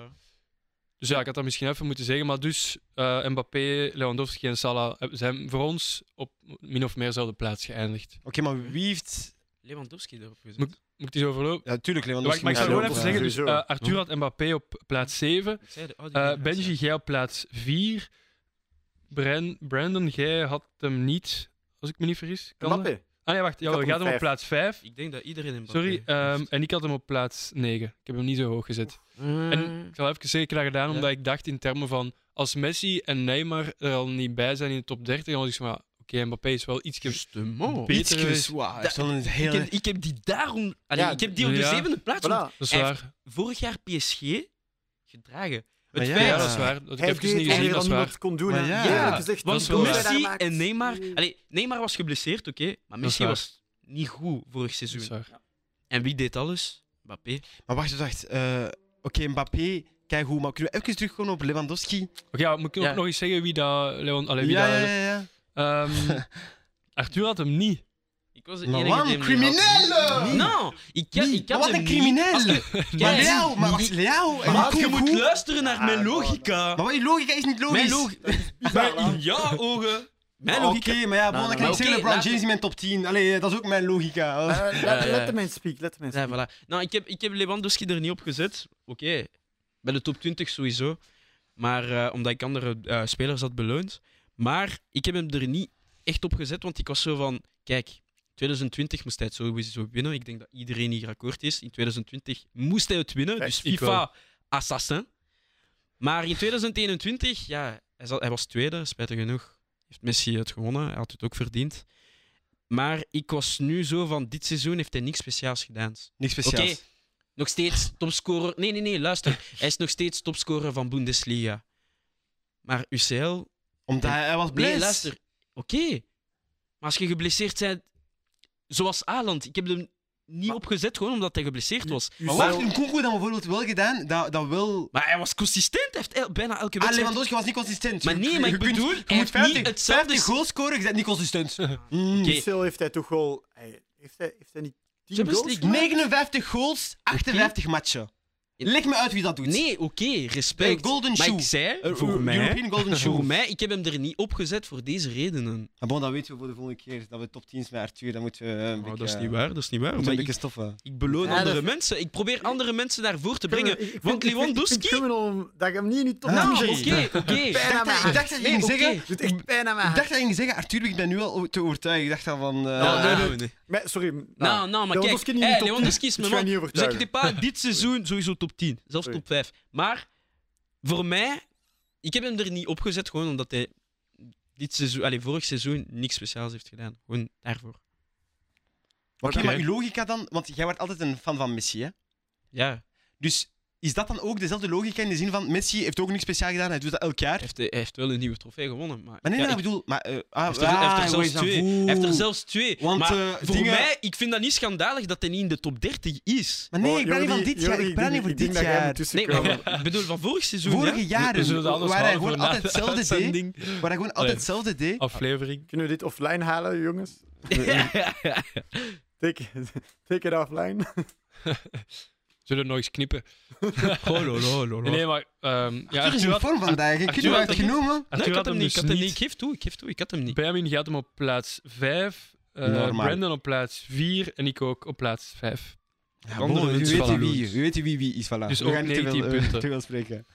[SPEAKER 1] Dus ja, ik had dat misschien even moeten zeggen. Maar dus eh, Mbappé, Lewandowski en Salah eh, zijn voor ons op min of meer dezelfde plaats geëindigd.
[SPEAKER 2] Oké, maar wie heeft...
[SPEAKER 4] Lewandowski erop gezet.
[SPEAKER 1] Moet- Moet ik die zo verlopen?
[SPEAKER 2] Ja, tuurlijk,
[SPEAKER 1] Wacht,
[SPEAKER 2] Lewandowski.
[SPEAKER 1] maar ik
[SPEAKER 3] misschien
[SPEAKER 1] zou gewoon
[SPEAKER 3] wel.
[SPEAKER 1] even zeggen,
[SPEAKER 3] Ja,
[SPEAKER 1] dus,
[SPEAKER 3] sowieso.
[SPEAKER 1] eh, Arthur had Mbappé op plaats 7.
[SPEAKER 4] Ik zei de- oh, die
[SPEAKER 1] Eh,
[SPEAKER 4] gaan
[SPEAKER 1] Benji,
[SPEAKER 4] gaan.
[SPEAKER 1] jij op plaats 4. Bran- Brandon, jij had hem niet, als ik me niet vergis. Kan dat?
[SPEAKER 3] Mbappé.
[SPEAKER 1] Ah nee, wacht. Ja,
[SPEAKER 3] had
[SPEAKER 1] we
[SPEAKER 3] hem op
[SPEAKER 1] hadden hem op
[SPEAKER 3] vijf.
[SPEAKER 1] plaats 5.
[SPEAKER 4] Ik denk dat iedereen in
[SPEAKER 1] Sorry,
[SPEAKER 4] Mbappé
[SPEAKER 1] ehm,
[SPEAKER 4] heeft.
[SPEAKER 1] en ik had hem op plaats 9. Ik heb hem niet zo hoog gezet.
[SPEAKER 4] Eh,
[SPEAKER 1] En ik zal even zeggen, ik heb dat gedaan
[SPEAKER 4] Ja.
[SPEAKER 1] omdat ik dacht in termen van als Messi en Neymar er al niet bij zijn in de top 30, dan was ik zo van, oké, Mbappé is wel iets
[SPEAKER 4] Justement.
[SPEAKER 1] Beter
[SPEAKER 2] Ietsje
[SPEAKER 1] geweest.
[SPEAKER 2] zwaar. Hij
[SPEAKER 4] Dat-
[SPEAKER 2] is wel een
[SPEAKER 4] Ik
[SPEAKER 2] hele...
[SPEAKER 4] heb, ik heb die daarom... Allee,
[SPEAKER 3] Ja,
[SPEAKER 4] ik heb die op de
[SPEAKER 1] ja.
[SPEAKER 4] zevende plaats. want
[SPEAKER 3] Voilà.
[SPEAKER 1] Dat is
[SPEAKER 4] Hij
[SPEAKER 1] waar.
[SPEAKER 4] vorig jaar PSG gedragen.
[SPEAKER 2] Maar
[SPEAKER 4] Het
[SPEAKER 2] ja.
[SPEAKER 4] feit...
[SPEAKER 1] Ah, Ja, dat is waar. Dat ik heb
[SPEAKER 3] Hij heeft
[SPEAKER 1] even niet
[SPEAKER 3] iets
[SPEAKER 1] gezien,
[SPEAKER 3] meer
[SPEAKER 1] dat
[SPEAKER 3] dan
[SPEAKER 1] is waar.
[SPEAKER 3] niemand kon doen.
[SPEAKER 2] Maar
[SPEAKER 3] hè.
[SPEAKER 2] ja.
[SPEAKER 3] Eerlijk
[SPEAKER 4] Ja,
[SPEAKER 3] gezegd,
[SPEAKER 1] want
[SPEAKER 3] die goal die hij daar
[SPEAKER 4] Messi
[SPEAKER 3] maakt.
[SPEAKER 4] en Neymar... Allee, Neymar was geblesseerd, oké. maar
[SPEAKER 1] is
[SPEAKER 4] Messi
[SPEAKER 1] waar.
[SPEAKER 4] was niet goed vorig
[SPEAKER 1] Dat is
[SPEAKER 4] seizoen.
[SPEAKER 1] waar.
[SPEAKER 4] En wie deed alles? Mbappé.
[SPEAKER 2] Maar wacht, wacht. eh, Oké, Mbappé, kijk hoe, maar kunnen we even terugkomen op Lewandowski?
[SPEAKER 1] Oké, ja, moet ik
[SPEAKER 4] Ja.
[SPEAKER 1] ook nog eens zeggen wie dat... Leon, allee, wie
[SPEAKER 2] ja,
[SPEAKER 1] dat
[SPEAKER 2] ja, ja, ja.
[SPEAKER 1] Ehm, Arthur had hem niet.
[SPEAKER 4] Ik was de
[SPEAKER 2] Maar
[SPEAKER 4] enige
[SPEAKER 2] wat
[SPEAKER 4] die
[SPEAKER 2] een
[SPEAKER 4] hem niet had.
[SPEAKER 2] criminele!
[SPEAKER 4] Nou, ik kan,
[SPEAKER 2] Wie?
[SPEAKER 4] ik kan
[SPEAKER 2] Maar wat
[SPEAKER 4] hem
[SPEAKER 2] een
[SPEAKER 4] niet-
[SPEAKER 2] crimineel!
[SPEAKER 4] Als je-
[SPEAKER 2] Maar
[SPEAKER 4] Kijk,
[SPEAKER 2] Leo, maar wacht, Leo! en
[SPEAKER 4] Maar
[SPEAKER 2] Nico
[SPEAKER 4] je moet
[SPEAKER 2] Koe.
[SPEAKER 4] luisteren naar
[SPEAKER 3] Ja,
[SPEAKER 4] mijn
[SPEAKER 3] gewoon.
[SPEAKER 4] logica.
[SPEAKER 2] Maar wat je logica is niet logisch.
[SPEAKER 4] Mijn logica.
[SPEAKER 3] Bizar, hè?
[SPEAKER 4] In jouw ogen. Mijn
[SPEAKER 2] Maar Oké,
[SPEAKER 4] logica.
[SPEAKER 2] maar ja, bon, dan
[SPEAKER 3] Nou, nou,
[SPEAKER 2] kan
[SPEAKER 4] nou.
[SPEAKER 2] ik zeggen
[SPEAKER 4] Oké,
[SPEAKER 2] LeBron
[SPEAKER 4] laten-
[SPEAKER 2] James in mijn top 10. Allee, eh, dat is ook mijn logica.
[SPEAKER 3] Eh,
[SPEAKER 4] Ja,
[SPEAKER 3] Let
[SPEAKER 4] ja.
[SPEAKER 3] let de mensen speak, let de mensen
[SPEAKER 4] Ja,
[SPEAKER 3] speak.
[SPEAKER 4] voilà. Nou, ik heb, ik heb Lewandowski er niet op gezet. Oké. Bij de top 20 sowieso. Maar eh, omdat ik andere eh, spelers had beloond. Maar ik heb hem er niet echt op gezet, want ik was zo van... Kijk, 2020 moest hij het sowieso winnen. Ik denk dat iedereen hier akkoord is. In 2020 moest hij het winnen.
[SPEAKER 3] Ja,
[SPEAKER 4] Dus
[SPEAKER 1] ik
[SPEAKER 4] FIFA, assassin. Maar in 2021, ja, hij, zat- hij was tweede, spijtig genoeg. Heeft Messi het gewonnen. Hij had het ook verdiend. Maar ik was nu zo van, dit seizoen heeft hij niks speciaals gedaan.
[SPEAKER 2] Niks
[SPEAKER 4] Oké,
[SPEAKER 2] speciaals.
[SPEAKER 4] nog steeds topscorer. Nee, nee, nee, luister. Hij is nog steeds topscorer van Bundesliga. Maar UCL...
[SPEAKER 2] Omdat hij, hij was blij.
[SPEAKER 4] Nee, luister. Oké. Maar als je geblesseerd bent... Zoals Aland. Ik heb hem niet opgezet gewoon omdat hij geblesseerd was.
[SPEAKER 2] Maar wat heeft Nkunku dan bijvoorbeeld wel gedaan? Dat, dat wil...
[SPEAKER 4] Maar hij was consistent. Hij heeft el- bijna elke
[SPEAKER 2] Ah,
[SPEAKER 4] wedstrijd...
[SPEAKER 2] Lewandowski was niet consistent.
[SPEAKER 4] Maar nee, maar
[SPEAKER 2] Je
[SPEAKER 4] ik
[SPEAKER 2] kunt-
[SPEAKER 4] bedoel,
[SPEAKER 2] je
[SPEAKER 4] hij
[SPEAKER 2] moet
[SPEAKER 4] heeft niet
[SPEAKER 2] 50,
[SPEAKER 4] hetzelfde
[SPEAKER 2] 50 goals scoren, je bent niet consistent. Mm.
[SPEAKER 4] Oké.
[SPEAKER 3] Hoeveel heeft hij toch wel... Hij, heeft, hij, heeft hij niet 10
[SPEAKER 4] Champions
[SPEAKER 3] goals?
[SPEAKER 4] League.
[SPEAKER 3] gemaakt?
[SPEAKER 2] 59 goals, 58 matchen. Leg me uit wie dat doet.
[SPEAKER 4] Nee, oké, respect.
[SPEAKER 2] Een golden
[SPEAKER 4] maar
[SPEAKER 2] shoe.
[SPEAKER 4] ik zei,
[SPEAKER 2] Eh,
[SPEAKER 4] voor,
[SPEAKER 2] eh,
[SPEAKER 4] mij,
[SPEAKER 2] European Golden Shoe.
[SPEAKER 4] voor mij, ik heb hem er niet opgezet voor deze redenen.
[SPEAKER 2] Maar Ah, bon, dat weten we voor de volgende keer. Dat we top 10 met Arthur, dan moeten we eh,
[SPEAKER 3] Oh,
[SPEAKER 2] een beetje...
[SPEAKER 4] waar, Oh, dat is niet waar.
[SPEAKER 2] moeten we
[SPEAKER 4] Maar
[SPEAKER 2] een
[SPEAKER 4] ik,
[SPEAKER 2] beetje stoffen.
[SPEAKER 4] ik beloon
[SPEAKER 3] Ja,
[SPEAKER 4] andere
[SPEAKER 3] dat-
[SPEAKER 4] mensen. Ik probeer andere mensen daarvoor te
[SPEAKER 3] Ik
[SPEAKER 4] brengen.
[SPEAKER 3] vind- ik vind-
[SPEAKER 4] Want
[SPEAKER 3] ik vind-
[SPEAKER 4] Lewandowski-
[SPEAKER 3] Ik vind criminal om- dat ik hem niet in uw top
[SPEAKER 2] Ah,
[SPEAKER 4] Nou,
[SPEAKER 3] 10
[SPEAKER 4] oké,
[SPEAKER 2] nee.
[SPEAKER 3] zet.
[SPEAKER 4] oké.
[SPEAKER 3] Pijn aan mijn
[SPEAKER 2] Ik
[SPEAKER 3] hart.
[SPEAKER 2] dacht dat je ging
[SPEAKER 4] oké.
[SPEAKER 2] zeggen...
[SPEAKER 3] Het doet echt pijn aan
[SPEAKER 4] Ah.
[SPEAKER 3] mijn
[SPEAKER 2] Ik dacht
[SPEAKER 3] hart.
[SPEAKER 2] dat je ging zeggen, Arthur, ik ben nu al te overtuigd. Ik dacht dan van... eh,
[SPEAKER 4] Nou,
[SPEAKER 3] nee,
[SPEAKER 4] nou,
[SPEAKER 3] nee.
[SPEAKER 4] nee.
[SPEAKER 3] Maar, sorry.
[SPEAKER 4] Nou, nou, maar kijk.
[SPEAKER 3] Lewandowski niet in de
[SPEAKER 4] hey,
[SPEAKER 3] top 10.
[SPEAKER 4] Lewandowski is
[SPEAKER 3] Ik
[SPEAKER 4] mijn
[SPEAKER 3] ga
[SPEAKER 4] man.
[SPEAKER 3] je niet
[SPEAKER 4] Dus ik
[SPEAKER 3] overtuigen.
[SPEAKER 4] denk pas dit seizoen sowieso top 10. Zelfs
[SPEAKER 3] Sorry.
[SPEAKER 4] top 5. Maar voor mij, ik heb hem er niet opgezet gewoon omdat hij dit seizoen, allez, vorig seizoen niks speciaals heeft gedaan. Gewoon daarvoor.
[SPEAKER 2] Oké,
[SPEAKER 1] Oké.
[SPEAKER 2] maar uw logica dan... Want jij wordt altijd een fan van Messi, hè?
[SPEAKER 4] Ja,
[SPEAKER 2] Dus is dat dan ook dezelfde logica in de zin van... Messi heeft ook niks speciaal gedaan, hij doet dat elk jaar.
[SPEAKER 4] hij heeft, hij heeft wel een nieuwe trofee gewonnen. Maar,
[SPEAKER 2] Maar nee,
[SPEAKER 4] ja,
[SPEAKER 2] nee,
[SPEAKER 4] ik-
[SPEAKER 2] ik bedoel... Maar, eh, ah,
[SPEAKER 4] heeft er- hij heeft er
[SPEAKER 2] ah,
[SPEAKER 4] zelfs
[SPEAKER 2] hoe is dat?
[SPEAKER 4] twee.
[SPEAKER 2] Oeh.
[SPEAKER 4] Hij heeft er zelfs twee.
[SPEAKER 2] Want,
[SPEAKER 4] maar
[SPEAKER 2] eh,
[SPEAKER 4] voor
[SPEAKER 2] dingen-
[SPEAKER 4] mij, ik vind dat niet schandalig dat hij niet in de top 30 is.
[SPEAKER 2] Maar nee,
[SPEAKER 3] Oh,
[SPEAKER 2] ik ben niet van
[SPEAKER 3] Jordi,
[SPEAKER 2] dit jaar.
[SPEAKER 3] Jordi,
[SPEAKER 2] Ik ben niet
[SPEAKER 3] denk-
[SPEAKER 2] voor
[SPEAKER 3] ik denk
[SPEAKER 2] dit
[SPEAKER 3] dat jij
[SPEAKER 2] jaar.
[SPEAKER 3] moet
[SPEAKER 4] Nee,
[SPEAKER 3] tussenkomen.
[SPEAKER 4] maar, ik bedoel van vorig seizoen.
[SPEAKER 2] Vorige
[SPEAKER 4] ja?
[SPEAKER 1] We zullen
[SPEAKER 2] jaren,
[SPEAKER 1] het anders
[SPEAKER 2] waar hij
[SPEAKER 1] houden
[SPEAKER 2] gewoon
[SPEAKER 1] voor na
[SPEAKER 2] altijd
[SPEAKER 1] de
[SPEAKER 2] hetzelfde deed.
[SPEAKER 1] uitzending. Oh.
[SPEAKER 2] Waar hij gewoon altijd
[SPEAKER 1] Allee.
[SPEAKER 2] hetzelfde deed.
[SPEAKER 1] Aflevering.
[SPEAKER 3] Kunnen we dit offline halen, jongens? Take, take it offline.
[SPEAKER 1] Zullen we nog eens knippen?
[SPEAKER 4] Oh, lo, lo, lo, lo.
[SPEAKER 1] Nee, nee, maar... ehm ja,
[SPEAKER 2] Arthur is in
[SPEAKER 1] had-
[SPEAKER 2] vorm vandaag. Ik heb
[SPEAKER 1] Arthur
[SPEAKER 2] hem
[SPEAKER 1] had dat
[SPEAKER 2] uitgenomen.
[SPEAKER 1] Arthur
[SPEAKER 4] Nee, ik had hem niet. Ik
[SPEAKER 1] dus
[SPEAKER 4] had hem niet. Ik geef toe, ik geef toe. Ik had hem niet.
[SPEAKER 1] Benjamin gaat hem op plaats 5.
[SPEAKER 2] Normaal.
[SPEAKER 1] Brandon op plaats 4 en ik ook op plaats 5.
[SPEAKER 2] Ja,
[SPEAKER 1] Andere
[SPEAKER 2] bon, u
[SPEAKER 1] mensen
[SPEAKER 2] weet
[SPEAKER 1] vallen
[SPEAKER 2] wie,
[SPEAKER 1] lood.
[SPEAKER 2] u weet wie wie is, voilà.
[SPEAKER 1] Dus
[SPEAKER 2] We
[SPEAKER 1] ook
[SPEAKER 2] gaan niet te veel,
[SPEAKER 1] 19
[SPEAKER 2] eh,
[SPEAKER 1] punten.
[SPEAKER 2] te veel spreken.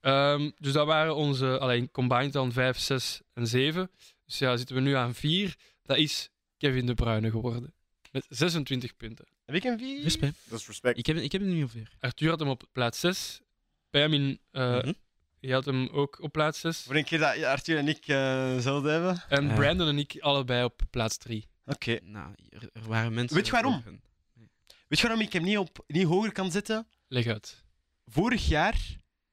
[SPEAKER 1] Ehm, dus dat waren onze, alleen combined dan 5, 6 en 7. Dus ja, zitten we nu aan 4. Dat is Kevin de Bruyne geworden. Met 26 punten.
[SPEAKER 2] Heb ik een wie?
[SPEAKER 4] Respect.
[SPEAKER 3] Dat is respect.
[SPEAKER 4] Ik heb, ik heb hem niet ongeveer.
[SPEAKER 1] Arthur had hem op plaats 6. Benjamin eh
[SPEAKER 4] Mhm.
[SPEAKER 1] die had hem ook op plaats 6.
[SPEAKER 2] Voor een keer dat Arthur en ik eh, hetzelfde hebben. Oké.
[SPEAKER 1] En
[SPEAKER 4] Ja.
[SPEAKER 1] Brandon en ik allebei op plaats 3.
[SPEAKER 4] Nou, er, er waren mensen.
[SPEAKER 2] Weet je waarom?
[SPEAKER 4] boven.
[SPEAKER 2] Weet je waarom ik hem niet, op, niet hoger kan zetten?
[SPEAKER 1] Leg uit.
[SPEAKER 2] Vorig jaar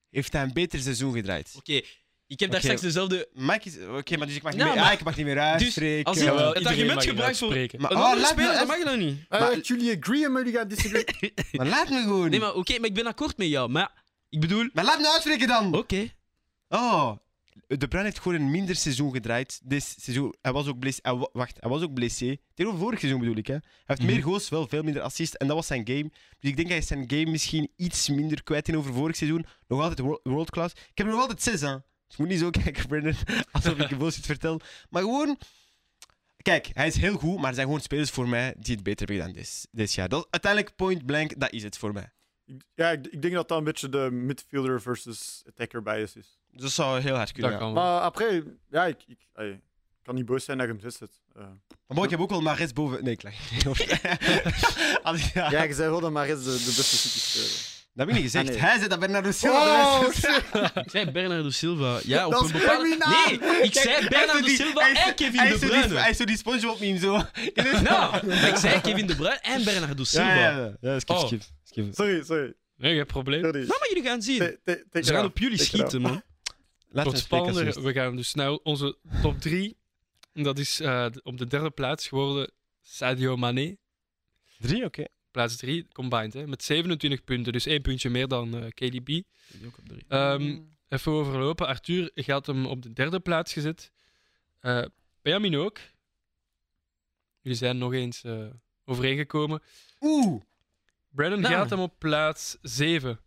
[SPEAKER 2] heeft hij een beter seizoen gedraaid.
[SPEAKER 4] Oké, ik heb daar
[SPEAKER 2] Oké.
[SPEAKER 4] straks dezelfde.
[SPEAKER 2] Mike is... Oké, maar dus ik mag niet
[SPEAKER 4] Nou,
[SPEAKER 2] meer...
[SPEAKER 4] maar-
[SPEAKER 2] ah, ik mag niet meer uitspreken.
[SPEAKER 4] als ik-
[SPEAKER 1] Jawel,
[SPEAKER 4] het
[SPEAKER 1] iedereen
[SPEAKER 4] argument
[SPEAKER 1] mag
[SPEAKER 4] gebruikt voor-
[SPEAKER 1] uitspreken.
[SPEAKER 2] maar,
[SPEAKER 4] Een
[SPEAKER 2] ah,
[SPEAKER 4] andere
[SPEAKER 2] laat,
[SPEAKER 4] speler,
[SPEAKER 2] me,
[SPEAKER 4] dat mag je nou niet.
[SPEAKER 3] Eh,
[SPEAKER 2] maar-
[SPEAKER 3] jullie agree, maar jullie gaan disagree.
[SPEAKER 2] maar laat me gewoon.
[SPEAKER 4] Nee, maar oké, maar ik ben akkoord met jou. Maar ik bedoel.
[SPEAKER 2] Maar laat me uitspreken dan!
[SPEAKER 4] Oké.
[SPEAKER 2] Oh, De Bruyne heeft gewoon een minder seizoen gedraaid. Dit seizoen, hij was ook blessé. hij wa- Wacht, hij was ook blessé. Tegenover vorig seizoen bedoel ik. Hè. Hij heeft
[SPEAKER 1] Mhm.
[SPEAKER 2] meer goals, wel veel minder assists. En dat was zijn game. Dus ik denk hij is zijn game misschien iets minder kwijt tegenover vorig seizoen. Nog altijd wo- world class. Ik heb er nog altijd zes aan. Dus je moet niet zo kijken, Brendan, alsof ik je bullshit vertel. Maar gewoon... Kijk, hij is heel goed, maar er zijn gewoon spelers voor mij die het beter hebben gedaan dit, dit jaar. Dat, uiteindelijk, point blank, dat is het voor mij.
[SPEAKER 3] Ik- Ja, ik, ik denk dat dat een beetje de midfielder versus attacker bias is.
[SPEAKER 2] Dat zou heel hard kunnen.
[SPEAKER 1] Dat
[SPEAKER 2] ja.
[SPEAKER 1] kan wel.
[SPEAKER 3] Maar après, ja, ik, ik, ey, ik kan niet boos zijn dat je hem zit zet. Eh,
[SPEAKER 2] Maar bon, ik heb ook wel Maris boven... Nee, ik lag niet over. Als ik- ja.
[SPEAKER 3] ja, je zei wel dat Maris de, de beste city speler
[SPEAKER 2] Dat heb ik niet gezegd.
[SPEAKER 3] Ah, nee.
[SPEAKER 2] Hij zei dat Bernardo Silva.
[SPEAKER 3] Oh,
[SPEAKER 2] de beste-
[SPEAKER 3] shit.
[SPEAKER 4] Ik zei Bernardo Silva. Ja, op
[SPEAKER 3] Dat
[SPEAKER 4] een
[SPEAKER 3] is
[SPEAKER 4] bepaalde.
[SPEAKER 3] criminaal.
[SPEAKER 4] Nee, ik
[SPEAKER 2] Kijk,
[SPEAKER 4] zei
[SPEAKER 2] hij
[SPEAKER 4] Bernardo
[SPEAKER 2] is zo die-
[SPEAKER 4] Silva
[SPEAKER 2] hij is-
[SPEAKER 4] en Kevin
[SPEAKER 2] hij
[SPEAKER 4] De
[SPEAKER 2] is zo die- Hij
[SPEAKER 4] Bruyne.
[SPEAKER 2] is zo die SpongeBob meme zo.
[SPEAKER 4] Nou, ik zei Kevin De Bruyne en Bernardo Silva.
[SPEAKER 2] Ja, ja, ja. ja skip,
[SPEAKER 1] Oh.
[SPEAKER 2] skip, skip.
[SPEAKER 3] Sorry, sorry.
[SPEAKER 1] Nee, geen probleem.
[SPEAKER 3] Jordi.
[SPEAKER 4] Nou, maar jullie gaan zien.
[SPEAKER 3] Te- te- take
[SPEAKER 4] Ze
[SPEAKER 3] it
[SPEAKER 4] gaan
[SPEAKER 3] out.
[SPEAKER 4] op jullie
[SPEAKER 3] Take it out.
[SPEAKER 4] schieten, man.
[SPEAKER 2] Laat
[SPEAKER 1] Tot spannender. We gaan dus naar onze top 3. Dat is eh, d- op de derde plaats geworden Sadio Mané.
[SPEAKER 2] Drie, oké.
[SPEAKER 1] Plaats 3 combined, hè, met 27 punten. Dus één puntje meer dan eh, KDB. Ehm,
[SPEAKER 2] Mm.
[SPEAKER 1] Even overlopen. Arthur gaat hem op de derde plaats gezet. Eh Benjamin ook. Jullie zijn nog eens eh, overeengekomen.
[SPEAKER 2] Oeh.
[SPEAKER 1] Brandon
[SPEAKER 4] Nou.
[SPEAKER 1] gaat hem op plaats 7.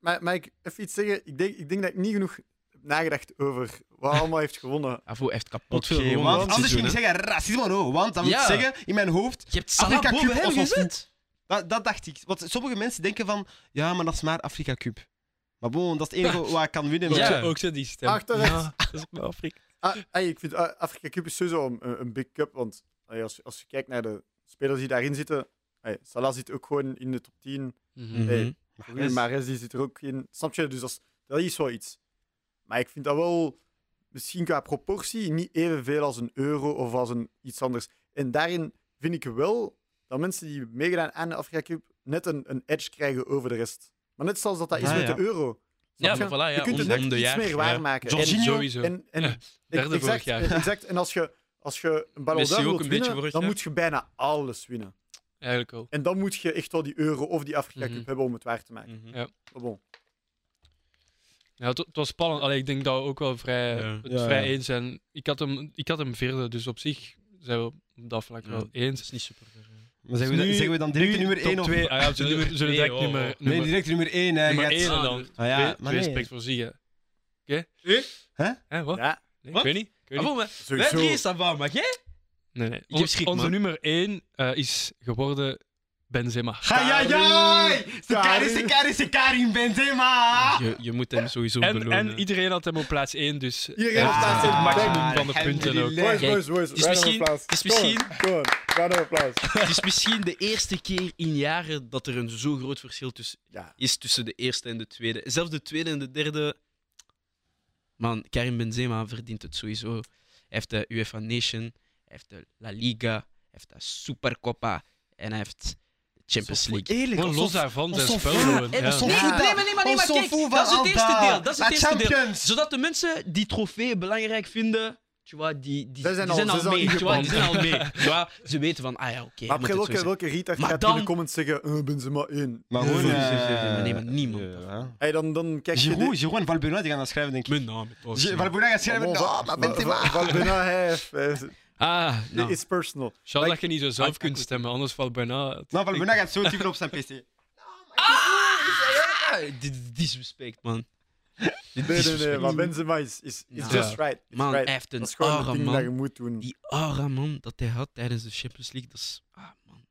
[SPEAKER 3] Maar, maar ik even iets zeggen? Ik denk, ik denk dat ik niet genoeg heb nagedacht over wat allemaal heeft gewonnen.
[SPEAKER 4] Avo heeft kapot
[SPEAKER 2] Oké,
[SPEAKER 4] veel gewonnen
[SPEAKER 2] want
[SPEAKER 4] dit
[SPEAKER 2] anders
[SPEAKER 4] seizoen,
[SPEAKER 2] ging ik
[SPEAKER 4] hè.
[SPEAKER 2] zeggen racisme, no. Want dan moet ik
[SPEAKER 4] Ja.
[SPEAKER 2] zeggen, in mijn hoofd,
[SPEAKER 4] Je hebt Salah
[SPEAKER 2] Afrika
[SPEAKER 4] boven
[SPEAKER 2] Cup
[SPEAKER 4] hem
[SPEAKER 2] was wel
[SPEAKER 4] gezet.
[SPEAKER 2] dat, dat dacht ik. Want sommige mensen denken van, ja, maar dat is maar Afrika Cup. Maar bon, dat is het enige waar ik kan winnen.
[SPEAKER 4] Ja.
[SPEAKER 2] met-
[SPEAKER 1] Ook zo die stem.
[SPEAKER 3] Achteruit.
[SPEAKER 1] Ja, dat is maar Afrika.
[SPEAKER 3] Ah, ey, ik vind ah, Afrika Cup is sowieso een, een big cup, want ey, als, als je kijkt naar de spelers die daarin zitten, ey, Salah zit ook gewoon in de top 10.
[SPEAKER 1] Mhm.
[SPEAKER 4] Mhm.
[SPEAKER 3] Hey. Rui Mahrez die zit er ook in. Snap je? Dus dat is, dat is wel iets. Maar ik vind dat wel, misschien qua proportie, niet evenveel als een euro of als een, iets anders. En En daarin vind ik wel dat mensen die meegedaan aan de Afrika Cup net een, een edge krijgen over de rest. Maar net zoals dat dat is
[SPEAKER 2] Ja,
[SPEAKER 3] met
[SPEAKER 2] ja.
[SPEAKER 3] de euro.
[SPEAKER 1] Ja,
[SPEAKER 3] Snap
[SPEAKER 1] maar voilà, ja,
[SPEAKER 3] je kunt
[SPEAKER 4] om-
[SPEAKER 3] het net
[SPEAKER 4] om de
[SPEAKER 3] iets
[SPEAKER 4] jaar,
[SPEAKER 3] meer
[SPEAKER 4] ja.
[SPEAKER 3] waarmaken.
[SPEAKER 1] En
[SPEAKER 3] En-
[SPEAKER 1] sowieso.
[SPEAKER 3] En, en
[SPEAKER 1] derde vorig
[SPEAKER 3] exact,
[SPEAKER 1] jaar.
[SPEAKER 3] exact. En als je, als je een Ballon
[SPEAKER 4] Messi
[SPEAKER 3] d'Or
[SPEAKER 4] ook
[SPEAKER 3] wilt
[SPEAKER 4] een beetje
[SPEAKER 3] winnen,
[SPEAKER 4] vorig
[SPEAKER 3] dan
[SPEAKER 4] jaar.
[SPEAKER 3] moet je bijna alles winnen.
[SPEAKER 1] Eigenlijk wel.
[SPEAKER 3] En dan moet je echt wel die euro of die Afrika
[SPEAKER 1] Mhm.
[SPEAKER 3] Cup hebben om het waar te maken.
[SPEAKER 4] Mhm.
[SPEAKER 1] Ja.
[SPEAKER 3] Maar bon.
[SPEAKER 1] Ja, het, het was spannend. Allee, ik denk dat we ook wel vrij,
[SPEAKER 4] Ja.
[SPEAKER 1] het
[SPEAKER 2] Ja,
[SPEAKER 1] vrij
[SPEAKER 2] ja.
[SPEAKER 1] eens zijn. Ik had, hem, ik had hem vierde, dus op zich zijn we op dat vlak
[SPEAKER 4] Ja.
[SPEAKER 1] wel
[SPEAKER 4] Dat
[SPEAKER 1] eens.
[SPEAKER 4] is niet super. ver, hè.
[SPEAKER 2] Maar zeggen we,
[SPEAKER 1] Nu-
[SPEAKER 2] dan, zeggen we dan direct
[SPEAKER 1] Nu
[SPEAKER 2] nummer 1
[SPEAKER 1] top
[SPEAKER 2] of...
[SPEAKER 1] twee. Ah, ja, we zullen, we zullen
[SPEAKER 4] Nee,
[SPEAKER 1] direct
[SPEAKER 4] oh,
[SPEAKER 1] nummer,
[SPEAKER 4] oh.
[SPEAKER 2] Nee,
[SPEAKER 1] nummer,
[SPEAKER 2] direct nummer 1. Hè.
[SPEAKER 1] nummer
[SPEAKER 2] Je
[SPEAKER 1] één
[SPEAKER 2] gaat-
[SPEAKER 1] en
[SPEAKER 4] Ah,
[SPEAKER 1] dan
[SPEAKER 4] nummer
[SPEAKER 2] Ah,
[SPEAKER 1] twee,
[SPEAKER 2] ja, maar
[SPEAKER 1] twee
[SPEAKER 2] nee.
[SPEAKER 1] respect voor Ziegen. Oké?
[SPEAKER 4] Eh?
[SPEAKER 2] Hè?
[SPEAKER 1] Hè, wat?
[SPEAKER 3] Ja,
[SPEAKER 1] Nee,
[SPEAKER 4] Wat?
[SPEAKER 1] Ik weet niet. Ik weet
[SPEAKER 4] Ah,
[SPEAKER 1] niet.
[SPEAKER 4] bon, maar wij
[SPEAKER 3] sowieso.
[SPEAKER 4] drie is dat waar, maar jij?
[SPEAKER 1] Nee, nee.
[SPEAKER 4] heb
[SPEAKER 1] Ons-
[SPEAKER 4] schrik,
[SPEAKER 1] onze
[SPEAKER 4] man.
[SPEAKER 1] nummer 1 is geworden Benzema.
[SPEAKER 2] Ga ja, ja! Sikari, Sikari, Sikari, Benzema!
[SPEAKER 4] Je, je moet hem sowieso
[SPEAKER 1] En,
[SPEAKER 4] belonen.
[SPEAKER 1] en iedereen had hem op plaats 1, dus
[SPEAKER 3] Iedereen
[SPEAKER 1] hij
[SPEAKER 3] op
[SPEAKER 1] heeft
[SPEAKER 3] plaats
[SPEAKER 1] het
[SPEAKER 3] één.
[SPEAKER 1] maximum van de punten ook.
[SPEAKER 2] Alhamdulillah.
[SPEAKER 4] Kijk,
[SPEAKER 3] boys, boys.
[SPEAKER 4] het is misschien- het is misschien-
[SPEAKER 3] Gewoon, round of applaus.
[SPEAKER 4] Het is misschien de eerste keer in jaren dat er een zo groot verschil tussen,
[SPEAKER 3] Ja.
[SPEAKER 4] is tussen de eerste en de tweede. Zelfs de tweede en de derde. Man, Karim Benzema verdient het sowieso. Hij heeft de UEFA Nation, hij heeft de La Liga, hij heeft de Supercoppa en hij heeft de Champions League.
[SPEAKER 2] Eerlijk,
[SPEAKER 1] Gewoon los
[SPEAKER 2] alsof-
[SPEAKER 1] daarvan, zijn
[SPEAKER 2] alsof-
[SPEAKER 1] spel
[SPEAKER 2] Ja,
[SPEAKER 1] gewoon.
[SPEAKER 2] en
[SPEAKER 1] ja.
[SPEAKER 2] alsof-
[SPEAKER 4] Nee, nee, maar, nee, maar, nee, maar
[SPEAKER 2] Alsof
[SPEAKER 4] kijk,
[SPEAKER 2] Voeva
[SPEAKER 4] dat is het eerste
[SPEAKER 2] Alba,
[SPEAKER 4] deel. Dat is het
[SPEAKER 2] La
[SPEAKER 4] eerste deel.
[SPEAKER 2] Champions.
[SPEAKER 4] Zodat de mensen die trofee belangrijk vinden, tu vois, die, die,
[SPEAKER 3] Zij zijn
[SPEAKER 4] die zijn
[SPEAKER 3] al-
[SPEAKER 4] al
[SPEAKER 3] ze zijn al
[SPEAKER 4] mee. tu vois, die zijn
[SPEAKER 1] ingepalmd.
[SPEAKER 4] al mee. Tu vois, Ze weten van, ah ja, oké.
[SPEAKER 3] Maar
[SPEAKER 4] moet
[SPEAKER 3] heb je
[SPEAKER 4] het
[SPEAKER 3] welke,
[SPEAKER 4] zo zijn.
[SPEAKER 3] welke retard
[SPEAKER 4] Maar
[SPEAKER 3] gaat
[SPEAKER 4] dan-
[SPEAKER 3] in de comments zeggen eh, Benzema 1?
[SPEAKER 2] Maar
[SPEAKER 4] gewoon,
[SPEAKER 2] gewoon...
[SPEAKER 4] eh,
[SPEAKER 2] eh,
[SPEAKER 4] nee, maar niemand.
[SPEAKER 2] ja.
[SPEAKER 3] Hey, dan, dan kijk je...
[SPEAKER 2] Giroud, Giroud en Valbuena die gaan dat schrijven, denk ik.
[SPEAKER 4] Mijn naam is
[SPEAKER 2] Gi- Valbuena gaat
[SPEAKER 3] dit-
[SPEAKER 2] schrijven...
[SPEAKER 3] Oh,
[SPEAKER 2] Oh, eh. maar Benzema!
[SPEAKER 3] Wat Benzema heeft. eh,
[SPEAKER 4] Ah, nou.
[SPEAKER 3] It's personal.
[SPEAKER 1] Charles, dat je niet zo zelf
[SPEAKER 3] ik-
[SPEAKER 1] kunt stemmen, anders valt bijna...
[SPEAKER 2] Nou, Valbuena gaat zo typen op zijn pc.
[SPEAKER 4] Ah, dit is disrespect, man.
[SPEAKER 3] Nee,
[SPEAKER 4] Dit is
[SPEAKER 3] nee, nee.
[SPEAKER 4] disrespect.
[SPEAKER 3] Maar Benzema is, is, is
[SPEAKER 4] Ja.
[SPEAKER 3] just right. It's
[SPEAKER 4] Man,
[SPEAKER 3] right.
[SPEAKER 4] hij heeft
[SPEAKER 3] Dat
[SPEAKER 4] een
[SPEAKER 3] is gewoon
[SPEAKER 4] aura,
[SPEAKER 3] het ding dat je
[SPEAKER 4] man.
[SPEAKER 3] moet doen.
[SPEAKER 4] Die aura, man, dat hij had tijdens de Champions League, dat is... Ah, man.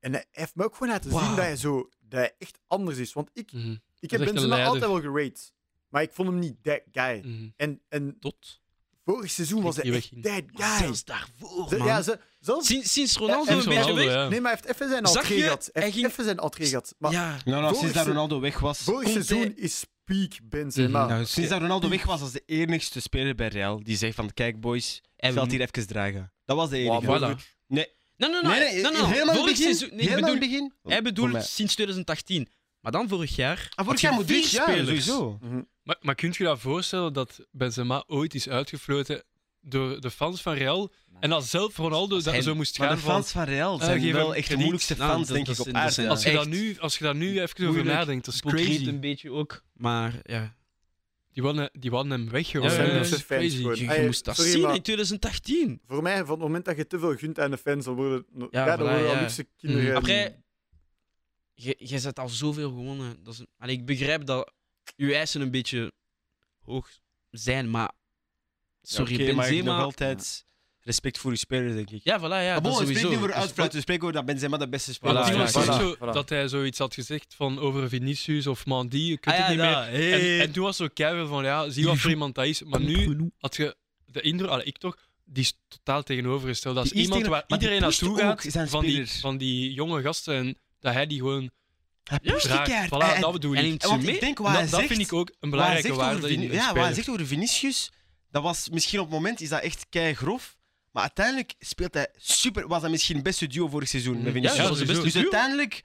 [SPEAKER 3] En hij heeft me ook gewoon laten zien
[SPEAKER 4] Wauw.
[SPEAKER 3] dat hij, zo, dat hij echt anders is. Want ik,
[SPEAKER 1] Mhm,
[SPEAKER 3] ik
[SPEAKER 1] is echt
[SPEAKER 3] heb
[SPEAKER 1] een
[SPEAKER 3] Benzema
[SPEAKER 1] leider.
[SPEAKER 3] altijd wel gerate. Maar ik vond hem niet that
[SPEAKER 4] Mm.
[SPEAKER 3] guy.
[SPEAKER 1] mhm.
[SPEAKER 3] En, en
[SPEAKER 4] Tot.
[SPEAKER 3] vorig seizoen was hij
[SPEAKER 1] die
[SPEAKER 3] echt that
[SPEAKER 4] Maar
[SPEAKER 3] guy.
[SPEAKER 4] zelfs daarvoor,
[SPEAKER 3] Ze-
[SPEAKER 4] man.
[SPEAKER 3] ja, ze, zelfs...
[SPEAKER 4] sinds, sinds Ronaldo
[SPEAKER 3] Ja,
[SPEAKER 4] een
[SPEAKER 1] Sinds
[SPEAKER 3] sinds
[SPEAKER 4] beetje
[SPEAKER 1] Ronaldo,
[SPEAKER 4] weg...
[SPEAKER 1] ja.
[SPEAKER 3] Nee, maar hij heeft even zijn
[SPEAKER 4] Zag
[SPEAKER 3] entrée
[SPEAKER 4] je?
[SPEAKER 3] gehad. Hij
[SPEAKER 4] Hij
[SPEAKER 3] heeft
[SPEAKER 4] ging-
[SPEAKER 3] even zijn entrée gehad. Maar
[SPEAKER 4] Ja.
[SPEAKER 2] Nou, nou,
[SPEAKER 3] Vorig
[SPEAKER 2] sinds dat
[SPEAKER 3] seizoen-
[SPEAKER 2] Ronaldo weg was...
[SPEAKER 3] vorig
[SPEAKER 4] Conte-
[SPEAKER 3] seizoen is peak Benzema.
[SPEAKER 1] Mhm.
[SPEAKER 2] Nou, sinds dat Ronaldo
[SPEAKER 3] Die-
[SPEAKER 2] weg was, als de enigste speler bij Real die zegt van, kijk boys,
[SPEAKER 4] En we
[SPEAKER 2] veld
[SPEAKER 4] moeten-
[SPEAKER 2] hier even dragen. Dat was de enige.
[SPEAKER 1] Voilà.
[SPEAKER 4] Nee, nee, nee.
[SPEAKER 2] Nee, nee,
[SPEAKER 4] nee, nee,
[SPEAKER 2] helemaal in het begin.
[SPEAKER 4] Vorig nou, seizoen... Nee, ik
[SPEAKER 2] helemaal in
[SPEAKER 4] bedoel,
[SPEAKER 2] het begin.
[SPEAKER 4] hij
[SPEAKER 2] Voor
[SPEAKER 4] bedoelt
[SPEAKER 2] mij.
[SPEAKER 4] sinds 2018. Maar dan vorig jaar...
[SPEAKER 2] Ah,
[SPEAKER 4] had
[SPEAKER 2] vorig
[SPEAKER 4] je
[SPEAKER 2] jaar moet
[SPEAKER 4] vier
[SPEAKER 2] dit jaar,
[SPEAKER 4] spelers. Nou,
[SPEAKER 2] sowieso.
[SPEAKER 1] Maar, maar kunt je je dat voorstellen dat Benzema ooit is uitgefloten door de fans van Real en dat zelf Ronaldo
[SPEAKER 4] Als
[SPEAKER 1] dat
[SPEAKER 4] hij-
[SPEAKER 1] zo moest
[SPEAKER 2] Maar
[SPEAKER 1] gaan
[SPEAKER 2] de
[SPEAKER 1] van...
[SPEAKER 2] fans van Real
[SPEAKER 1] Eh,
[SPEAKER 2] zijn
[SPEAKER 1] geef hem
[SPEAKER 2] wel echt de
[SPEAKER 1] krediet.
[SPEAKER 2] moeilijkste
[SPEAKER 4] Nou,
[SPEAKER 2] fans,
[SPEAKER 4] dat
[SPEAKER 2] denk
[SPEAKER 4] is-
[SPEAKER 2] ik, op
[SPEAKER 4] dat is-
[SPEAKER 2] aarde.
[SPEAKER 4] dat
[SPEAKER 1] Als je, dat
[SPEAKER 4] Echt.
[SPEAKER 1] nu, als je daar nu even over
[SPEAKER 2] Moeilijk.
[SPEAKER 1] nadenkt, dat is
[SPEAKER 4] Crazy.
[SPEAKER 1] crazy.
[SPEAKER 4] een beetje ook. Maar, ja.
[SPEAKER 1] Die wonnen, die wonnen hem weg, Eh,
[SPEAKER 3] Dat
[SPEAKER 1] jongen.
[SPEAKER 3] zijn
[SPEAKER 1] Ja,
[SPEAKER 3] mensen
[SPEAKER 1] ja,
[SPEAKER 3] fans
[SPEAKER 1] crazy.
[SPEAKER 3] gewoon.
[SPEAKER 4] Je, je
[SPEAKER 3] Hey,
[SPEAKER 4] moest dat
[SPEAKER 3] sorry,
[SPEAKER 4] zien
[SPEAKER 3] maar-
[SPEAKER 4] in 2018.
[SPEAKER 3] Voor mij, van het moment dat je te veel gunt aan de fans, dan worden, ja,
[SPEAKER 4] Ja,
[SPEAKER 3] dan
[SPEAKER 4] voilà,
[SPEAKER 3] worden al
[SPEAKER 4] ja.
[SPEAKER 3] liefste
[SPEAKER 2] Mm.
[SPEAKER 3] kinderen.
[SPEAKER 1] Mhm.
[SPEAKER 4] Après, je, je zet al zoveel gewonnen. Dat is een- Allee, ik begrijp dat uw eisen een beetje hoog zijn, maar. Sorry,
[SPEAKER 2] Oké, maar
[SPEAKER 4] Benzema.
[SPEAKER 2] nog altijd respect voor uw spelers, denk ik.
[SPEAKER 4] Ja, voilà, ja.
[SPEAKER 2] Ah,
[SPEAKER 4] dat
[SPEAKER 2] bon, we
[SPEAKER 4] sowieso. Dus
[SPEAKER 2] spreken niet over
[SPEAKER 4] Dat is
[SPEAKER 2] uitfluiten, we spreken over dat Benzema de beste
[SPEAKER 1] Maar
[SPEAKER 2] speler
[SPEAKER 4] Voilà,
[SPEAKER 1] het
[SPEAKER 2] is.
[SPEAKER 1] ding was
[SPEAKER 4] ja,
[SPEAKER 1] ook
[SPEAKER 4] voilà,
[SPEAKER 1] zo
[SPEAKER 3] voilà.
[SPEAKER 1] dat hij zoiets had gezegd van over Vinicius of Mandy, ik
[SPEAKER 4] Ah,
[SPEAKER 1] weet
[SPEAKER 4] ja,
[SPEAKER 1] het niet meer.
[SPEAKER 4] dat, hey.
[SPEAKER 1] En, en toen was zo keihard van, ja, zie wat voor iemand dat is. Maar nu had je de indruk, allee, ik toch, die is totaal tegenovergesteld. Dat is
[SPEAKER 2] Die is
[SPEAKER 1] iemand
[SPEAKER 2] tegen-
[SPEAKER 1] waar
[SPEAKER 2] maar die
[SPEAKER 1] iedereen
[SPEAKER 2] pusht
[SPEAKER 1] naartoe
[SPEAKER 2] ook
[SPEAKER 1] gaat,
[SPEAKER 2] zijn
[SPEAKER 1] van die,
[SPEAKER 2] spelers.
[SPEAKER 1] van die jonge gasten, en dat hij die gewoon
[SPEAKER 2] Hij pusht die
[SPEAKER 1] draagt.
[SPEAKER 2] keihard.
[SPEAKER 1] Voilà,
[SPEAKER 2] Hij-
[SPEAKER 1] dat bedoel
[SPEAKER 4] En
[SPEAKER 1] ik.
[SPEAKER 4] neemt ze
[SPEAKER 2] want
[SPEAKER 4] mee.
[SPEAKER 2] ik denk wat
[SPEAKER 1] Dat,
[SPEAKER 2] hij
[SPEAKER 1] dat
[SPEAKER 2] zegt,
[SPEAKER 1] vind ik ook een
[SPEAKER 2] wat hij
[SPEAKER 1] belangrijke
[SPEAKER 2] zegt
[SPEAKER 1] waarde
[SPEAKER 2] over
[SPEAKER 1] in
[SPEAKER 2] Vini-
[SPEAKER 1] een
[SPEAKER 2] Ja, wat hij
[SPEAKER 1] speler.
[SPEAKER 2] zegt over Vinicius, dat was misschien op het moment is dat echt kei grof. Maar uiteindelijk speelt hij super. Was hij misschien het beste duo vorig seizoen met Vinicius?
[SPEAKER 1] ja, dat was het beste
[SPEAKER 2] dus
[SPEAKER 1] duo.
[SPEAKER 2] uiteindelijk.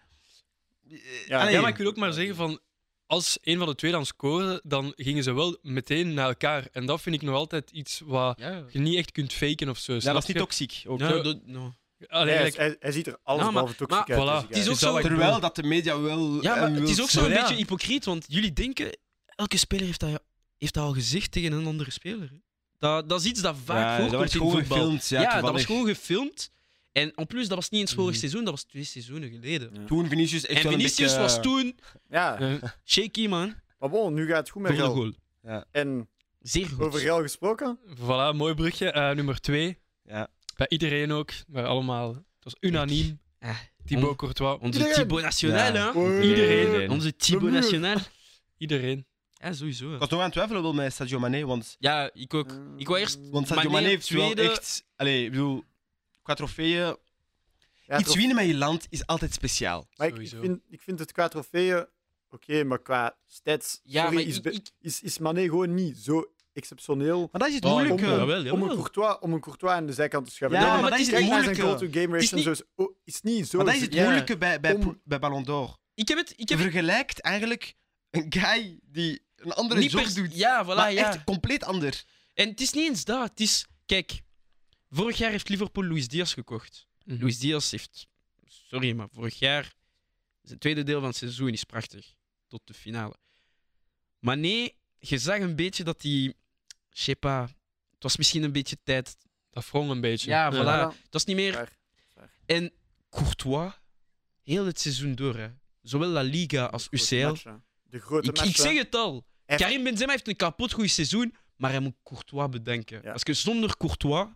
[SPEAKER 2] eh,
[SPEAKER 3] Ja.
[SPEAKER 2] allee,
[SPEAKER 1] Ja, maar ik wil ook maar zeggen van. Als een van de twee dan scoorde, dan gingen ze wel meteen naar elkaar. En dat vind ik nog altijd iets wat
[SPEAKER 4] Ja,
[SPEAKER 1] je niet echt kunt faken of zo.
[SPEAKER 2] ja,
[SPEAKER 1] snap
[SPEAKER 2] dat is niet
[SPEAKER 1] je?
[SPEAKER 2] toxiek. Ook.
[SPEAKER 4] Ja,
[SPEAKER 1] Zo-
[SPEAKER 4] dat- nou.
[SPEAKER 1] Allee,
[SPEAKER 3] hij,
[SPEAKER 1] like,
[SPEAKER 3] is- hij, hij ziet er alles
[SPEAKER 4] Nou, maar-
[SPEAKER 3] behalve toxisch
[SPEAKER 1] maar-
[SPEAKER 3] uit. dus
[SPEAKER 1] voilà.
[SPEAKER 3] deze
[SPEAKER 4] Het is
[SPEAKER 3] guy.
[SPEAKER 4] ook zo.
[SPEAKER 2] Terwijl dat de media wel.
[SPEAKER 4] Ja, maar
[SPEAKER 2] hem
[SPEAKER 4] het
[SPEAKER 2] wil
[SPEAKER 4] is ook zo een
[SPEAKER 1] Ja.
[SPEAKER 4] beetje hypocriet, want jullie denken. Elke speler heeft dat, heeft dat al gezegd tegen een andere speler. hè. Dat, dat is iets dat vaak
[SPEAKER 2] Ja, dat
[SPEAKER 4] voorkomt
[SPEAKER 2] werd
[SPEAKER 4] in
[SPEAKER 2] gewoon
[SPEAKER 4] voetbal.
[SPEAKER 2] gefilmd. Ja,
[SPEAKER 4] ja, dat was
[SPEAKER 2] toevallig.
[SPEAKER 4] gewoon gefilmd. En en plus, dat was niet eens vorig
[SPEAKER 1] Mhm.
[SPEAKER 4] seizoen, dat was twee seizoenen geleden.
[SPEAKER 2] Toen Vinicius echt
[SPEAKER 4] En
[SPEAKER 2] wel een
[SPEAKER 4] Vinicius
[SPEAKER 2] beetje-
[SPEAKER 4] was toen
[SPEAKER 3] Ja,
[SPEAKER 1] eh,
[SPEAKER 4] shaky, man.
[SPEAKER 3] maar bon, nu gaat het goed met
[SPEAKER 4] Voor de
[SPEAKER 3] Real.
[SPEAKER 4] goal.
[SPEAKER 3] En
[SPEAKER 4] Zeer goed.
[SPEAKER 3] over Real gesproken,
[SPEAKER 1] voilà, mooi brugje. Eh, nummer twee.
[SPEAKER 2] Ja.
[SPEAKER 1] Bij iedereen ook. Bij allemaal. Het was unaniem.
[SPEAKER 4] Eh,
[SPEAKER 1] Thibaut
[SPEAKER 4] on-
[SPEAKER 1] Courtois.
[SPEAKER 4] Onze
[SPEAKER 3] Iedereen.
[SPEAKER 4] Thibaut National,
[SPEAKER 2] Ja.
[SPEAKER 4] hè?
[SPEAKER 3] Oei.
[SPEAKER 1] Iedereen.
[SPEAKER 4] Onze Thibaut
[SPEAKER 3] muur.
[SPEAKER 4] National.
[SPEAKER 1] Iedereen.
[SPEAKER 4] Ja, sowieso.
[SPEAKER 2] Ik
[SPEAKER 4] hè.
[SPEAKER 2] was nog aan het twijfelen wel met Sadio Mané, want,
[SPEAKER 4] Ja, ik ook. Ik wou eerst.
[SPEAKER 2] want Sadio
[SPEAKER 4] Mané
[SPEAKER 2] Mané
[SPEAKER 4] op
[SPEAKER 2] heeft wel
[SPEAKER 4] tweede.
[SPEAKER 2] echt... Allee, ik bedoel, qua trofeeën...
[SPEAKER 3] ja,
[SPEAKER 2] iets
[SPEAKER 3] trof-
[SPEAKER 2] winnen met je land is altijd speciaal.
[SPEAKER 3] maar ik, ik
[SPEAKER 1] Sowieso.
[SPEAKER 3] vind, ik vind het qua trofeeën oké, maar qua stats
[SPEAKER 4] Ja,
[SPEAKER 3] sorry,
[SPEAKER 4] maar
[SPEAKER 3] is,
[SPEAKER 4] ik-
[SPEAKER 3] be-
[SPEAKER 4] ik-
[SPEAKER 3] is, is Mané gewoon niet zo exceptioneel
[SPEAKER 2] Maar dat is het
[SPEAKER 3] Oh,
[SPEAKER 2] moeilijke.
[SPEAKER 3] kom,
[SPEAKER 4] Jawel,
[SPEAKER 3] om een,
[SPEAKER 4] jawel.
[SPEAKER 3] Courtois, om een Courtois aan de zijkant te schuiven.
[SPEAKER 2] Ja,
[SPEAKER 3] Dat-
[SPEAKER 2] maar
[SPEAKER 3] dat
[SPEAKER 2] dat is
[SPEAKER 3] kijk
[SPEAKER 2] het
[SPEAKER 3] naar zijn
[SPEAKER 2] moeilijke.
[SPEAKER 3] goal-to-game
[SPEAKER 4] is
[SPEAKER 3] ratio.
[SPEAKER 4] niet-
[SPEAKER 3] Zo is, oh, is niet zo.
[SPEAKER 2] Maar dat is het
[SPEAKER 3] ja.
[SPEAKER 2] moeilijke bij, bij,
[SPEAKER 3] Om-
[SPEAKER 2] bij Ballon d'Or.
[SPEAKER 4] Ik heb het. Ik
[SPEAKER 2] Je
[SPEAKER 4] heb het
[SPEAKER 2] vergelijkt eigenlijk een guy die een andere
[SPEAKER 4] niet
[SPEAKER 2] job
[SPEAKER 4] per-
[SPEAKER 2] doet.
[SPEAKER 4] Ja, voilà,
[SPEAKER 2] maar
[SPEAKER 4] ja.
[SPEAKER 2] echt compleet ander.
[SPEAKER 4] En het is niet eens dat. Het is, kijk, vorig jaar heeft Liverpool Luis Diaz gekocht.
[SPEAKER 2] Mhm.
[SPEAKER 4] Luis Diaz heeft, sorry, maar vorig jaar, zijn tweede deel van het seizoen is prachtig. Tot de finale. Maar nee, je zag een beetje dat hij, je sais pas, het was misschien een beetje tijd.
[SPEAKER 1] Dat wrong een beetje.
[SPEAKER 4] Ja, voilà.
[SPEAKER 3] Ja.
[SPEAKER 4] Het was niet meer.
[SPEAKER 3] Waar, waar.
[SPEAKER 4] En Courtois, heel het seizoen door, hè. zowel La Liga als
[SPEAKER 3] Grote
[SPEAKER 4] UCL.
[SPEAKER 3] matchen. De grote
[SPEAKER 4] Ik, ik
[SPEAKER 3] matchen.
[SPEAKER 4] zeg het al.
[SPEAKER 3] Echt.
[SPEAKER 4] Karim Benzema heeft een kapot goed seizoen, maar hij moet Courtois bedenken.
[SPEAKER 3] Ja.
[SPEAKER 4] Als je zonder Courtois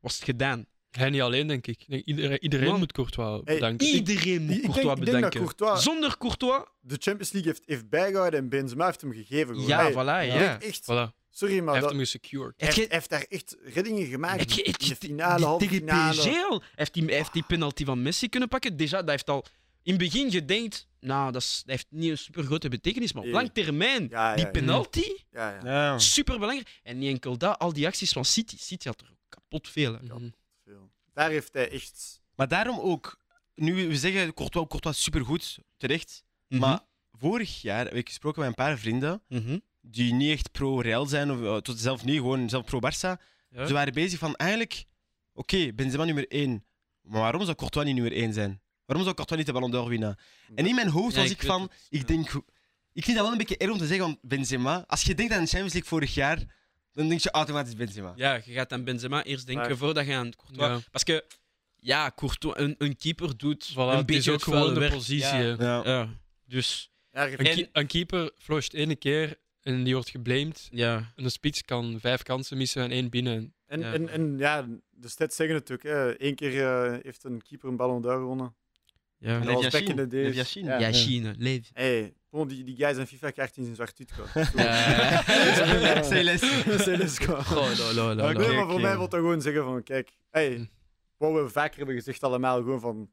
[SPEAKER 4] was het gedaan.
[SPEAKER 1] Hij niet alleen, denk ik. Ik denk Iedereen, iedereen
[SPEAKER 4] Man.
[SPEAKER 1] moet Courtois
[SPEAKER 3] Hey,
[SPEAKER 1] bedanken.
[SPEAKER 4] Iedereen moet
[SPEAKER 3] Ik denk-
[SPEAKER 4] Courtois
[SPEAKER 3] ik denk dat
[SPEAKER 4] bedenken.
[SPEAKER 3] Courtois-
[SPEAKER 4] Zonder Courtois,
[SPEAKER 3] De Champions League heeft, heeft bijgehouden en Benzema heeft hem gegeven. gewoon.
[SPEAKER 4] ja,
[SPEAKER 3] Hey,
[SPEAKER 4] voilà. Ja.
[SPEAKER 3] ik denk Echt,
[SPEAKER 1] Voilà.
[SPEAKER 3] sorry,
[SPEAKER 1] Hij
[SPEAKER 3] maar
[SPEAKER 1] heeft
[SPEAKER 3] dat,
[SPEAKER 1] hem gesecured.
[SPEAKER 3] hij
[SPEAKER 4] Heb
[SPEAKER 3] heeft,
[SPEAKER 4] je-
[SPEAKER 3] heeft daar echt reddingen gemaakt.
[SPEAKER 4] heb je- heb
[SPEAKER 3] in
[SPEAKER 4] je
[SPEAKER 3] de
[SPEAKER 4] te-
[SPEAKER 3] finale,
[SPEAKER 4] die-
[SPEAKER 3] halve
[SPEAKER 4] tegen
[SPEAKER 3] finale.
[SPEAKER 4] PSG al? Hij Heeft die, hij heeft die penalty van Messi kunnen pakken? Déjà, dat heeft al... In het begin gedenkt, nou, dat, is- dat heeft niet een supergrote betekenis, maar op
[SPEAKER 3] Nee.
[SPEAKER 4] lang termijn,
[SPEAKER 3] Eh, Ja, ja,
[SPEAKER 4] die
[SPEAKER 3] ja.
[SPEAKER 4] penalty,
[SPEAKER 3] Ja, ja.
[SPEAKER 2] Ja.
[SPEAKER 4] superbelangrijk. En niet enkel dat, al die acties van City. City had er kapot veel. hè.
[SPEAKER 1] Mhm.
[SPEAKER 3] Veel. Daar heeft hij echt...
[SPEAKER 2] Maar daarom ook, nu we zeggen Courtois, Courtois supergoed, terecht. Maar vorig jaar heb ik gesproken met een paar vrienden
[SPEAKER 4] Mhm.
[SPEAKER 2] die niet echt pro-Real zijn, of eh, tot zelf niet, gewoon zelf pro-Barça.
[SPEAKER 4] Ja.
[SPEAKER 2] Ze waren bezig van eigenlijk, oké, Benzema nummer 1, maar waarom zou Courtois niet nummer 1 zijn? Waarom zou Courtois niet de Ballon d'Or winnen? En in mijn hoofd
[SPEAKER 4] Ja,
[SPEAKER 2] was
[SPEAKER 4] ik
[SPEAKER 2] ik
[SPEAKER 4] weet
[SPEAKER 2] van,
[SPEAKER 4] het, ja.
[SPEAKER 2] ik denk, ho- ik vind dat wel een beetje erg om te zeggen, want Benzema, als je denkt aan de Champions League vorig jaar, dan denk je automatisch Benzema.
[SPEAKER 4] Ja, je gaat aan Benzema eerst denken
[SPEAKER 3] Maar-
[SPEAKER 4] voordat je aan Courtois.
[SPEAKER 1] Ja.
[SPEAKER 4] Parce que, ja, Courtois, een, een keeper doet
[SPEAKER 1] Voilà,
[SPEAKER 4] een
[SPEAKER 1] het is
[SPEAKER 4] beetje
[SPEAKER 1] ook
[SPEAKER 4] het vuile
[SPEAKER 1] gewoon de
[SPEAKER 4] werk.
[SPEAKER 1] positie.
[SPEAKER 4] Ja.
[SPEAKER 1] hè.
[SPEAKER 2] Ja.
[SPEAKER 4] Ja, dus
[SPEAKER 3] Ja, hij heeft-
[SPEAKER 1] Een,
[SPEAKER 4] En-
[SPEAKER 1] ki- een keeper flusht één keer en die wordt geblamed.
[SPEAKER 4] ja.
[SPEAKER 1] En een spits kan vijf kansen missen en één binnen.
[SPEAKER 3] En
[SPEAKER 4] Ja.
[SPEAKER 3] ja, en, en, ja de stats zeggen het ook. Hè. Eén keer eh, heeft een keeper een ballon d'or gewonnen.
[SPEAKER 4] Ja,
[SPEAKER 2] En
[SPEAKER 3] dat
[SPEAKER 2] Lev
[SPEAKER 3] was back
[SPEAKER 2] Yashin.
[SPEAKER 3] in the days.
[SPEAKER 2] Lev Yashin.
[SPEAKER 3] Ja.
[SPEAKER 4] ja China, leef.
[SPEAKER 3] Hey, bon, die, die guys in FIFA krijgt in zijn zwart-wit gehad.
[SPEAKER 4] Ja.
[SPEAKER 2] Celeste.
[SPEAKER 3] Celeste gehad.
[SPEAKER 4] Goh, lo, lo, lo,
[SPEAKER 2] Oké.
[SPEAKER 4] lo.
[SPEAKER 3] Nee, maar voor mij wil dat gewoon zeggen van, kijk,
[SPEAKER 1] Hm.
[SPEAKER 3] hey, wat we vaker hebben gezegd allemaal, gewoon van,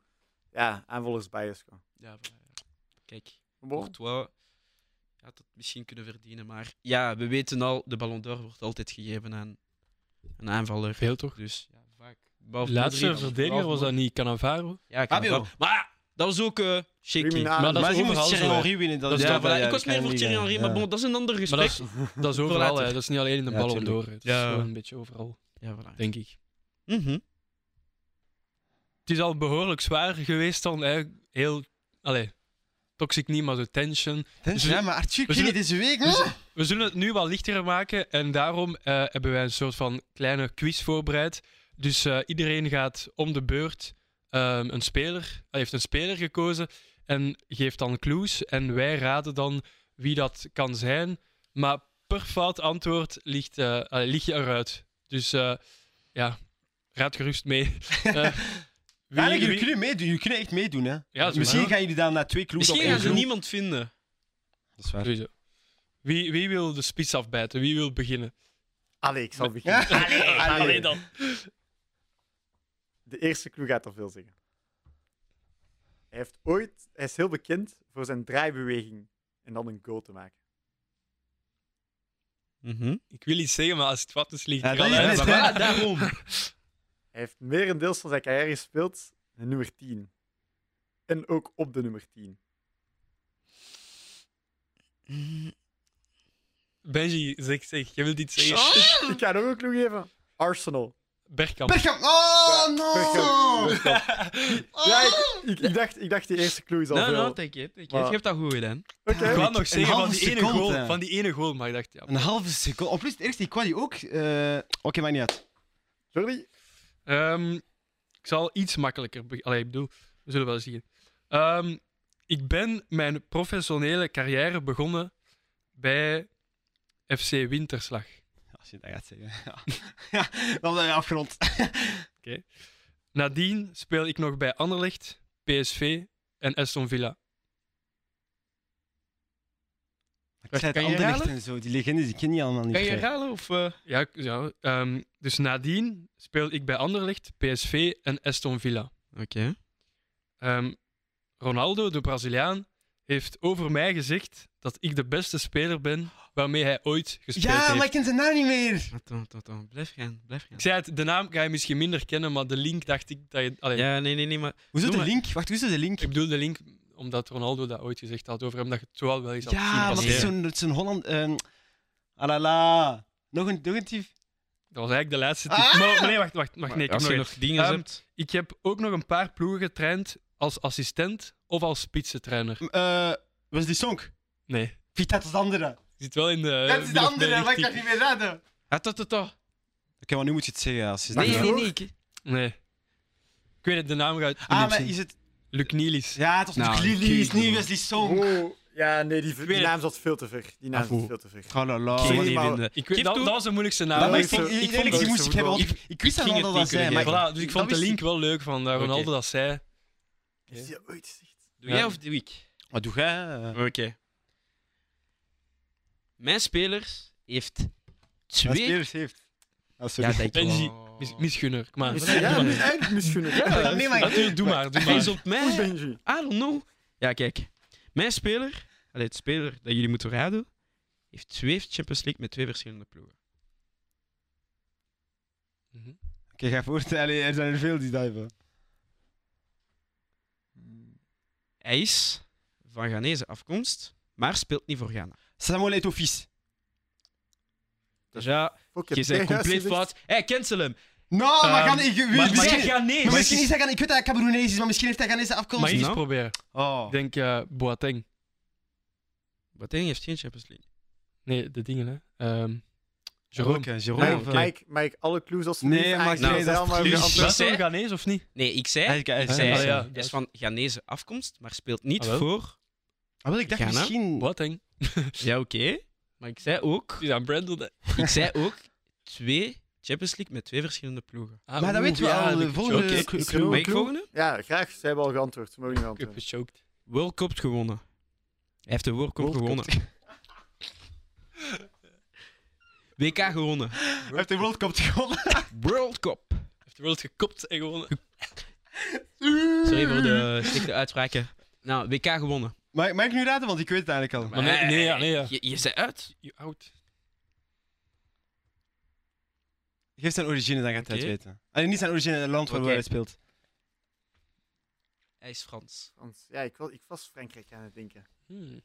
[SPEAKER 3] ja, aanvallersbias. gewoon.
[SPEAKER 4] Ja, voilà. Kijk,
[SPEAKER 3] Maar bon,
[SPEAKER 4] Courtois had het misschien kunnen verdienen, maar ja, we weten al, de Ballon d'Or wordt altijd gegeven aan een aanvaller.
[SPEAKER 1] Veel toch?
[SPEAKER 4] Dus ja, vaak.
[SPEAKER 1] De
[SPEAKER 4] Behalve
[SPEAKER 1] laatste
[SPEAKER 4] Modric.
[SPEAKER 1] verdediger was dat niet Cannavaro.
[SPEAKER 4] Ja, ik had
[SPEAKER 2] Fabio.
[SPEAKER 4] wel- Maar dat was ook eh shaky.
[SPEAKER 3] criminalen.
[SPEAKER 1] Maar dat is
[SPEAKER 2] Maar ze
[SPEAKER 1] overal
[SPEAKER 2] moest Thierry
[SPEAKER 1] zo, hè.
[SPEAKER 2] Henry winnen. Dat is
[SPEAKER 4] Ja,
[SPEAKER 2] dat,
[SPEAKER 4] voilà,
[SPEAKER 2] dat, ja,
[SPEAKER 4] ik
[SPEAKER 2] dat
[SPEAKER 4] was
[SPEAKER 2] kan
[SPEAKER 4] meer voor
[SPEAKER 2] niet,
[SPEAKER 4] Thierry
[SPEAKER 2] hè.
[SPEAKER 4] Henry, maar
[SPEAKER 2] Ja.
[SPEAKER 4] bon, dat is een ander
[SPEAKER 1] Maar dat
[SPEAKER 4] gesprek.
[SPEAKER 1] is, dat is overal,
[SPEAKER 4] later.
[SPEAKER 1] hè. dat is niet alleen in de
[SPEAKER 2] Ja,
[SPEAKER 1] ballon
[SPEAKER 2] tuurlijk.
[SPEAKER 1] door. hè. Het is
[SPEAKER 4] Ja.
[SPEAKER 1] wel een beetje overal,
[SPEAKER 4] Ja, voilà.
[SPEAKER 1] denk ik.
[SPEAKER 4] Mhm.
[SPEAKER 1] Het is al behoorlijk zwaar geweest dan. Hè. Heel, allee, toxic niet, maar zo tension.
[SPEAKER 2] Tension,
[SPEAKER 1] Dus-
[SPEAKER 2] ja, maar Arthur,
[SPEAKER 1] dus-
[SPEAKER 2] kun je deze week? hè?
[SPEAKER 1] We zullen het nu wat lichter maken en daarom eh, hebben wij een soort van kleine quiz voorbereid. Dus eh, iedereen gaat om de beurt ehm, een speler, hij heeft een speler gekozen en geeft dan clues. En wij raden dan wie dat kan zijn. Maar per fout antwoord ligt, eh, allee, lig je eruit. Dus eh, ja, raad gerust mee. Eh,
[SPEAKER 2] Ja, jullie kunnen meedoen. Jullie kunnen echt meedoen, hè?
[SPEAKER 1] Ja, dat is
[SPEAKER 2] Misschien
[SPEAKER 1] waar.
[SPEAKER 2] gaan jullie dan na twee clues
[SPEAKER 4] Misschien
[SPEAKER 2] op
[SPEAKER 4] gaan ze
[SPEAKER 2] één.
[SPEAKER 4] niemand vinden.
[SPEAKER 2] Dat is waar.
[SPEAKER 1] Sowieso. Wie, wie wil de spits afbijten? Wie wil beginnen?
[SPEAKER 3] allee, ik zal beginnen.
[SPEAKER 2] Allee,
[SPEAKER 1] Alleen dan.
[SPEAKER 3] De eerste clue gaat al veel zeggen. Hij heeft ooit, hij is heel bekend voor zijn draaibeweging en dan een goal te maken.
[SPEAKER 4] Mhm.
[SPEAKER 1] Ik wil iets zeggen, maar als het wat is, ligt
[SPEAKER 2] Ja,
[SPEAKER 1] het
[SPEAKER 2] dat
[SPEAKER 1] wel
[SPEAKER 2] is
[SPEAKER 1] uit.
[SPEAKER 2] het,
[SPEAKER 1] Maar-
[SPEAKER 2] hè.
[SPEAKER 4] daarom.
[SPEAKER 3] Hij heeft merendeels van zijn carrière gespeeld in nummer 10. En ook op de nummer 10.
[SPEAKER 1] Benji, zeg, zeg. Jij wilt iets zeggen?
[SPEAKER 3] Ik ga nog een clue geven. Arsenal.
[SPEAKER 1] Bergkamp.
[SPEAKER 2] Bergkamp. Oh,
[SPEAKER 3] Bergkamp.
[SPEAKER 2] no!
[SPEAKER 3] Ja, ik, ik, ik dacht, ik dacht die eerste clue is al
[SPEAKER 4] Nou,
[SPEAKER 3] veel.
[SPEAKER 4] nou, take it, take it. Je hebt dat goed gedaan.
[SPEAKER 1] Ik
[SPEAKER 3] Oké.
[SPEAKER 1] wou
[SPEAKER 2] Een
[SPEAKER 1] nog zeggen van
[SPEAKER 2] halve
[SPEAKER 1] die, ene
[SPEAKER 2] seconde.
[SPEAKER 1] goal, van die ene goal, maar ik dacht, ja.
[SPEAKER 2] Een halve seconde. Op plus, het eerste, ik kwam die ook. eh, Oké, maar niet uit.
[SPEAKER 3] Jordi,
[SPEAKER 1] Ehm, ik zal iets makkelijker... be- Allee, ik bedoel, we zullen wel zien. Ehm, ik ben mijn professionele carrière begonnen bij FC Winterslag.
[SPEAKER 2] Als je dat gaat zeggen. Ja, dan ben je afgerond.
[SPEAKER 1] Nadien speel ik nog bij Anderlecht, PSV en Aston Villa.
[SPEAKER 2] Ik zei
[SPEAKER 4] kan
[SPEAKER 2] het
[SPEAKER 4] je
[SPEAKER 2] Anderlecht
[SPEAKER 4] herhalen?
[SPEAKER 2] en zo. Die legendes, die ken je allemaal niet.
[SPEAKER 4] Kan je
[SPEAKER 2] vrij.
[SPEAKER 4] herhalen? Of, eh,
[SPEAKER 1] Ja, ik- ja ehm, dus nadien speel ik bij Anderlecht, PSV en Aston Villa.
[SPEAKER 4] Oké.
[SPEAKER 1] Ehm, Ronaldo, de Braziliaan, heeft over mij gezegd dat ik de beste speler ben waarmee hij ooit gespeeld
[SPEAKER 2] Ja,
[SPEAKER 1] heeft.
[SPEAKER 2] maar ik ken zijn naam niet meer.
[SPEAKER 4] Attends, attends, attends. Blijf gaan, blijf gaan.
[SPEAKER 1] Ik zei het, de naam ga je misschien minder kennen, maar de link dacht ik dat je... Allee,
[SPEAKER 4] Ja, nee, nee, nee, maar...
[SPEAKER 2] Hoezo
[SPEAKER 4] Noem
[SPEAKER 2] de
[SPEAKER 4] maar-
[SPEAKER 2] link? Wacht, hoezo de link?
[SPEAKER 1] Ik bedoel de link omdat Ronaldo dat ooit gezegd had over hem, dat je het wel wel eens had zien
[SPEAKER 2] Ja, maar dat is
[SPEAKER 1] passeren.
[SPEAKER 2] zo'n zo'n Holland... ehm alala. Nog een, nog een tief.
[SPEAKER 1] Dat was eigenlijk de laatste tip.
[SPEAKER 2] Ah!
[SPEAKER 1] Maar, maar nee, wacht, wacht, wacht nee, ik, heb
[SPEAKER 4] als
[SPEAKER 1] nog
[SPEAKER 4] je
[SPEAKER 1] één.
[SPEAKER 4] nog dingen
[SPEAKER 1] Ehm,
[SPEAKER 4] hebt...
[SPEAKER 1] ik heb ook nog een paar ploegen getraind als assistent of als spitsentrainer.
[SPEAKER 2] Eh, was die song?
[SPEAKER 1] Nee,
[SPEAKER 2] Wie dat is de andere?
[SPEAKER 1] je zit wel in de...
[SPEAKER 2] dat is
[SPEAKER 1] min of
[SPEAKER 2] de
[SPEAKER 1] meer
[SPEAKER 2] andere, maar ik kan
[SPEAKER 1] richting.
[SPEAKER 2] niet meer raden. Oké,
[SPEAKER 4] Attends, attends.
[SPEAKER 2] maar nu moet je het zeggen. Als je
[SPEAKER 4] Nee,
[SPEAKER 3] je
[SPEAKER 4] nee,
[SPEAKER 3] wel?
[SPEAKER 4] nee. ik-
[SPEAKER 1] Nee. Ik weet het, de naam gaat...
[SPEAKER 2] Ah, maar
[SPEAKER 1] Nielsen.
[SPEAKER 2] is het...
[SPEAKER 1] Luc Nielis.
[SPEAKER 2] Ja, het was
[SPEAKER 4] Nou,
[SPEAKER 2] natuurlijk
[SPEAKER 4] ik weet
[SPEAKER 2] Lily, is
[SPEAKER 4] het
[SPEAKER 2] niet
[SPEAKER 4] niet.
[SPEAKER 2] Wesley Song.
[SPEAKER 3] Oeh, ja, nee, die, die
[SPEAKER 1] weet-
[SPEAKER 3] naam zat veel te ver. Die
[SPEAKER 4] Ah,
[SPEAKER 3] naam
[SPEAKER 1] Afoe.
[SPEAKER 3] zat veel te ver.
[SPEAKER 2] Oh la la.
[SPEAKER 4] Ik
[SPEAKER 3] Sorry,
[SPEAKER 4] weet
[SPEAKER 3] maar-
[SPEAKER 4] niet vinden.
[SPEAKER 1] Ik weet,
[SPEAKER 4] Geef
[SPEAKER 1] dat,
[SPEAKER 4] toe.
[SPEAKER 1] dat was de moeilijkste naam.
[SPEAKER 2] Dat
[SPEAKER 3] maar
[SPEAKER 1] maar
[SPEAKER 2] ik
[SPEAKER 1] ik
[SPEAKER 2] vond,
[SPEAKER 1] vond- ik
[SPEAKER 2] ik,
[SPEAKER 1] vond
[SPEAKER 2] ik,
[SPEAKER 1] het-
[SPEAKER 2] die moest ik hebben, want ik, ik wist
[SPEAKER 4] ik
[SPEAKER 2] dat
[SPEAKER 4] ging
[SPEAKER 2] wel
[SPEAKER 4] het
[SPEAKER 2] dat
[SPEAKER 4] niet
[SPEAKER 2] zij,
[SPEAKER 4] kunnen
[SPEAKER 2] maar
[SPEAKER 4] geven.
[SPEAKER 1] Voilà, dus ik vond de
[SPEAKER 2] wist
[SPEAKER 1] link wel leuk van eh,
[SPEAKER 4] Oké.
[SPEAKER 1] Ronaldo dat zei.
[SPEAKER 3] Heeft die dat ooit gezegd?
[SPEAKER 4] Doe
[SPEAKER 1] Ja.
[SPEAKER 4] jij of doe ik?
[SPEAKER 2] Wat doe jij? eh?
[SPEAKER 4] Oké. Mijn spelers heeft
[SPEAKER 2] Wat
[SPEAKER 4] twee...
[SPEAKER 2] Spears heeft. Ah, sorry.
[SPEAKER 4] Ja, dat ik
[SPEAKER 1] Benji.
[SPEAKER 4] wel- Oh.
[SPEAKER 2] Oh.
[SPEAKER 1] Mis, misgunner.
[SPEAKER 4] Ah.
[SPEAKER 1] Maar,
[SPEAKER 3] Misschien, ja,
[SPEAKER 1] doe maar.
[SPEAKER 3] eigenlijk misschien. ook,
[SPEAKER 2] Ja,
[SPEAKER 3] hè.
[SPEAKER 2] nee, maar-
[SPEAKER 1] Natuurlijk, doe maar. Doe
[SPEAKER 4] Hij is
[SPEAKER 1] maar.
[SPEAKER 4] op mij.
[SPEAKER 3] Goed, Benji.
[SPEAKER 4] I don't know. Ja, kijk. Mijn speler, allee, het speler dat jullie moeten raden, heeft twee Champions League met twee verschillende ploegen.
[SPEAKER 1] Mhm.
[SPEAKER 2] Oké, ga voort. Allee, er zijn er veel die dat hebben.
[SPEAKER 4] Hij is van Ghanese afkomst, maar speelt niet voor Ghana.
[SPEAKER 2] Samuel Etofis.
[SPEAKER 4] Dus ja,
[SPEAKER 3] Fuck,
[SPEAKER 4] je
[SPEAKER 3] heb
[SPEAKER 4] bent
[SPEAKER 3] jij
[SPEAKER 4] compleet
[SPEAKER 3] juist
[SPEAKER 4] fout. Hé, hey, cancel hem.
[SPEAKER 2] Nou, maar
[SPEAKER 1] Ehm,
[SPEAKER 2] gaan ik...
[SPEAKER 4] Maar, maar
[SPEAKER 2] misschien,
[SPEAKER 4] zeg Ghanese.
[SPEAKER 2] maar misschien is hij gaan... Ik weet dat hij Cameroenees is, maar misschien heeft hij Ghanese afkomst.
[SPEAKER 1] Mag ik iets
[SPEAKER 4] Nou?
[SPEAKER 1] proberen?
[SPEAKER 2] Oh.
[SPEAKER 1] Ik denk eh, Boateng.
[SPEAKER 4] Boateng heeft geen Champions League.
[SPEAKER 1] Nee, de dingen, hè. Ehm Jerome.
[SPEAKER 2] Oké,
[SPEAKER 3] gezegd?
[SPEAKER 2] Jerome.
[SPEAKER 3] Mike,
[SPEAKER 2] of, eh,
[SPEAKER 3] Mike, Mike, alle clues als ze
[SPEAKER 2] Nee,
[SPEAKER 3] niet
[SPEAKER 2] Mike,
[SPEAKER 3] aangezet
[SPEAKER 2] nee,
[SPEAKER 3] zijn,
[SPEAKER 2] dat is
[SPEAKER 3] maar we
[SPEAKER 2] precies.
[SPEAKER 3] gaan antwoorden.
[SPEAKER 1] Was hij
[SPEAKER 4] zei-
[SPEAKER 1] Ghanese of niet?
[SPEAKER 4] Nee, ik zei,
[SPEAKER 2] hij- hij-
[SPEAKER 4] ik
[SPEAKER 2] hij-
[SPEAKER 4] zei
[SPEAKER 1] Ah, ja.
[SPEAKER 4] hij is van Ghanese afkomst, maar speelt niet
[SPEAKER 1] Ah, wel.
[SPEAKER 4] voor...
[SPEAKER 2] Ah, wel, ik dacht
[SPEAKER 4] Ghana?
[SPEAKER 2] misschien...
[SPEAKER 1] Boateng.
[SPEAKER 4] Ja, oké. Maar ik zei ook...
[SPEAKER 1] Die aan Brandon. hè.
[SPEAKER 4] Ik zei ook twee Champions League met twee verschillende ploegen.
[SPEAKER 1] Ah,
[SPEAKER 2] Maar dat
[SPEAKER 1] oeh,
[SPEAKER 2] weten we
[SPEAKER 1] ja,
[SPEAKER 2] al,
[SPEAKER 1] dat
[SPEAKER 2] de
[SPEAKER 1] ik het
[SPEAKER 2] volgende-
[SPEAKER 1] joke.
[SPEAKER 2] Eh,
[SPEAKER 1] Ik
[SPEAKER 2] clue-
[SPEAKER 3] clue-
[SPEAKER 4] Mag ik
[SPEAKER 3] clue?
[SPEAKER 4] volgende?
[SPEAKER 3] Ja, graag. Ze hebben al geantwoord. Ze mogen niet
[SPEAKER 1] heb
[SPEAKER 3] antwoorden.
[SPEAKER 1] gechoked.
[SPEAKER 4] World Cup gewonnen. Hij heeft de World Cup
[SPEAKER 2] World Cup.
[SPEAKER 4] gewonnen. WK gewonnen.
[SPEAKER 2] Hij heeft de World Cup gewonnen.
[SPEAKER 4] World Cup.
[SPEAKER 1] Heeft de wereld gekopt en gewonnen.
[SPEAKER 4] Sorry voor de slechte uitspraken. Nou, WK gewonnen.
[SPEAKER 2] Mag, ik- mag ik nu raden? Want ik weet het eigenlijk al.
[SPEAKER 1] Maar nee, nee, ja, nee, ja.
[SPEAKER 4] Je, je zei uit.
[SPEAKER 1] Je oud.
[SPEAKER 2] Geef zijn origine, dan gaat hij het
[SPEAKER 4] Oké.
[SPEAKER 2] weten. Allee, niet zijn origine, het land waar
[SPEAKER 4] Oké.
[SPEAKER 2] hij speelt.
[SPEAKER 4] Hij is Frans.
[SPEAKER 3] Want, ja, ik, was, ik was Frankrijk aan het denken.
[SPEAKER 1] Hmm.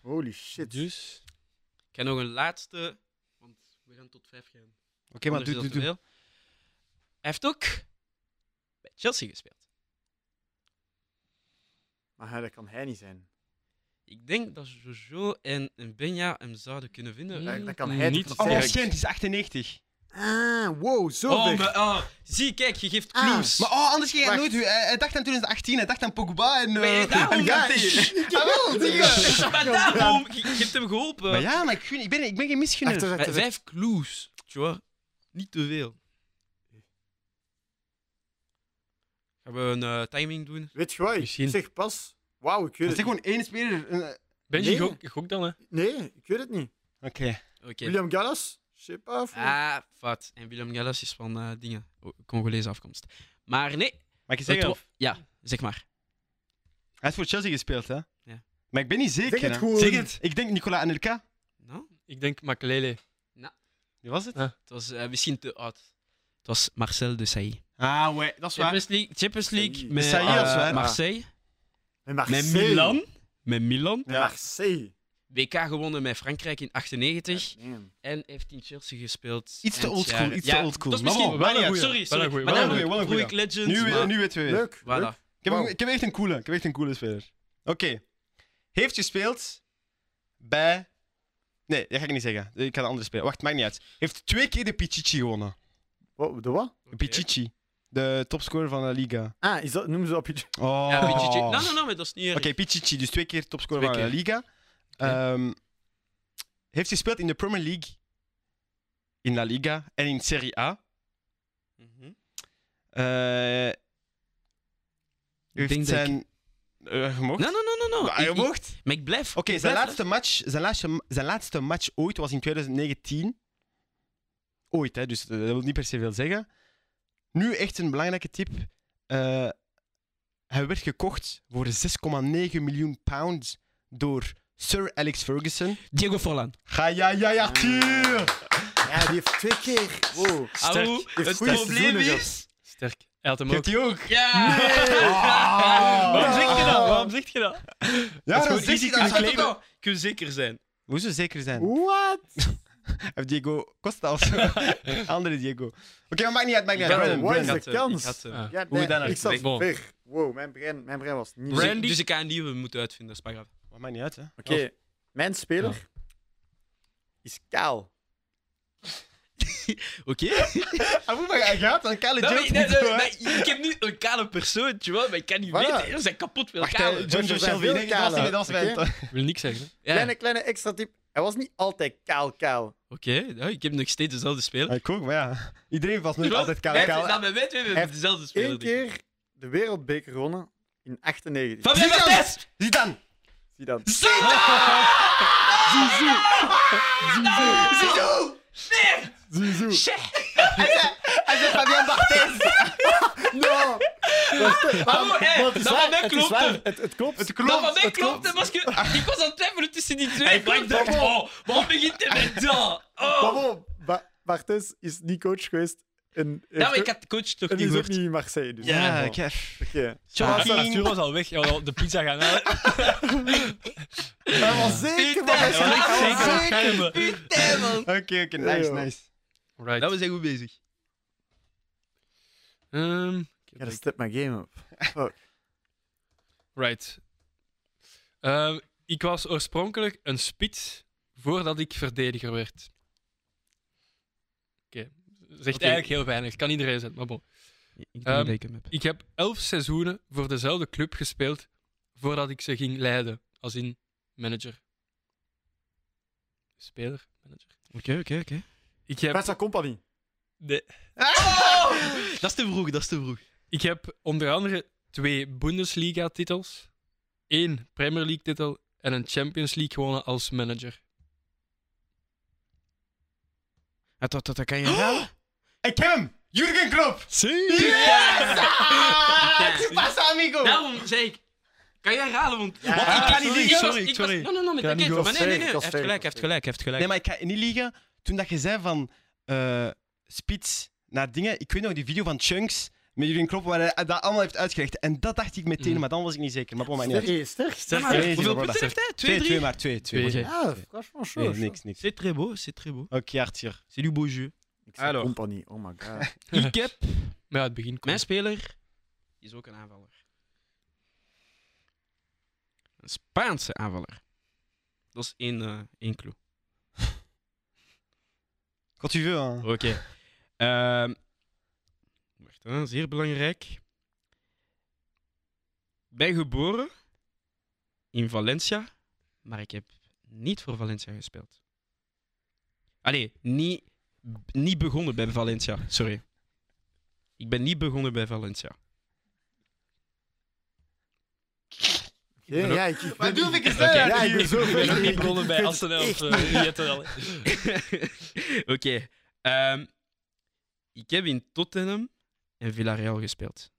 [SPEAKER 3] Holy shit.
[SPEAKER 1] Dus...
[SPEAKER 4] Ik ga nog een laatste, want we gaan tot vijf gaan.
[SPEAKER 2] Oké, maar doe, doe, doe.
[SPEAKER 4] Hij heeft ook bij Chelsea gespeeld.
[SPEAKER 3] Maar ja, dat kan hij niet zijn.
[SPEAKER 4] Ik denk dat Jojo en en Benja hem zouden kunnen vinden.
[SPEAKER 3] Dat, dat
[SPEAKER 4] Mm,
[SPEAKER 3] kan hij
[SPEAKER 1] Niet
[SPEAKER 3] toch
[SPEAKER 2] Oh,
[SPEAKER 1] Dirk.
[SPEAKER 2] shit, het is 98.
[SPEAKER 3] Ah, wow, zo
[SPEAKER 4] Oh,
[SPEAKER 3] ver.
[SPEAKER 4] maar, oh, zie, kijk, je geeft
[SPEAKER 3] Ah.
[SPEAKER 4] clues.
[SPEAKER 2] Maar oh, anders ging hij
[SPEAKER 3] Wacht.
[SPEAKER 2] nooit... Hij, hij dacht aan 2018, hij dacht aan Pogba en... eh,
[SPEAKER 4] Maar ja, daarom
[SPEAKER 2] oh, ja,
[SPEAKER 4] dacht ik.
[SPEAKER 3] Ah,
[SPEAKER 2] Jawel, zie je.
[SPEAKER 4] Maar daarom, je, je hebt hem geholpen.
[SPEAKER 2] Maar ja, maar ik, gun- ik, ben, ik ben geen misgunner.
[SPEAKER 3] Achter-
[SPEAKER 4] Maar
[SPEAKER 3] achter-
[SPEAKER 4] vijf clues, tu vois. Niet te veel. Gaan we een eh, timing doen?
[SPEAKER 3] Weet je wat? Ik
[SPEAKER 1] Misschien.
[SPEAKER 3] zeg pas. Wauw, ik
[SPEAKER 2] Dat
[SPEAKER 3] weet
[SPEAKER 2] is
[SPEAKER 3] het
[SPEAKER 2] gewoon één speler. eh,
[SPEAKER 1] Benji,
[SPEAKER 3] Nee.
[SPEAKER 1] gok, gok dan, hè.
[SPEAKER 3] niet. Nee, ik weet het niet.
[SPEAKER 2] Oké.
[SPEAKER 4] Oké.
[SPEAKER 3] William Gallas? Ship af.
[SPEAKER 4] Ah, wat. En Willem Gallas is van eh, dingen. Oh, Congolese afkomst. Maar nee.
[SPEAKER 2] Mag ik
[SPEAKER 4] het
[SPEAKER 2] zeggen?
[SPEAKER 4] wa- Ja, zeg maar.
[SPEAKER 2] Hij is voor Chelsea gespeeld, hè?
[SPEAKER 4] Ja.
[SPEAKER 2] Maar ik ben niet zeker.
[SPEAKER 3] Zeg het
[SPEAKER 2] hè.
[SPEAKER 3] gewoon.
[SPEAKER 1] Zeg het.
[SPEAKER 2] Ik denk Nicola Anelka.
[SPEAKER 4] Nou,
[SPEAKER 1] Ik denk Makelele.
[SPEAKER 2] Wie was het?
[SPEAKER 4] het was eh, misschien te oud. Het was Marcel de Sailly.
[SPEAKER 2] Ah, ouais, dat is waar.
[SPEAKER 4] Champions League, Champions League
[SPEAKER 3] Sailly.
[SPEAKER 4] met
[SPEAKER 2] Sailly
[SPEAKER 4] eh,
[SPEAKER 2] als waar.
[SPEAKER 4] Marseille.
[SPEAKER 3] Met Marseille.
[SPEAKER 4] Met Milan. Met Milan.
[SPEAKER 3] Met
[SPEAKER 2] Ja.
[SPEAKER 3] Marseille.
[SPEAKER 4] WK gewonnen met Frankrijk in 98.
[SPEAKER 3] Nee.
[SPEAKER 4] En heeft in Chelsea gespeeld.
[SPEAKER 2] Iets te
[SPEAKER 4] eind
[SPEAKER 2] oldschool,
[SPEAKER 4] jaren-
[SPEAKER 2] iets te oldschool.
[SPEAKER 4] Dat is
[SPEAKER 2] Maar
[SPEAKER 4] misschien
[SPEAKER 2] bon,
[SPEAKER 4] wel
[SPEAKER 2] wel een
[SPEAKER 4] een
[SPEAKER 2] goeie.
[SPEAKER 4] Sorry,
[SPEAKER 1] Wel
[SPEAKER 4] sorry.
[SPEAKER 1] een goeie,
[SPEAKER 4] maar
[SPEAKER 1] wel een
[SPEAKER 4] daarom
[SPEAKER 2] goeie, wel een
[SPEAKER 4] vroeg ik
[SPEAKER 2] goeie.
[SPEAKER 4] Legends.
[SPEAKER 2] Nu,
[SPEAKER 4] maar-
[SPEAKER 2] weet- nu weten we weer.
[SPEAKER 3] Leuk. leuk.
[SPEAKER 4] Voilà.
[SPEAKER 2] Ik heb,
[SPEAKER 3] Wauw.
[SPEAKER 2] ik heb echt een coole. Ik heb echt een coole speler. Oké. Heeft gespeeld bij... Nee, dat ga ik niet zeggen. Ik ga de andere spelen. Wacht, maakt niet uit. Heeft twee keer de Pichichi gewonnen.
[SPEAKER 3] Wat, de wat?
[SPEAKER 2] De Pichichi. De topscorer van de Liga.
[SPEAKER 3] Ah, is dat, noemen ze dat op
[SPEAKER 2] Oh.
[SPEAKER 4] Ja, beetje chill. Nee, nee, nee, maar dat is niet erg.
[SPEAKER 2] Oké, Pichichi, dus twee keer topscorer
[SPEAKER 4] Twee
[SPEAKER 2] van de
[SPEAKER 4] keer.
[SPEAKER 2] Liga. Ehm, heeft gespeeld in de Premier League, in La Liga en in Serie A.
[SPEAKER 4] Mhm.
[SPEAKER 2] Eh heeft
[SPEAKER 4] denk dat
[SPEAKER 2] zijn... Eh, je mocht?
[SPEAKER 4] Nee, nee, nee, nee, nee.
[SPEAKER 2] Ah, je
[SPEAKER 4] Ik- ik-
[SPEAKER 2] mocht?
[SPEAKER 4] Maar ik blijf.
[SPEAKER 2] Oké,
[SPEAKER 4] ik
[SPEAKER 2] zijn,
[SPEAKER 4] blijf-
[SPEAKER 2] laatste match, zijn, laatste, zijn laatste match ooit was in 2019. Ooit, hè, dus eh, dat wil niet per se veel zeggen. Nu echt een belangrijke tip. Eh, hij werd gekocht voor 6,9 miljoen pound door Sir Alex Ferguson.
[SPEAKER 4] Diego Forlan.
[SPEAKER 2] Ga ja, ja, ja, tuur!
[SPEAKER 3] Ja, die heeft twee keer. Wow.
[SPEAKER 1] Sterk.
[SPEAKER 4] Auw,
[SPEAKER 3] heeft
[SPEAKER 4] het
[SPEAKER 3] goede
[SPEAKER 4] probleem
[SPEAKER 3] seizoenen gehad.
[SPEAKER 4] is...
[SPEAKER 1] Sterk. Hij had hem
[SPEAKER 2] Je
[SPEAKER 1] ook.
[SPEAKER 2] hebt die ook.
[SPEAKER 4] Ja!
[SPEAKER 1] Waarom
[SPEAKER 2] Ah.
[SPEAKER 1] zeg je dat? Waarom zeg je dat?
[SPEAKER 2] Ja,
[SPEAKER 1] dat
[SPEAKER 2] dat dus
[SPEAKER 1] is gewoon
[SPEAKER 2] zegt
[SPEAKER 1] easy
[SPEAKER 2] hij
[SPEAKER 1] kunnen
[SPEAKER 2] dat.
[SPEAKER 1] claimen.
[SPEAKER 4] Kun je zeker zijn.
[SPEAKER 2] Hoe zou zeker zijn?
[SPEAKER 3] What?
[SPEAKER 2] Heeft Diego Costa of zo? Andere Diego. Oké, maar maakt niet uit, maakt niet
[SPEAKER 3] Ja,
[SPEAKER 2] uit.
[SPEAKER 3] Brandon,
[SPEAKER 2] Brandon,
[SPEAKER 3] wat is
[SPEAKER 2] Brandon.
[SPEAKER 4] eh,
[SPEAKER 3] de kans?
[SPEAKER 1] Ah.
[SPEAKER 3] Ja,
[SPEAKER 2] Hoe
[SPEAKER 3] nee,
[SPEAKER 2] dan ook.
[SPEAKER 3] ik zat
[SPEAKER 1] Bon.
[SPEAKER 3] ver. Wow, mijn brein, mijn brein was niet...
[SPEAKER 4] Dus,
[SPEAKER 1] Brand-
[SPEAKER 4] ik-
[SPEAKER 1] Randy-
[SPEAKER 4] dus ik ga een nieuwe moeten uitvinden, dat is maar graf.
[SPEAKER 2] Wat maakt niet uit, hè?
[SPEAKER 3] Oké, mijn speler is kaal.
[SPEAKER 4] Oké?
[SPEAKER 2] Ah, hoe maar hij gaat, dan kale
[SPEAKER 4] Nee,
[SPEAKER 2] Jones
[SPEAKER 4] nee, nee, nee, nee, ik heb nu een kale persoontje, maar ik kan niet
[SPEAKER 3] Voilà.
[SPEAKER 4] weten. Ze zijn kapot veel
[SPEAKER 2] Wacht,
[SPEAKER 4] kale.
[SPEAKER 2] John Joe
[SPEAKER 3] Er zijn
[SPEAKER 2] Shelby,
[SPEAKER 3] veel
[SPEAKER 2] nee, dat was niet,
[SPEAKER 3] kale.
[SPEAKER 2] dat was mijn-
[SPEAKER 3] Oké.
[SPEAKER 1] Ik wil niks zeggen. hè.
[SPEAKER 4] Ja,
[SPEAKER 3] Kleine,
[SPEAKER 4] Oké,
[SPEAKER 3] kleine extra tip. Hij was niet altijd kaal-kaal.
[SPEAKER 4] ja, ik heb nog steeds dezelfde speler.
[SPEAKER 2] Ja, Ik ook, maar ja. Iedereen was nooit
[SPEAKER 4] Terwijl-
[SPEAKER 2] altijd kale,
[SPEAKER 4] Hij
[SPEAKER 2] kale.
[SPEAKER 4] heeft- Dat we weten, we
[SPEAKER 3] Hij
[SPEAKER 4] hebben dezelfde speler.
[SPEAKER 3] Eén
[SPEAKER 4] denk ik.
[SPEAKER 3] keer de wereldbeker gewonnen in 98.
[SPEAKER 4] Fabien
[SPEAKER 2] Zidane!
[SPEAKER 4] Barthez!
[SPEAKER 2] Zie dan!
[SPEAKER 3] Zie dan.
[SPEAKER 2] Zidou!
[SPEAKER 3] Zizou.
[SPEAKER 2] Hij zegt Fabian Barthez!
[SPEAKER 3] No!
[SPEAKER 4] Oh, hey,
[SPEAKER 3] Want het is
[SPEAKER 4] dat
[SPEAKER 3] waar,
[SPEAKER 4] van mij
[SPEAKER 3] het is
[SPEAKER 4] klopt,
[SPEAKER 3] waar,
[SPEAKER 4] hè.
[SPEAKER 3] Het, het klopt.
[SPEAKER 2] Het
[SPEAKER 4] Dat van
[SPEAKER 2] klopt!
[SPEAKER 4] mij klopt, hè, masker. Ik was aan het twijfelen tussen die twee. Maar ik dacht, oh, waarom begint hij met dat? Oh.
[SPEAKER 3] Waarom? Ba Barthes is niet coach geweest. En,
[SPEAKER 4] Ja, maar Nou, ik had de coach toch
[SPEAKER 3] en
[SPEAKER 4] niet
[SPEAKER 3] die is ook
[SPEAKER 4] gehoord.
[SPEAKER 3] niet in Marseille. Dus
[SPEAKER 2] Ja,
[SPEAKER 3] Oké.
[SPEAKER 2] ik heb...
[SPEAKER 1] Ah,
[SPEAKER 2] Fucking-
[SPEAKER 1] Arthur was al weg. Hij had al de pizza gaan halen.
[SPEAKER 3] Hij was zeker, maar hij is
[SPEAKER 4] Putain,
[SPEAKER 3] gelijk. Hij was
[SPEAKER 4] zeker.
[SPEAKER 3] zeker.
[SPEAKER 4] Putain, man.
[SPEAKER 2] Oké, oké, nice, nice.
[SPEAKER 1] Right.
[SPEAKER 4] Nou, we zijn goed bezig.
[SPEAKER 1] Ehm, ik heb
[SPEAKER 3] Ja, dat
[SPEAKER 1] denk-
[SPEAKER 3] step my game up.
[SPEAKER 1] Right. Ehm, ik was oorspronkelijk een spits voordat ik verdediger werd. Oké, zegt
[SPEAKER 4] Oké.
[SPEAKER 1] eigenlijk heel weinig. Kan iedereen zijn, maar bon.
[SPEAKER 4] Ik
[SPEAKER 1] denk dat
[SPEAKER 4] ik hem heb.
[SPEAKER 1] Ik heb elf seizoenen voor dezelfde club gespeeld voordat ik ze ging leiden. Als in manager. Speler, manager.
[SPEAKER 4] Oké, oké, oké.
[SPEAKER 1] Ik heb,
[SPEAKER 3] Festa Company.
[SPEAKER 1] nee,
[SPEAKER 4] Dat is te vroeg, dat is te vroeg.
[SPEAKER 1] ik heb onder andere twee Bundesliga-titels, één Premier League-titel en een Champions League gewonnen als manager.
[SPEAKER 4] Dat, dat, dat kan je halen.
[SPEAKER 2] Ik heb hem! Jurgen Klopp!
[SPEAKER 1] Zie!
[SPEAKER 2] Ah, tu pasa, amigo!
[SPEAKER 4] Daarom zei ik, kan je herhalen? Want
[SPEAKER 3] Ja.
[SPEAKER 4] Want ik kan niet
[SPEAKER 1] Sorry,
[SPEAKER 4] liegen.
[SPEAKER 1] sorry,
[SPEAKER 4] Ik was-
[SPEAKER 1] sorry.
[SPEAKER 4] Ik was, no, no, no, met
[SPEAKER 1] Kan niet
[SPEAKER 4] enkel. Maar nee, nee, nee.
[SPEAKER 3] goed.
[SPEAKER 4] Hij heeft gelijk, hij heeft gelijk, hij heeft gelijk.
[SPEAKER 2] Nee, maar ik ga niet liegen. Toen dat je zei van eh, spits naar dingen, ik weet nog die video van Chunks met Jurgen Klopp waar hij dat allemaal heeft uitgelegd. En dat dacht ik meteen,
[SPEAKER 1] Mm.
[SPEAKER 2] maar dan was ik niet zeker. Maar bon, maar niet uit.
[SPEAKER 3] Sterk. Sterk.
[SPEAKER 4] Ja, maar
[SPEAKER 2] Nee,
[SPEAKER 4] hoeveel
[SPEAKER 2] zie maar,
[SPEAKER 4] punten
[SPEAKER 2] voilà.
[SPEAKER 4] heeft hij? Twee,
[SPEAKER 2] Twee, twee,
[SPEAKER 4] drie?
[SPEAKER 2] maar twee, twee.
[SPEAKER 1] Twee.
[SPEAKER 2] Oké.
[SPEAKER 3] Ja, franchement,
[SPEAKER 2] Nee,
[SPEAKER 3] sure.
[SPEAKER 2] niks, niks.
[SPEAKER 4] C'est très beau, c'est très beau.
[SPEAKER 2] Oké, Arthur.
[SPEAKER 4] C'est du beau jeu.
[SPEAKER 3] Festa
[SPEAKER 4] Alors.
[SPEAKER 3] Company, oh my god.
[SPEAKER 4] Ik heb...
[SPEAKER 1] Maar ja, het begin komt.
[SPEAKER 4] Mijn speler is ook een aanvaller. Een Spaanse aanvaller. Dat is één, eh één clue.
[SPEAKER 2] Wat u wil, hè.
[SPEAKER 4] Oké. Ehm, wacht, hè, zeer belangrijk. Ik ben geboren in Valencia, maar ik heb niet voor Valencia gespeeld. Allee, niet, b- niet begonnen bij Valencia, sorry. Ik ben niet begonnen bij Valencia.
[SPEAKER 3] Ja, ja, ik, ik
[SPEAKER 2] Maar
[SPEAKER 3] ben-
[SPEAKER 2] doe ik eens
[SPEAKER 1] uit,
[SPEAKER 3] Ja, ik
[SPEAKER 2] hier.
[SPEAKER 3] ben zo
[SPEAKER 1] Ik ben ook
[SPEAKER 3] ver.
[SPEAKER 1] niet begonnen bij
[SPEAKER 3] Ik-
[SPEAKER 1] Arsenal of uh, Jetterel.
[SPEAKER 4] Oké. ehm, ik heb in Tottenham en Villarreal gespeeld.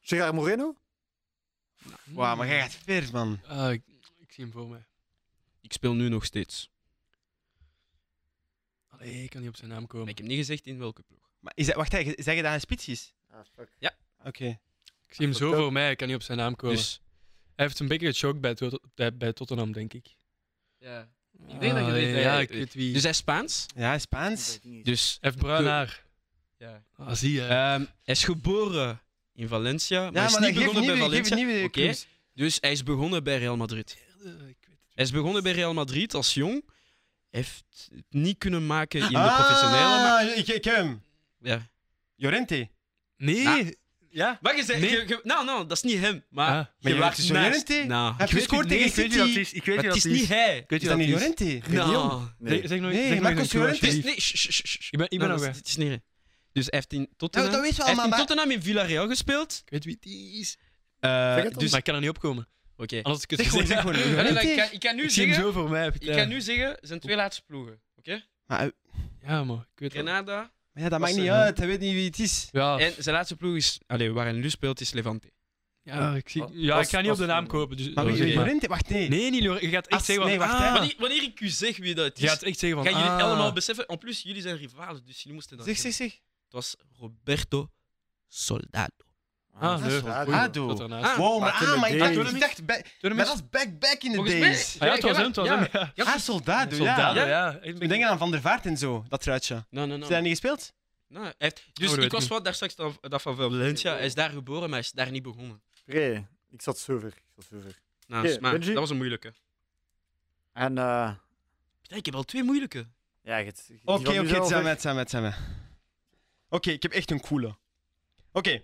[SPEAKER 3] Gerard Moreno?
[SPEAKER 2] Wauw, maar jij gaat ver, man.
[SPEAKER 1] Ah, ik, ik zie hem voor mij.
[SPEAKER 4] Ik speel nu nog steeds.
[SPEAKER 1] Allee, ik kan niet op zijn naam
[SPEAKER 4] Maar
[SPEAKER 1] komen.
[SPEAKER 4] ik heb niet gezegd in welke ploeg.
[SPEAKER 2] Maar is dat, wacht, hè, zeg je dat een spits is?
[SPEAKER 3] Ah, fuck.
[SPEAKER 2] Oké.
[SPEAKER 1] Ik zie hem zo voor mij, ik kan niet op zijn naam komen.
[SPEAKER 4] Dus,
[SPEAKER 1] Hij heeft een beetje gechokt bij, Tot- bij- bij Tottenham, denk ik.
[SPEAKER 4] ja.
[SPEAKER 1] Ik
[SPEAKER 4] denk dat je weet,
[SPEAKER 1] Ja,
[SPEAKER 4] eh,
[SPEAKER 1] ik weet wie.
[SPEAKER 4] dus hij is Spaans.
[SPEAKER 2] Ja, Spaans.
[SPEAKER 4] Dus,
[SPEAKER 1] hij heeft bruin haar.
[SPEAKER 4] ja.
[SPEAKER 1] Ah, zie je.
[SPEAKER 4] Ehm, hij is geboren in Valencia, maar
[SPEAKER 2] Ja,
[SPEAKER 4] hij is niet
[SPEAKER 2] geeft
[SPEAKER 4] begonnen bij
[SPEAKER 2] nieuwe- geeft
[SPEAKER 4] Valencia.
[SPEAKER 2] nieuwe
[SPEAKER 4] Oké.
[SPEAKER 2] clues.
[SPEAKER 4] Dus hij is begonnen bij Real Madrid.
[SPEAKER 1] Eh, ik weet het.
[SPEAKER 4] Hij is begonnen bij Real Madrid als jong. Heeft het niet kunnen maken in de
[SPEAKER 2] Ah,
[SPEAKER 4] professionele. Maar,
[SPEAKER 2] ik, ik heb hem.
[SPEAKER 4] ja.
[SPEAKER 2] Jorente.
[SPEAKER 1] Nee. Ja?
[SPEAKER 4] maar je zei...
[SPEAKER 1] Nee.
[SPEAKER 4] je- je- nou, nou, dat is niet hem. Maar
[SPEAKER 1] Ah.
[SPEAKER 4] je,
[SPEAKER 2] je
[SPEAKER 4] waart
[SPEAKER 2] weet het,
[SPEAKER 4] naast.
[SPEAKER 2] Llorente?
[SPEAKER 4] Nou.
[SPEAKER 2] Heb je gescoord tegen City?
[SPEAKER 1] Ik weet
[SPEAKER 4] Maar het is niet hij.
[SPEAKER 1] Weet
[SPEAKER 2] Is dat niet Jorente?
[SPEAKER 4] Nou.
[SPEAKER 3] Nee.
[SPEAKER 1] Zeg, zeg nog
[SPEAKER 2] Nee,
[SPEAKER 1] zeg nog
[SPEAKER 2] Marcos
[SPEAKER 1] een keer,
[SPEAKER 2] Llorente.
[SPEAKER 4] Het is,
[SPEAKER 1] alsjeblieft.
[SPEAKER 4] nee, sh- sh- sh- sh.
[SPEAKER 1] Ik ben, ik ben
[SPEAKER 4] Nou,
[SPEAKER 1] nog
[SPEAKER 4] dat
[SPEAKER 1] weg.
[SPEAKER 4] is- Het is niet hij. Dus hij heeft in Tottenham,
[SPEAKER 2] dat weten we
[SPEAKER 4] hij heeft in,
[SPEAKER 2] allemaal, maar-
[SPEAKER 4] Tottenham in Villarreal gespeeld.
[SPEAKER 1] Ik weet wie het is.
[SPEAKER 4] Eh,
[SPEAKER 3] Zeg het dan.
[SPEAKER 4] dus,
[SPEAKER 1] maar ik kan er niet opkomen.
[SPEAKER 4] oké.
[SPEAKER 1] Anders ik het
[SPEAKER 2] Zeg gewoon, zeg gewoon.
[SPEAKER 4] Allee, maar
[SPEAKER 2] Llorente.
[SPEAKER 4] ik, kan, ik kan nu
[SPEAKER 1] Ik zie hem
[SPEAKER 4] zeggen,
[SPEAKER 1] zo voor mij.
[SPEAKER 4] ik kan nu zeggen, zijn twee laatste ploegen. Oké?
[SPEAKER 2] Maar, eh,
[SPEAKER 1] Ja, man. Ik weet het. wel.
[SPEAKER 4] Grenada.
[SPEAKER 2] maar ja, dat
[SPEAKER 4] Was
[SPEAKER 2] maakt niet
[SPEAKER 4] er, eh,
[SPEAKER 2] uit. Hij weet niet wie het is.
[SPEAKER 1] Ja,
[SPEAKER 4] En zijn laatste ploeg is, allee, waar hij nu speelt, is Levante.
[SPEAKER 1] Ja, ik, zie,
[SPEAKER 3] Als-
[SPEAKER 1] ja, ik ga niet op
[SPEAKER 3] als-
[SPEAKER 1] de naam kopen. Dus,
[SPEAKER 2] Maar
[SPEAKER 1] oh,
[SPEAKER 2] wie
[SPEAKER 1] zeg
[SPEAKER 2] wie-
[SPEAKER 1] maar.
[SPEAKER 2] Llorente? Wacht, nee.
[SPEAKER 1] Nee, niet Llorente. Je gaat echt
[SPEAKER 2] As-
[SPEAKER 1] zeggen
[SPEAKER 2] nee,
[SPEAKER 1] van...
[SPEAKER 2] wacht, hè.
[SPEAKER 1] ah,
[SPEAKER 4] Wanneer, wanneer ik u zeg wie dat
[SPEAKER 1] Je
[SPEAKER 4] is,
[SPEAKER 1] gaat echt zeggen
[SPEAKER 4] gaan
[SPEAKER 1] van...
[SPEAKER 4] jullie
[SPEAKER 1] ah.
[SPEAKER 4] allemaal beseffen. En plus, jullie zijn rivalen, dus jullie moesten dat
[SPEAKER 2] Zeg, zeg,
[SPEAKER 4] kennen.
[SPEAKER 2] zeg.
[SPEAKER 4] Het was Roberto Soldado.
[SPEAKER 1] Ah,
[SPEAKER 2] dat is
[SPEAKER 1] nee.
[SPEAKER 2] waar.
[SPEAKER 1] goeie.
[SPEAKER 2] Ah, doe.
[SPEAKER 1] Dat daarnaast.
[SPEAKER 4] Ah,
[SPEAKER 2] Wow, maar,
[SPEAKER 3] Wat in
[SPEAKER 2] ah,
[SPEAKER 3] de
[SPEAKER 2] maar ik dacht,
[SPEAKER 3] days.
[SPEAKER 2] ik dacht back-
[SPEAKER 1] Toen
[SPEAKER 2] dat
[SPEAKER 1] hem-
[SPEAKER 2] was back, back in the
[SPEAKER 4] Volgens mij-
[SPEAKER 2] days.
[SPEAKER 1] Ah, ja, het was
[SPEAKER 4] Ja,
[SPEAKER 1] hem, het was
[SPEAKER 4] ja.
[SPEAKER 1] hem. Ja.
[SPEAKER 2] Ah, Soldado,
[SPEAKER 1] Soldaat,
[SPEAKER 2] ja.
[SPEAKER 1] ja.
[SPEAKER 4] Ja.
[SPEAKER 1] ja. Ik
[SPEAKER 2] Ik
[SPEAKER 1] ben-
[SPEAKER 2] denk aan Van der Vaart en zo, dat truitje. Heb
[SPEAKER 4] Nee, nee, nee.
[SPEAKER 2] je dat niet gespeeld?
[SPEAKER 4] Nee, nou, hij heeft- Dus
[SPEAKER 1] Oh, dat
[SPEAKER 4] ik
[SPEAKER 1] weet
[SPEAKER 4] was
[SPEAKER 1] ik
[SPEAKER 4] wat daar straks dan- dat van Valencia. Hij is daar geboren, maar hij is daar niet begonnen.
[SPEAKER 3] Pre, ik zat zo ver. Ik zat zo ver.
[SPEAKER 4] Nou,
[SPEAKER 3] Oké,
[SPEAKER 4] maar
[SPEAKER 3] Benji?
[SPEAKER 4] dat was een moeilijke.
[SPEAKER 3] En eh
[SPEAKER 4] Ja, ik heb al twee moeilijke.
[SPEAKER 3] ja, je hebt- die van
[SPEAKER 2] Oké,
[SPEAKER 3] nu
[SPEAKER 2] oké, het
[SPEAKER 3] zijn al
[SPEAKER 2] zijn we,
[SPEAKER 3] weg.
[SPEAKER 2] het zijn we, het zijn we. Oké, ik heb echt een coole. Oké.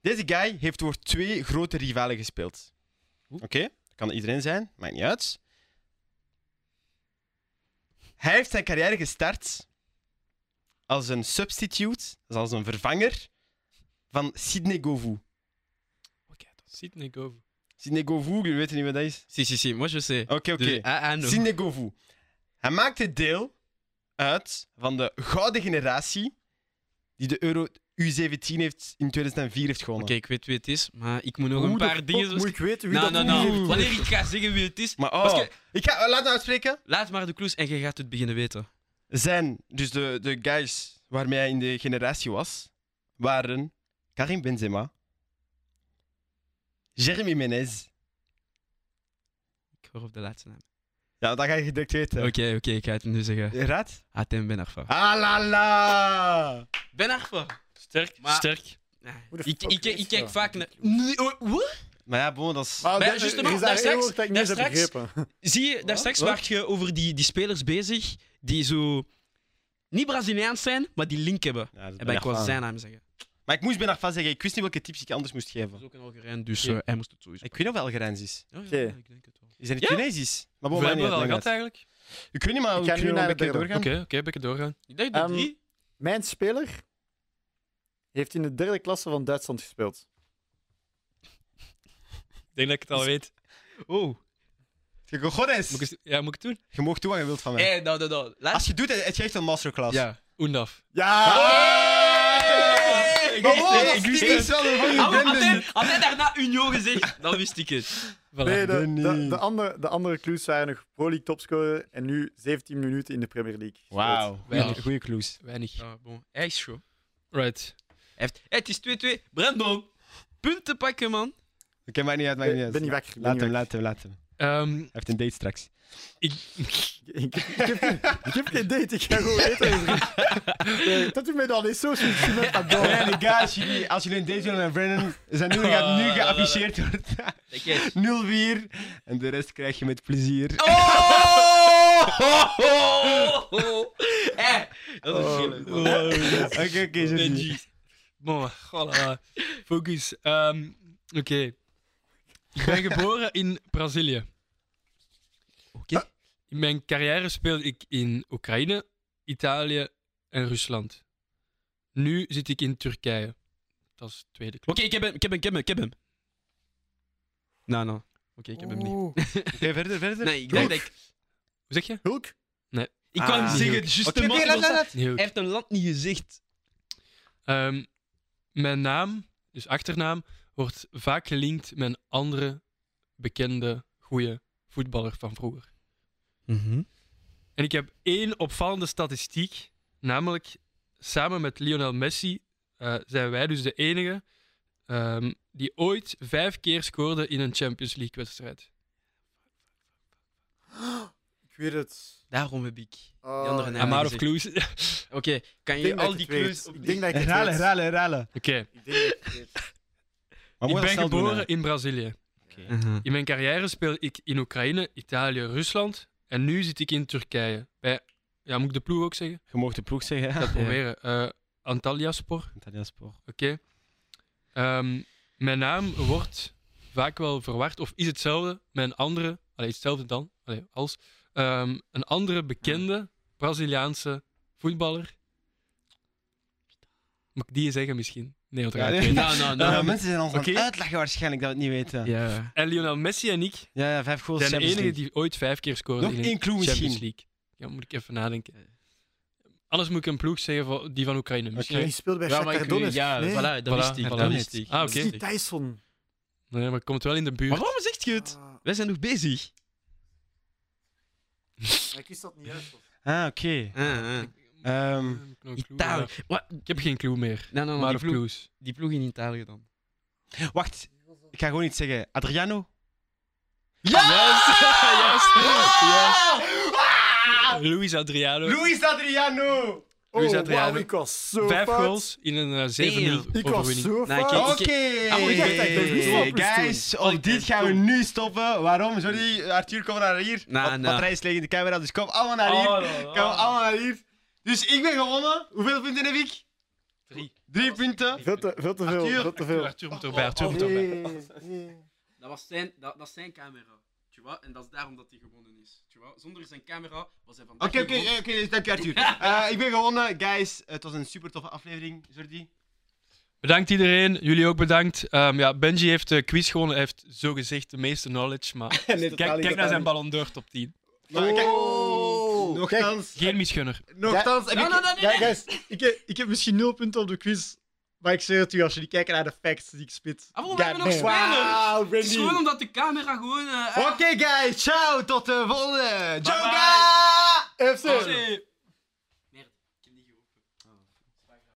[SPEAKER 2] Deze guy heeft voor twee grote rivalen gespeeld.
[SPEAKER 4] Oeh.
[SPEAKER 2] Oké, dat kan iedereen zijn, maakt niet uit. Hij heeft zijn carrière gestart als een substitute, dus als een vervanger, van Sidney Govou.
[SPEAKER 1] Oké, dat ziet niet over.
[SPEAKER 2] Sidney Govou, jullie weten niet wat dat is?
[SPEAKER 4] Si, si, si. Moi, je sais.
[SPEAKER 2] Oké, oké.
[SPEAKER 4] Dus, ah, ah, no.
[SPEAKER 2] Sinegovu. Hij maakte deel uit van de gouden generatie die de Euro U17 heeft in 2004 heeft gewonnen.
[SPEAKER 4] Oké, ik weet wie het is, maar ik moet nog
[SPEAKER 3] Hoe
[SPEAKER 4] een
[SPEAKER 3] de
[SPEAKER 4] paar
[SPEAKER 3] fuck
[SPEAKER 4] dingen...
[SPEAKER 3] Moet ik weten wie
[SPEAKER 4] Nou,
[SPEAKER 3] dat
[SPEAKER 4] nou,
[SPEAKER 3] nu
[SPEAKER 4] nou.
[SPEAKER 3] heeft?
[SPEAKER 4] Wanneer ik ga zeggen wie het is,
[SPEAKER 2] Maar
[SPEAKER 4] Als
[SPEAKER 2] oh,
[SPEAKER 4] je-
[SPEAKER 2] ik ga, laat me uitspreken.
[SPEAKER 4] laat maar de clues en je gaat het beginnen weten.
[SPEAKER 2] Zijn, dus de, de guys waarmee hij in de generatie was, waren Karim Benzema, Jeremy Menez.
[SPEAKER 4] Ik hoor op de laatste naam.
[SPEAKER 2] Ja, dat ga je direct weten.
[SPEAKER 4] Oké, oké, ik ga het nu zeggen.
[SPEAKER 2] Raad?
[SPEAKER 4] Atem Ben Arfa.
[SPEAKER 2] Ah la la!
[SPEAKER 4] Ben Arfa!
[SPEAKER 1] Sterk,
[SPEAKER 4] Maar-
[SPEAKER 1] sterk.
[SPEAKER 3] Hoe de
[SPEAKER 4] Ik,
[SPEAKER 3] fuck
[SPEAKER 4] ik,
[SPEAKER 3] weet
[SPEAKER 4] ik
[SPEAKER 3] je
[SPEAKER 4] kijk
[SPEAKER 3] dat?
[SPEAKER 4] vaak naar... Nee, oh, wat?
[SPEAKER 2] Maar ja, bon, dat is...
[SPEAKER 3] Maar
[SPEAKER 4] Maar
[SPEAKER 3] dat-
[SPEAKER 4] juist,
[SPEAKER 3] er
[SPEAKER 4] maar
[SPEAKER 3] is
[SPEAKER 4] daar
[SPEAKER 3] daar één
[SPEAKER 4] straks-
[SPEAKER 3] woord dat ik
[SPEAKER 4] daar
[SPEAKER 3] niet eens heb
[SPEAKER 4] straks-
[SPEAKER 3] begrepen.
[SPEAKER 4] Zie je, daar straks
[SPEAKER 3] Wat?
[SPEAKER 4] waart je over die, die spelers bezig die zo... Niet Braziliaans zijn, maar die link hebben.
[SPEAKER 2] Ja, dat is
[SPEAKER 4] En
[SPEAKER 2] Ben
[SPEAKER 4] ik wou
[SPEAKER 2] Arfa.
[SPEAKER 4] zijn naam zeggen.
[SPEAKER 2] Maar ik moest Ben Arfa zeggen, ik wist niet welke tips ik anders moest
[SPEAKER 4] Dat
[SPEAKER 2] geven.
[SPEAKER 4] is ook een Algerijn, dus
[SPEAKER 1] Oké.
[SPEAKER 4] eh, hij moest het sowieso. Oh,
[SPEAKER 2] Ik weet nog wel Algerijns is.
[SPEAKER 4] Ja, ja,
[SPEAKER 3] Oké.
[SPEAKER 4] ja, ik denk het wel.
[SPEAKER 2] Is hij niet
[SPEAKER 4] Ja?
[SPEAKER 2] Tunesisch? Maar bon,
[SPEAKER 1] Hoeveel
[SPEAKER 2] maakt
[SPEAKER 1] hebben
[SPEAKER 2] niet
[SPEAKER 1] we al
[SPEAKER 2] uit,
[SPEAKER 1] gehad
[SPEAKER 2] maakt niet uit.
[SPEAKER 1] eigenlijk?
[SPEAKER 2] Ik weet niet, maar
[SPEAKER 3] Ik
[SPEAKER 2] we
[SPEAKER 3] ga
[SPEAKER 2] kunnen
[SPEAKER 3] nu
[SPEAKER 2] wel een
[SPEAKER 3] naar de
[SPEAKER 2] beetje
[SPEAKER 1] Oké,
[SPEAKER 2] doorgaan.
[SPEAKER 1] oké, ben ik doorgaan.
[SPEAKER 4] Ik denk de
[SPEAKER 3] Ehm,
[SPEAKER 4] drie.
[SPEAKER 3] Mijn speler heeft in de derde klasse van Duitsland gespeeld.
[SPEAKER 1] Ik denk dat ik het al weet.
[SPEAKER 2] Oh. Je kan gewoon eens.
[SPEAKER 1] Moet ik, eens- ja, moet ik het doen?
[SPEAKER 2] Je mag doen wat je wilt van mij.
[SPEAKER 4] Hé, nou, nou, nou.
[SPEAKER 2] Als
[SPEAKER 4] Laatste.
[SPEAKER 2] je doet, het het geeft een masterclass.
[SPEAKER 1] Ja, Oendaf.
[SPEAKER 3] Ja!
[SPEAKER 2] Hey! Maar bon,
[SPEAKER 1] Hey,
[SPEAKER 2] dat
[SPEAKER 1] ik
[SPEAKER 2] is
[SPEAKER 1] wist
[SPEAKER 2] typisch wel een goeie
[SPEAKER 4] Ah, Had
[SPEAKER 2] Ben, dus-
[SPEAKER 4] hij- had hij daarna Union gezegd, dan wist ik het.
[SPEAKER 1] Voilà.
[SPEAKER 3] Nee, de,
[SPEAKER 2] ben
[SPEAKER 3] de,
[SPEAKER 2] niet.
[SPEAKER 3] de andere, de andere clues waren nog Pro League topscorer en nu 17 minuten in de Premier League. gespeeld.
[SPEAKER 2] Wauw.
[SPEAKER 1] Weinig.
[SPEAKER 2] Goeie clues.
[SPEAKER 1] Weinig.
[SPEAKER 4] Ah, bon. Hij is goed.
[SPEAKER 1] Right.
[SPEAKER 4] Hij heeft- Hey, het is 2-2. Brandon, punten pakken, man.
[SPEAKER 2] Oké, maakt niet uit, maakt niet
[SPEAKER 3] Ik
[SPEAKER 2] uit.
[SPEAKER 3] ben niet wakker. ik ben
[SPEAKER 2] Laat
[SPEAKER 3] niet
[SPEAKER 2] hem,
[SPEAKER 3] wakker.
[SPEAKER 2] laat hem, laat hem. Hij
[SPEAKER 1] Ehm,
[SPEAKER 2] heeft een date straks.
[SPEAKER 3] Ik, ik, heb, geen- ik heb geen date, ik ga gewoon eten. Nee, Dat doet mij dan niet zo sushi met pardon.
[SPEAKER 2] En die guys, jullie- als jullie een date willen met Brandon, zijn nu,
[SPEAKER 4] Ah,
[SPEAKER 2] gaat nu
[SPEAKER 4] la, la, la.
[SPEAKER 2] geafficheerd worden.
[SPEAKER 4] Kijk eens.
[SPEAKER 2] 0-4. En de rest krijg je met plezier.
[SPEAKER 4] Oh! oh, oh. Hé, dat is
[SPEAKER 3] Oh.
[SPEAKER 4] gillen.
[SPEAKER 2] Oké, oké, Jordi.
[SPEAKER 1] Benji. Bon, voilà. Focus. Ehm, Oké. Ik ben geboren in Brazilië. Ah.
[SPEAKER 4] Oké.
[SPEAKER 1] In mijn carrière speelde ik in Oekraïne, Italië en Rusland. Nu zit ik in Turkije. Dat is de tweede clue.
[SPEAKER 4] Oké, ik heb hem, ik heb hem, ik heb hem, ik heb hem. Nou, nou. Oké, ik heb hem niet.
[SPEAKER 2] Oké, verder, verder.
[SPEAKER 4] Nee, ik denk dat ik...
[SPEAKER 1] Hoe zeg je?
[SPEAKER 3] Hulk?
[SPEAKER 4] Ik kan
[SPEAKER 2] Ah.
[SPEAKER 4] hem zeggen, just
[SPEAKER 2] Oké,
[SPEAKER 4] de man
[SPEAKER 2] oké,
[SPEAKER 4] die
[SPEAKER 2] laat,
[SPEAKER 4] was-
[SPEAKER 2] laat, laat.
[SPEAKER 1] Nee, ook.
[SPEAKER 4] Hij heeft een land niet gezegd.
[SPEAKER 1] Ehm, mijn naam, dus achternaam, wordt vaak gelinkt met een andere bekende goede voetballer van vroeger.
[SPEAKER 4] Mhm.
[SPEAKER 1] En ik heb één opvallende statistiek, namelijk samen met Lionel Messi eh, zijn wij dus de enige ehm, die ooit vijf keer scoorde in een Champions League wedstrijd.
[SPEAKER 3] Ik weet het.
[SPEAKER 4] Daarom heb ik.
[SPEAKER 3] Oh,
[SPEAKER 4] Die andere
[SPEAKER 3] ja.
[SPEAKER 4] naam.
[SPEAKER 1] I'm out of
[SPEAKER 4] zeg.
[SPEAKER 1] clues. Oké,
[SPEAKER 4] Oké, kan
[SPEAKER 3] Ik
[SPEAKER 4] je
[SPEAKER 3] denk dat
[SPEAKER 4] al
[SPEAKER 3] ik
[SPEAKER 4] die
[SPEAKER 3] het weet.
[SPEAKER 4] clues...
[SPEAKER 3] Ik denk dat ik het
[SPEAKER 2] Herhalen,
[SPEAKER 3] weet.
[SPEAKER 2] herhalen, herhalen.
[SPEAKER 3] Ik denk dat ik het weet.
[SPEAKER 1] ik ben geboren in Brazilië.
[SPEAKER 4] Mhm.
[SPEAKER 1] In mijn carrière speel ik in Oekraïne, Italië, Rusland. En nu zit ik in Turkije. Bij, ja, moet ik de ploeg ook zeggen?
[SPEAKER 2] Je mocht de ploeg zeggen,
[SPEAKER 1] Ik
[SPEAKER 2] hè?
[SPEAKER 1] ga het proberen. Eh Antalyaspor, oké.
[SPEAKER 2] Italiaans spoor.
[SPEAKER 1] Ehm, mijn naam wordt vaak wel verward, of is hetzelfde met een andere, allee, hetzelfde dan, allee, als, ehm, een andere bekende Braziliaanse voetballer. Moet ik die zeggen misschien? Nee, want
[SPEAKER 2] Ja,
[SPEAKER 1] ja,
[SPEAKER 2] nee.
[SPEAKER 4] Nou, nou, nou.
[SPEAKER 2] mensen zijn ons aan
[SPEAKER 1] oké.
[SPEAKER 2] het uitlachen waarschijnlijk dat we het niet weten. Ja,
[SPEAKER 4] Ja.
[SPEAKER 1] En Lionel Messi en ik
[SPEAKER 2] ja, vijf goals.
[SPEAKER 1] zijn de
[SPEAKER 2] Champions
[SPEAKER 1] enigen
[SPEAKER 2] League.
[SPEAKER 1] die ooit vijf keer scoren
[SPEAKER 2] Nog
[SPEAKER 1] in een
[SPEAKER 2] één clue
[SPEAKER 1] Champions
[SPEAKER 2] misschien.
[SPEAKER 1] League. Ja, moet ik even nadenken. Anders moet ik een ploeg zeggen van, die van Oekraïne. Misschien.
[SPEAKER 3] Die speelde bij
[SPEAKER 4] Ja, maar
[SPEAKER 3] Shakhtar
[SPEAKER 4] ik, weet-
[SPEAKER 3] Donetsk.
[SPEAKER 4] ja,
[SPEAKER 3] nee,
[SPEAKER 4] voilà, dat
[SPEAKER 1] Voilà,
[SPEAKER 4] wist ik.
[SPEAKER 1] voilà.
[SPEAKER 4] Dat wist ik.
[SPEAKER 1] Ah, oké.
[SPEAKER 3] dat is die Tyson.
[SPEAKER 1] Nee, maar komt wel in de buurt.
[SPEAKER 4] Maar waarom zegt je het?
[SPEAKER 3] Ah,
[SPEAKER 4] Wij zijn nog bezig.
[SPEAKER 3] maar ik wist dat niet uit.
[SPEAKER 2] Ah, oké.
[SPEAKER 4] Ah, ah.
[SPEAKER 2] Ehm,
[SPEAKER 1] Ik heb nog een clue,
[SPEAKER 4] Italië.
[SPEAKER 1] ja.
[SPEAKER 4] Wat?
[SPEAKER 1] Ik heb geen clue meer.
[SPEAKER 4] Nou, nou, nou,
[SPEAKER 1] maar
[SPEAKER 4] die,
[SPEAKER 1] of
[SPEAKER 4] ploeg,
[SPEAKER 1] clues.
[SPEAKER 4] die ploeg in Italië dan.
[SPEAKER 2] wacht, ik ga gewoon iets zeggen. Adriano?
[SPEAKER 1] Yes! yes!
[SPEAKER 2] Oh,
[SPEAKER 1] Luis Adriano.
[SPEAKER 2] Luis Adriano!
[SPEAKER 3] Oh,
[SPEAKER 1] Adriano.
[SPEAKER 3] wauw, ik was zo
[SPEAKER 1] Vijf
[SPEAKER 3] fout.
[SPEAKER 1] goals in een eh, 7-0
[SPEAKER 3] Ik was
[SPEAKER 1] overwinning.
[SPEAKER 3] zo
[SPEAKER 4] Nee,
[SPEAKER 3] fout.
[SPEAKER 4] kijk,
[SPEAKER 2] Oké!
[SPEAKER 4] ik- Ah, maar
[SPEAKER 3] ik dacht dat ik de wielerploeg
[SPEAKER 2] Guys, op dit gaan we nu stoppen. Waarom? Sorry, Arthur, kom naar hier.
[SPEAKER 4] Nou, Oh.
[SPEAKER 2] Wat-
[SPEAKER 4] nou.
[SPEAKER 2] Batterij is leeg in de camera, dus kom allemaal naar hier. Kom allemaal naar hier. Dus ik ben gewonnen. Hoeveel punten heb ik?
[SPEAKER 1] Drie.
[SPEAKER 2] Drie punten.
[SPEAKER 3] Veel te, veel te veel,
[SPEAKER 2] Arthur,
[SPEAKER 3] veel te veel.
[SPEAKER 1] Arthur moet erbij, Arthur moet erbij.
[SPEAKER 3] Oh, Nee, nee.
[SPEAKER 4] Dat, was zijn, dat, dat is zijn camera. Tu vois? En dat is daarom dat hij gewonnen is. Tu vois? Zonder zijn camera was hij vandaag
[SPEAKER 2] Oké, oké,
[SPEAKER 4] gewonnen.
[SPEAKER 2] eh, oké, dus dank je Arthur. Eh, ik ben gewonnen, guys. Het was een super toffe aflevering, Jordi.
[SPEAKER 1] Bedankt iedereen, jullie ook bedankt. Ehm, ja, Benji heeft de quiz gewonnen, hij heeft zogezegd de meeste knowledge, maar kijk,
[SPEAKER 3] totaal niet,
[SPEAKER 1] kijk naar
[SPEAKER 3] totaal
[SPEAKER 1] zijn
[SPEAKER 3] niet.
[SPEAKER 1] Ballon d'Or top 10.
[SPEAKER 2] Maar kijk,
[SPEAKER 3] Oh.
[SPEAKER 2] Nochtans,
[SPEAKER 1] Geen misgunner.
[SPEAKER 2] nochtans heb ik...
[SPEAKER 4] Nee, nee, nee,
[SPEAKER 5] Ja,
[SPEAKER 4] nee.
[SPEAKER 5] guys, ik heb, ik heb misschien nul punten op de quiz. Maar ik zweer het u, als jullie kijken naar de facts die ik spit.
[SPEAKER 4] Ah, waarom hebben we nog
[SPEAKER 5] goddamn.
[SPEAKER 4] spelers?
[SPEAKER 3] Wauw,
[SPEAKER 4] Het is gewoon
[SPEAKER 3] Randy.
[SPEAKER 4] omdat de camera gewoon... eh,
[SPEAKER 2] Oké, guys. Ciao. Tot de Oh, volgende. Ciao,
[SPEAKER 4] Bye-bye.
[SPEAKER 2] guys.
[SPEAKER 5] FC!
[SPEAKER 4] eh,